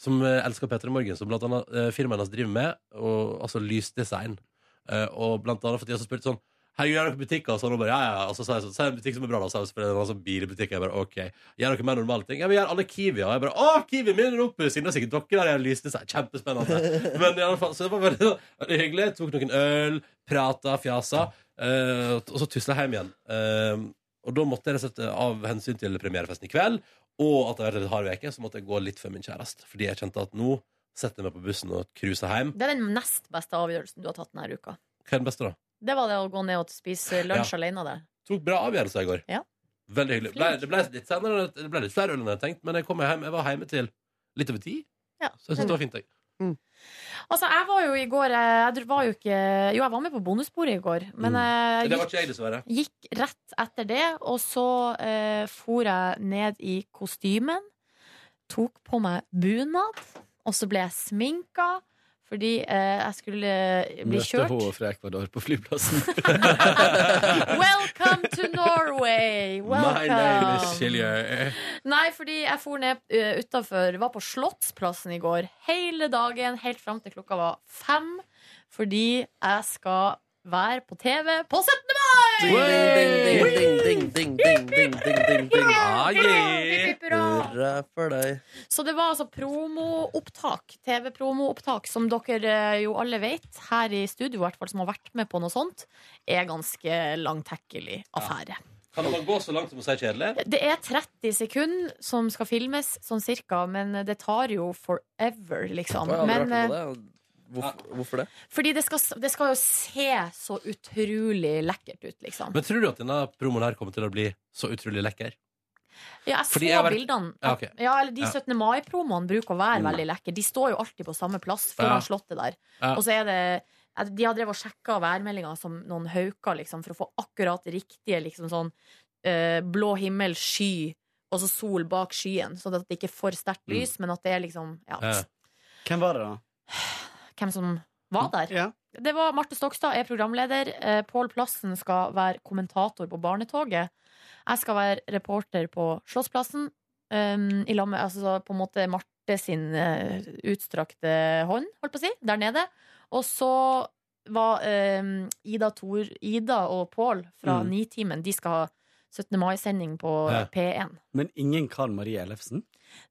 som eh, elsker Petter i Morgen, som blant annet eh, firmaet hennes driver med, og, altså lysdesign. Eh, og blant annet for de har spurt sånn Herregud, er dere butikker? Og sånn, og bare, ja, ja. Og så sa jeg sånn, så er det en butikk som er bra, da. Så er det selvfølgelig en sånn bilbutikk. Jeg bare, ok. Gjør dere mer normale ting? Ja, vi gjør alle Kiwi, og jeg bare, å, Kiwi, min er oppe. Siden det er sikkert dere der, jeg lyste seg. Kjempespennende. Men i alle fall, så det var veldig, veldig hyggelig. Jeg tok noen øl, prata, fjasa, eh, og så tusla jeg hjem igjen. Eh, og da måtte jeg sette av hensyn til premierefesten i kveld, og at det har vært en hard uke, så måtte jeg gå litt før min kjæreste. Fordi jeg kjente at nå setter jeg meg på bussen og cruiser hjem.
Det er den nest beste avgjørelsen du har tatt denne uka.
Hva er den beste, da?
Det var det å gå ned og spise lunsj
Ja.
alene der.
Tok bra avgjørelser i går.
Ja.
Veldig hyggelig. Ble, det, ble litt senere, det ble litt flere øl enn jeg hadde tenkt, men jeg, kom hjem, jeg var hjemme til litt over ti.
Ja.
Så jeg synes det var fint. Jeg.
Altså, jeg var jo i går eh, Jeg dr- var jo ikke Jo, jeg var med på bonusbordet i går, men eh, jeg
Mm. Det var ikke jeg, dessverre.
gikk rett etter det, og så eh, for jeg ned i kostymen, tok på meg bunad, og så ble jeg sminka. Fordi eh, jeg skulle eh, bli
Møtte
kjørt.
hun fra Ecuador på flyplassen.
Welcome to Norway!
My name is
Welcome!
Silje.
Nei, fordi jeg for ned uh, utafor Var på Slottsplassen i går hele dagen, helt fram til klokka var fem. Fordi jeg skal være på TV på 17. mai!
Ding, ding, ding, ding, ding, ding, ding, ding, ding, ding, ding.
Hurra, hurra, hurra.
Hurra for deg.
Så det var altså promoopptak, TV-promoopptak, som dere eh, jo alle vet, her i studio i hvert fall, som har vært med på noe sånt, er ganske langtekkelig affære.
Kan man gå så langt som å si kjedelig?
Det er 30 sekunder som skal filmes, sånn cirka, men det tar jo forever, liksom.
Jeg har aldri
Men,
hørt
eh,
om det. Hvorfor, hvorfor det?
fordi det skal, det skal jo se så utrolig lekkert ut, liksom.
Men tror du at denne promoen her kommer til å bli så utrolig lekker?
Ja, jeg så
Fordi jeg har vært-
bildene.
Ja, ok.
Ja, eller De
Ja.
17. mai-promoene bruker å være
Mm.
veldig lekre. De står jo alltid på samme plass
Ja.
foran slottet der.
Ja.
Og så er det at De har drevet og sjekka værmeldinga som noen hauker, liksom, for å få akkurat det riktige liksom sånn eh, blå himmel, sky, og så sol bak skyen. Så at det ikke er for sterkt
Mm.
lys, men at det er liksom ja,
Hvem var det, da?
hvem som var der. Det var Marte Stokstad er programleder. Eh, Pål Plassen skal være kommentator på Barnetoget. Jeg skal være reporter på Slottsplassen. Um, I lag med altså, på en måte Marte sin eh, utstrakte hånd, holdt på å si, der nede. Og så var eh, Ida, Tor, Ida og Pål fra
Mm.
Nitimen De skal ha 17. mai-sending på
Ja.
P1.
Men ingen Karen Marie Ellefsen?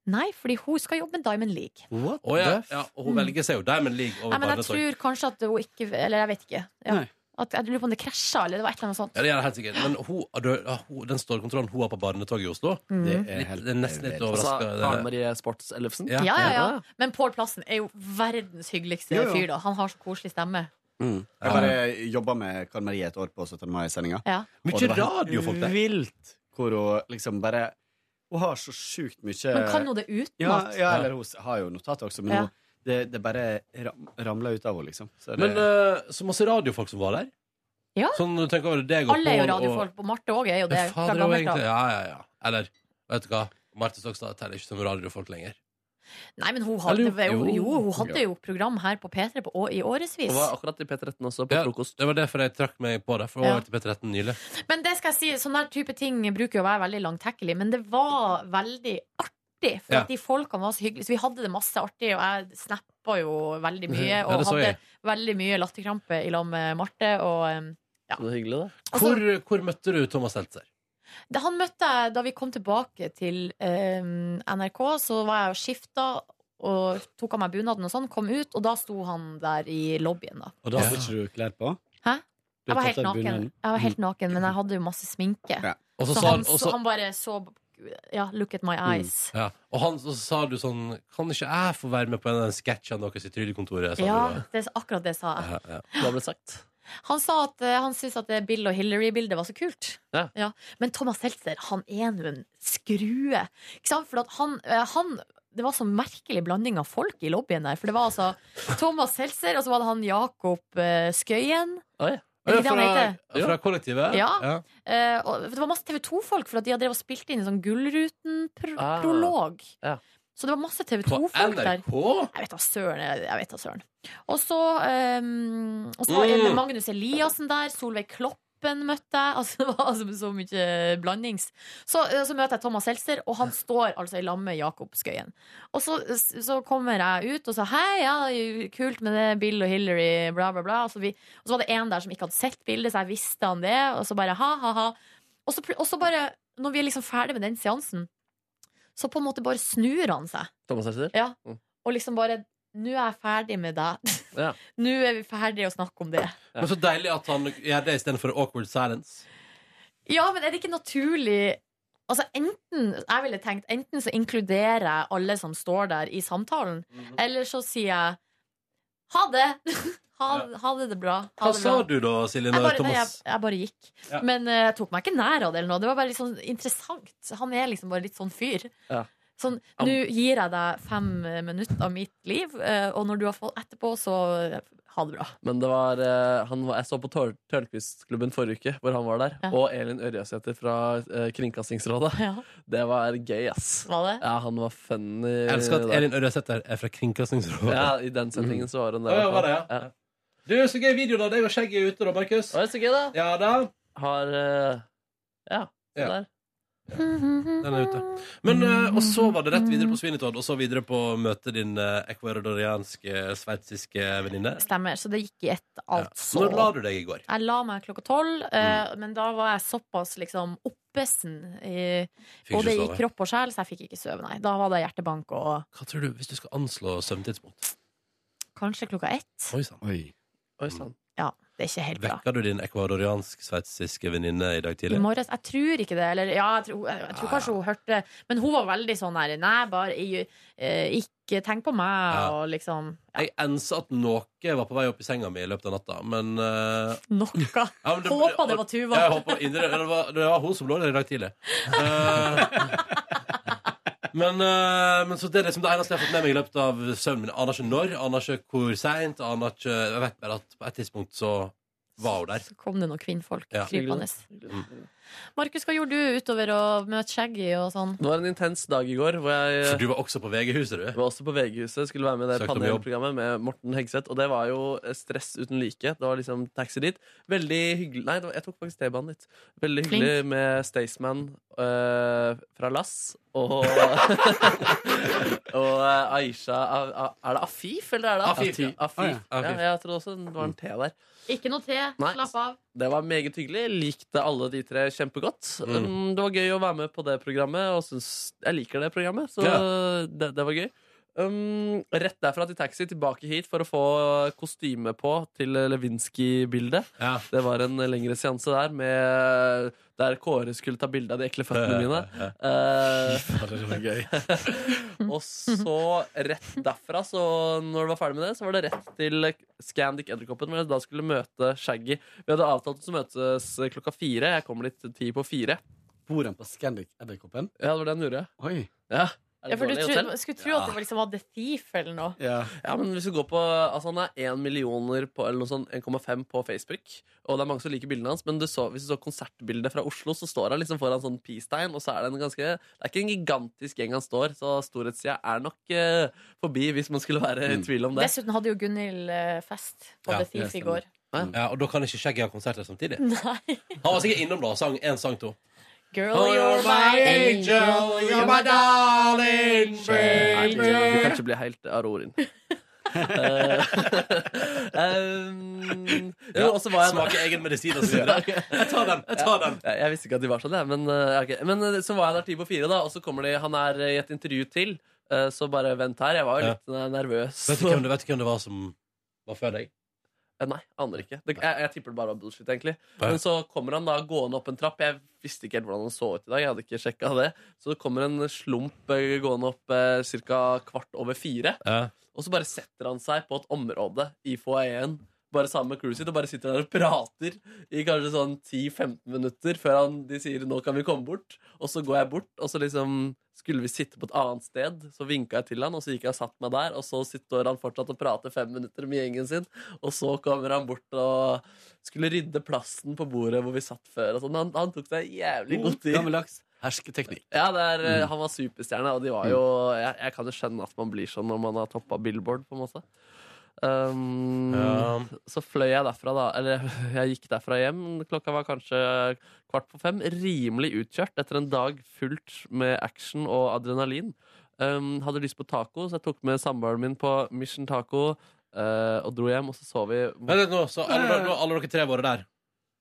Nei, fordi hun skal jobbe med Diamond League.
What
Å ja,
the f-
ja, og hun velger seg jo Diamond League over
Nei, Mm. men jeg
Barnetorg.
tror kanskje at hun ikke Eller jeg vet ikke. Ja.
Nei.
At, jeg lurer på om det krasja, eller det var et eller annet sånt.
Ja, det gjør det helt sikkert. Men hun, ah, du- ja, hun, den stålkontrollen hun har på barnetoget i Oslo
Mhm.
det,
Det
er
er
litt, det er nesten litt
Altså, Anne
overraskende.
Marie Sports-Ellefsen?
Ja, ja, ja. Men Pål Plassen er jo verdens hyggeligste
Jo, jo.
fyr, da. Han har så koselig stemme.
Mm. Jeg bare jobba med Karen Marie et år på 17. mai-sendinga.
Ja.
Mye radio, folk, det.
Vilt! Hvor hun liksom bare Hun har så sjukt mye
Men kan hun det utenat?
Ja, ja, eller hun s- har jo notat også, men
Ja.
hun, det, det bare ram, ramla ut av henne, liksom. Så det,
Men eh, så masse radiofolk som var der.
Ja.
Sånn, du tenker over deg og
Alle er jo
Pål og-
radiofolk. Og Marte òg er jo det.
Ja,
Fra
fader, det var
gammelt
egentlig,
av.
ja, ja, ja. Eller, vet du hva? Marte Stokstad teller ikke som radiofolk lenger.
Nei, men hun hadde,
Eller jo-
jo, jo, hun
jo.
hadde jo program her på P3 på, å- i årevis.
Hun var akkurat i P13 også, på frokost.
Det var derfor jeg trakk meg på det. For hun
Ja.
var til P13 nylig.
Men det skal jeg si, sånne her type ting bruker jo å være veldig langtekkelig, men det var veldig artig. For
Ja.
at de folkene var så hyggelige. Så vi hadde det masse artig, og jeg snappa jo veldig mye.
Ja,
Og
det så
hadde
jeg.
veldig mye latterkrampe i lag med Marte. Og um,
Det var hyggelig, det.
Altså-
Hvor, hvor møtte du Thomas Seltzer?
det, han møtte jeg da vi kom tilbake til um, NRK, så var jeg og skifta. Og tok av meg bunaden og sånn, kom ut, og da sto han der i lobbyen, da.
Og da hadde ikke du klær på?
Hæ?
Du
Jeg var,
har
helt
tatt av
naken.
bunaden.
jeg var helt naken, men jeg hadde jo masse sminke.
Ja.
Og så
Så,
sa
han,
han- og
så,
så-
han bare så Ja, look at my eyes.
Ja. Og han, så sa du sånn Kan ikke jeg få være med på en av de sketsjene deres i Tryllekontoret? sa
Ja,
du da.
det er akkurat det sa jeg.
Ja, ja.
Hva ble det sagt?
Han sa at eh, han syntes at det Bill og Hillary-bildet var så kult.
Ja.
Men Thomas Seltzer, han er nå en skrue. Ikke sant? For at han, eh, han det var så merkelig blanding av folk i lobbyen der. For det var altså Thomas Seltzer, og så var det han Jakob eh, Skøyen.
Oi.
Er det ikke det han
fra,
heter?
fra kollektivet?
Ja. Eh, og, for det var masse TV2-folk, for at de hadde drevet og spilt inn en sånn
Ah.
Gullruten-prolog.
Ja.
Så det var masse
På
TV2-folk der.
NRK?
Jeg vet da søren. Jeg, jeg vet da søren. Og så, eh, og så var
Mm.
Magnus Eliassen der, Solveig Kloppe Espen møtte jeg. Altså, det var altså så mye blandings. Så, eh, så møter jeg Thomas Seltzer, og han står altså i lag med Jakob Skøyen. Og så, så kommer jeg ut og sa hei, ja, kult med det, Bill og Hillary, bla, bla, bla. Og så, vi, og så var det en der som ikke hadde sett bildet, så jeg visste han det. Og så bare ha, ha, ha. Og så, pl- og så bare, når vi er liksom ferdig med den seansen, så på en måte bare snur han seg.
Thomas Seltzer?
Ja.
Mm.
Og liksom bare Nå er jeg ferdig med deg.
Ja.
Nå er vi ferdige å snakke om det.
Men så deilig at han gjør det istedenfor awkward silence.
Ja, men er det ikke naturlig Altså enten, jeg ville tenkt Enten så inkluderer jeg alle som står der i samtalen
Mhm.
Eller så sier jeg Ha det Ha, ha det det bra ha
Hva
det
sa
bra.
du da, Silje?
Jeg
når
bare, nei, jeg,
Thomas
jeg bare gikk
Ja.
Men eh, jeg tok meg ikke nær av det eller noe Det var bare litt sånn interessant Han er liksom bare litt sånn fyr
Ja.
Sånn,
Am-
nå gir jeg deg fem eh, minutter av mitt liv eh, Og når du har fått etterpå så eh, Ha det bra
Men det var, eh, han var, jeg så på Tør- Tørnquist-klubben forrige uke, hvor han var der.
Ja.
Og Elin Ørjasæter fra eh, Kringkastingsrådet. Det var gøy, ass.
Var det?
Ja, han var funny.
Jeg elsker at
Eh,
der.
Elin Ørjasæter er fra Kringkastingsrådet.
Ja, i den sendingen så var hun der.
Å, ja,
i hvert
var
fall.
det, ja? Du, så gøy video, da. Deg og Skjegget er ute, da, Markus.
Å, så gøy, da.
Ja da.
Har eh, Ja, se
Ja.
der.
Den er ute. Men, eh, og så var det rett videre på Svinetodd, og så videre på å møte din eh, ecuadorianske, sveitsiske venninne.
Stemmer, så det gikk i ett altså
Når la Mm. du deg i går?
Jeg la meg klokka tolv, eh, men da var jeg såpass liksom oppesen i,
Fikk
både
ikke
i
sove.
kropp og sjel, så jeg fikk ikke sove, nei. Da var det hjertebank og
Hva tror du, Hvis du skal anslå søvntidspunkt?
kanskje klokka ett.
Oi sann.
Oi sann.
Ja, det er ikke helt bra.
Vekka du din ecuadoriansk-sveitsiske venninne i dag
I
tidlig?
morges Jeg tror ikke det, eller ja, jeg tror, jeg tror kanskje hun hørte Men hun var veldig sånn her Nei, bare i- eh, ikke tenk på meg,
Ja.
og liksom
Jeg ensa at noe var på vei opp i senga mi i løpet av natta, men eh,
Noe?
ja, men
Håpa det var Tuva.
Jeg håper indre, det, var, det var hun som lå der i dag tidlig. Eh, men, eh, men så det er liksom det eneste jeg har fått med meg i løpet av søvnen min. Jeg Aner ikke når, aner ikke hvor seint. aner ikke- Jeg vet bare at på et tidspunkt så var hun der.
Så kom det noen kvinnfolk
Ja.
krypende.
Mm.
Markus, hva gjorde du utover å møte Shaggy og sånn?
Det var en intens dag i går. Hvor jeg,
For du var også på VG-huset, du?
Var også på VG-huset, Skulle være med i det
Søkte om
panelprogrammet med Morten Hegseth. Og det var jo eh, stress uten like. Det var liksom taxi dit. Veldig hyggelig Nei, det var, jeg tok faktisk T-banen dit. Veldig
Flink.
hyggelig med Staysman øh, fra Lass og Og øh, Aisha A- A- Er det Afif, eller er det
Afif, ja.
Afif.
Å, ja.
Ja, jeg trodde også det var en T der.
Ikke noe te,
Nei.
slapp av.
Det var meget hyggelig. Likte alle de tre kjempegodt.
Mm.
Um, Det var gøy å være med på det programmet, og syns jeg liker det programmet. Så det, det var gøy. Um, rett derfra til taxi, tilbake hit for å få kostyme på til Lewinsky-bildet. Det var en lengre seanse der med der Kåre skulle ta bilde av de ekle føttene mine. Eh,
Mm.
og så rett derfra, så når det var ferdig med det, så var det rett til Scandic Edderkoppen, hvor jeg da skulle møte Shaggy. Vi hadde avtalt å møtes eh, klokka fire. Jeg kommer litt ti på fire.
Bor han på Scandic Edderkoppen?
Ja, det var det han gjorde.
Oi.
Ja. Er
Ja,
det
for du
dårlig
tro,
hotell?
skulle tro at det var liksom var The Thief eller noe.
Ja.
Ja, men hvis du går på Altså Han er 1 millioner på, Eller noe sånn 1,5 på Facebook Og det er mange som liker bildene hans Men du så, hvis du så konsertbildet fra Oslo Så står han liksom foran sånn pistein Og så er det en ganske Det er ikke en gigantisk gjeng han står Så storhetssida er nok eh, forbi Hvis man skulle være i tvil om det
Dessuten hadde jo Gunhild eh, fest på The Thief i går.
Ja, og da kan ikke Shaggy ha konserter samtidig.
Nei.
Han var sikkert innom da og sang én sang to.
Girl,
Oh,
you're my angel, you're my darling
Nei, Du du kan
baby.
ikke bli helt Aurorin Eh, um,
Ja,
Eh, jo, og så var jeg
smake egen medisin og så videre. Jeg tar den, jeg tar den.
Jeg, jeg visste ikke at de var sånn, jeg, men, eh, ok. men eh, så var jeg der ti på fire, da, og så kommer de Han er i et intervju til, eh, så bare vent her. Jeg var jo litt eh, nervøs.
Vet du hvem det, vet du hvem det var som var før deg?
Eh, Nei, aner ikke. Det, jeg, jeg tipper det bare var bullshit, egentlig.
Ja.
Men så kommer han da gående opp en trapp. Jeg visste ikke helt hvordan han så ut i dag. Jeg hadde ikke sjekket det Så det kommer en slump eh, gående opp eh, ca. kvart over fire.
Ja.
Og så bare setter han seg på et område i foajeen. Bare sammen med crewet sitt og bare sitter der og prater i kanskje sånn 10-15 minutter før han, de sier 'nå kan vi komme bort'. Og så går jeg bort, og så liksom skulle vi sitte på et annet sted. Så vinka jeg til han, og så gikk jeg og satt meg der. Og så står han fortsatt og prater fem minutter med gjengen sin. Og så kommer han bort og skulle rydde plassen på bordet hvor vi satt før. Og sånn. han, han tok seg jævlig god tid.
Gammeldags hersketeknikk.
Ja, det er, eh, Han var superstjerne, og de var jo jeg, jeg kan jo skjønne at man blir sånn når man har toppa Billboard. på en måte Um,
Mm.
Ja.
Så fløy jeg derfra, da. Eller jeg gikk derfra hjem. Klokka var kanskje kvart på fem. Rimelig utkjørt etter en dag fullt med action og adrenalin. Um, hadde lyst på taco, så jeg tok med samboeren min på Mission Taco eh, og dro hjem. Og så så vi
Vent litt nå, så alle, nå har alle dere tre vært der.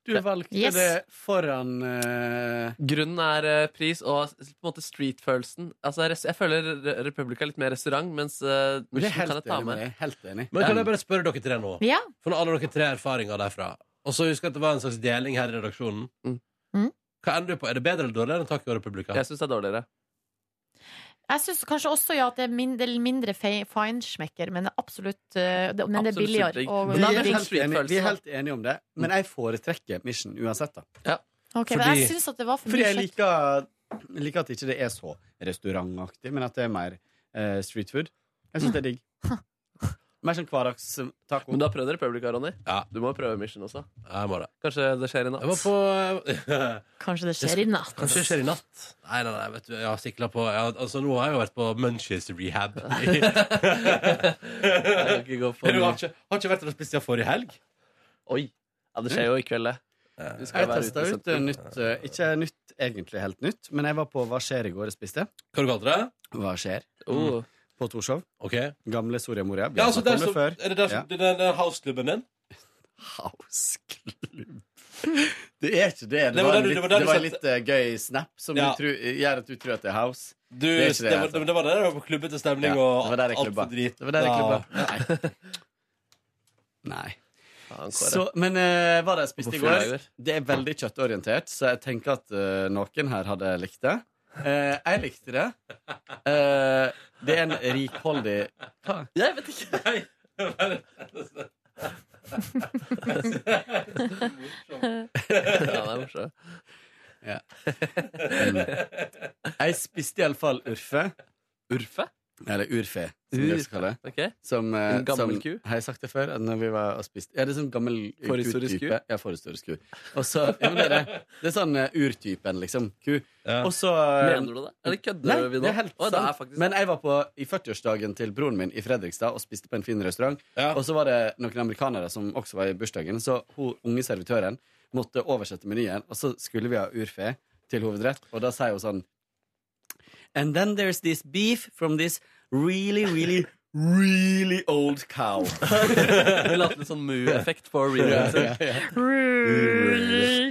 Du valgte
Yes.
det foran eh,
Grunnen er eh, pris og s- på en måte street-følelsen. Altså, res- jeg føler Re- Republica er litt mer restaurant, mens eh,
Men jeg
Mission
er
kan
helt
jeg ta
enig med
med.
deg,
Helt enig.
Men kan jeg bare spørre dere tre nå?
Ja.
For nå har alle dere tre erfaringer derfra. Og så husker jeg at det var en slags deling her i redaksjonen.
Mm.
Hva ender du på? Er det bedre eller dårligere enn Taco Republica?
Jeg syns det er dårligere.
Jeg syns kanskje også ja, at det er mindre, mindre fe- feinschmecker, men det er absolutt, eh, det, men det er billigere. Og,
vi, er
digg.
helt enige, vi er helt enige om det, men jeg foretrekker Mission uansett. da
Ok, men jeg syns at det var for
Fordi
mye
jeg
kjøtt.
liker, liker at ikke det er så restaurantaktig, men at det er mer eh, street food. Jeg syns det er digg. Mer sånn hverdagstaco.
Men du har prøvd Republica, Ronny? Du må prøve Mission også. Kanskje det skjer i natt.
Kanskje det skjer i natt.
Kanskje det skjer i natt. eh, Nei, nei, nei, vet du, jeg har sikla på jeg har, Altså, nå har jeg jo vært på Munchies rehab.
ikke gå for
Men du har ikke, har ikke vært der og spist siden forrige helg?
Oi. Ja, det skjer jo i kveld, det. Vi skal
Jeg
være
testa
ute i
ut eh,
sentrum.
nytt eh, Ikke nytt, egentlig helt nytt, men jeg var på Hva skjer i går og spiste.
Hva kalte du det?
Hva skjer?
Oh.
Mm. På Torshov. Gamle Soria Moria. Vi
Ja,
har
altså, der,
snakket om det
som,
før.
er det der som,
Ja.
det er den der houseklubben din?
Houseklubb Det er ikke det. Det,
Det var
var,
der
en
du- det var liksom-
litt, det
der du
var en litt
satt-
eh, gøy snap som
Ja.
du tror, gjør at du tror at det er house.
Du, det,
er ikke det,
var,
altså.
det, var der det var klubbete stemning
Ja,
og
det var der jeg
alt
klubba.
for drit.
Det var der jeg klubba.
Ja.
Nei.
Kåre.
Så, men eh, hva det jeg spiste i
Hvorfor
går
lager?
Det er veldig kjøttorientert, så jeg tenker at eh, noen her hadde likt det. Eh, jeg likte det. Eh, det er en rikholdig Hva?
Jeg vet ikke. Ja, det er morsomt.
Ja. Um, jeg spiste iallfall urfe.
Urfe?
Eller urfe, som de
Urfe,
også kaller det.
ok.
Som, eh,
En gammel
som,
ku?
Har jeg sagt det før? At Når vi var og spiste Ja, det er sånn gammel
Forhistorisk ku?
ku-type. Ja, forhistorisk ku. Og så ja, men det, er det. det er sånn eh, urtypen, liksom. Ku. Og så eh,
Mener du det? Eller kødder
Um, Nei,
vi nå?
det er helt
Oi, det er
sant.
faktisk-
Men jeg var på, i 40-årsdagen til broren min i Fredrikstad og spiste på en fin restaurant. Og så var det noen amerikanere som også var i bursdagen, så hun unge servitøren måtte oversette menyen, og så skulle vi ha urfe til hovedrett, og da sier hun sånn And then there's this beef from this really, really, really old cow.
Vi la til en sånn mu-effekt på reading.
Ja, ja, ja.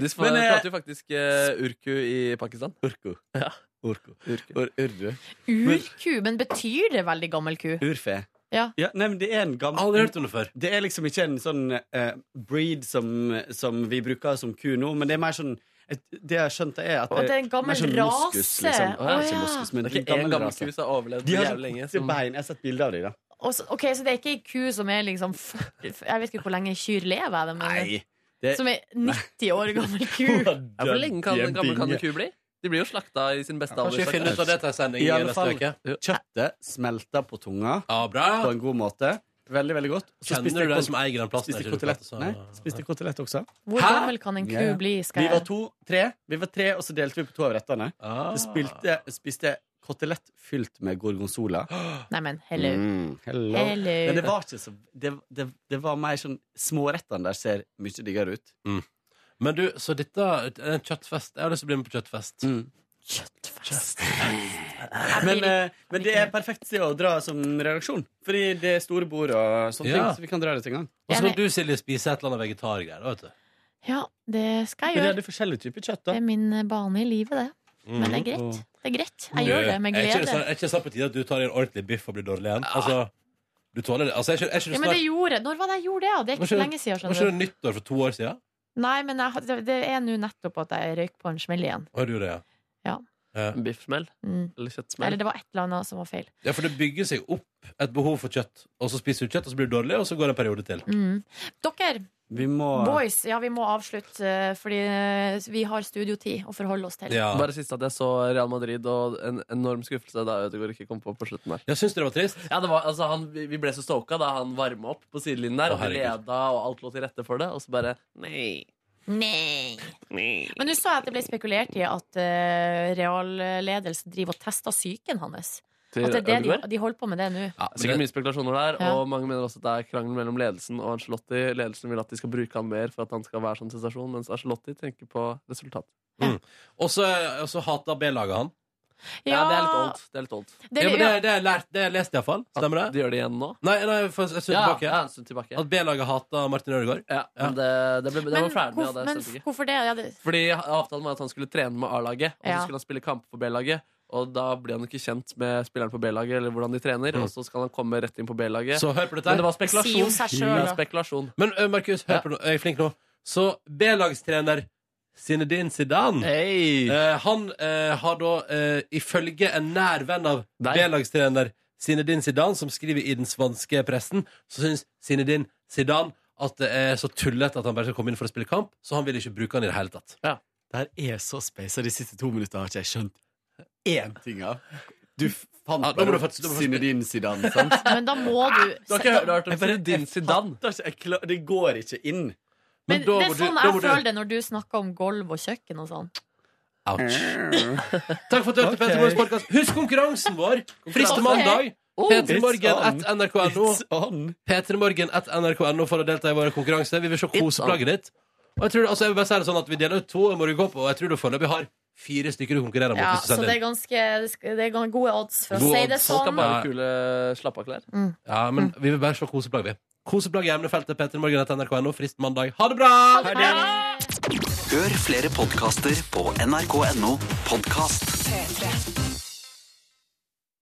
De svar-
Men, eh,
prater jo faktisk eh, urku i Pakistan.
Urku.
Ja.
Urku. Ur, urru.
Urku, men betyr det veldig gammel
Eh,
ku?
Urfe.
Ja.
nei, men det er en gammel
Aldri hørt om det før.
Det er liksom ikke en sånn eh, breed som, som vi bruker som ku nå, men det er mer sånn et, Det jeg har skjønt, det er at
Og det er en gammel
mer sånn
rase.
liksom.
Å, ja.
Ikke moskus, men
Det er ikke
en
en gammel
rase.
ku som har overlevd
De har
jævlig
sånn
lenge,
korte
som-
bein. Jeg har sett bilde av dem, da.
Og så- ok, Så det er ikke ei ku som er liksom f- f- Jeg vet ikke hvor lenge kyr lever. Jeg, men,
Nei. Det,
Som er 90 år gammel ku.
Ja, hvor lenge kan
i
en
en
gammel kan en
binge.
ku bli? De blir jo slakta i sin beste alder.
Kanskje vi finner ut av det til sending
I
i
alle
neste
fall,
uke.
kjøttet smelter på tunga
bra.
på en god måte. Veldig, veldig godt. Så
Kjenner
spiste
du
jeg
det
kot-
som eier den plassen?
Spiste
Jeg tror du
kotelett,
prater så-
nei, spiste kotelett også.
Hvor gammel kan en ku
Ja, ja.
bli? Skal
vi var
jeg?
to, tre, vi var tre og så delte vi på to av rettene.
Ah.
Så spilte, spiste kotelett fylt med gorgonzola.
Neimen, hello.
Mm, hello.
Ah. Hello.
Men det var ikke så Det, det, det var mer sånn Smårettene der ser mye diggere ut.
Men du, så dette er en kjøttfest. Jeg har lyst til å bli med på kjøttfest.
Mm.
Kjøttfest.
Men, eh, men det er perfekt sted å dra som redaksjon. Fordi det er store bord og sånne
Ja.
ting. Så vi kan dra det til en gang.
Og så kan du, Silje, spise et eller annet vegetargreier. vet du.
Ja, det skal jeg
Men det
gjøre.
er det forskjellige typer kjøtt, da. Mm.
Det er min eh, bane i livet, det. Men det er greit. Det er greit. Jeg gjør det med
Mm. Er ikke
glede.
sånn- Er ikke det snart på tide at du tar i en ordentlig biff og blir dårlig igjen? Altså, du tåler det. Altså, er ikke, er ikke
Ja,
det
men det
snart
gjorde Når var det jeg gjorde det? da? Det er ikke så lenge siden.
Var ikke det
skjønner du
nyttår for to år siden?
Nei, men jeg, har- det- det er nå nettopp at jeg røyk på en smell igjen.
Har du det, ja?
Ja.
Biffsmell?
Mm.
Eller kjøttsmell?
Eller det var et eller annet som var feil.
Ja, for det bygger seg opp et behov for kjøtt, og så spiser du kjøtt, og så blir du dårlig, og så går det en periode til.
Mm. Dere,
Vi må
boys, ja, vi må avslutte, eh, fordi eh, vi har studiotid å forholde oss til.
Bare sist at jeg så Real Madrid, og en enorm skuffelse da Ødegaard ikke kom på på slutten der.
Jeg syns det var trist.
Ja, det var, altså, han, vi vi ble så stoka da han varma opp på sidelinjen der,
Å,
og de
herregud.
leda, og alt lå til rette for det, og så bare Nei.
Nei.
nei.
Men nå så jeg at det ble spekulert i at eh, realledelsen driver og tester psyken hans.
Til
At det er det
Ødegaard?
de, de holder på med det nå.
Ja, sikkert mye spekulasjoner der,
Ja.
og mange mener også at det er krangel mellom ledelsen og Ancelotti. Ledelsen vil at de skal bruke han mer for at han skal være sånn sensasjon, mens Ancelotti tenker på resultat.
Mm. Og så og så hater B-laget han.
Ja, det er litt old. Det er litt old.
Det, ja, men det, det, er lært, det er lest, iallfall. Stemmer det?
De gjør det igjen nå?
Nei, nei for en stund
Ja,
tilbake.
ja, en stund tilbake.
At B-laget hata Martin Ødegaard.
Ja, men det, det ble, det
Men
var ferdig med, ja,
hvorfor,
det
men
stemte ikke.
hvorfor det? Ja, det
Fordi avtalen var at han skulle trene med A-laget, og
Ja.
så skulle han spille kamper for B-laget. Og da blir han ikke kjent med spilleren på B-laget, eller hvordan de trener. Og så skal han komme rett inn på B-laget.
Mm. Så hør på dette. her.
Men det var spekulasjon. Det var spekulasjon.
Men ø, Markus, hør på nå. Jeg er flink nå. Så B-lagstrener Zinedine Zidane eh, Han eh, har da, eh, ifølge en nær venn av B-lagstrener Zinedine Zidane, som skriver i den svanske pressen, så syns Zinedine Zidane at det er så tullete at han bare skal komme inn for å spille kamp, så han vil ikke bruke han i det hele tatt.
Det her er så space, og de siste to minuttene har ikke jeg skjønt én ting av. Du f- fant
Ja, da må du faktisk- da må du-
Zinedine Zidane, sant?
Men da må du
Jeg bare- jeg fatter ikke, jeg klar- Det går ikke inn.
Men det er sånn jeg føler det når du snakker om gulv og kjøkken og sånn.
Takk for at du hørte
Ok.
Petter Morgens podcast. Husk konkurransen vår! Frist til
Ok.
mandag.
Oh,
P3
it's
Morgen
on.
at nrk.no.
Sånn.
P3 Morgen at nrk.no for å delta i vår konkurranse. Vi vil se koseplagget ditt. Og jeg tror, altså, jeg vil bare si det sånn at Vi deler ut to morgenkåper, og jeg tror du foreløpig har fire stykker du konkurrerer mot.
Ja,
hvis du
så
sender
det er
inn.
ganske det er gan- gode odds for å
God
si det
odds. Folk har
sånn.
bare
Kule slappa-klær.
Ja, men vi vil bare se koseplagg, vi. Koseplagg i emnefeltet. P3 Morgen at nrk.no. Frist mandag. Ha det bra!
Hør flere podkaster på nrk.no podkast.
P3.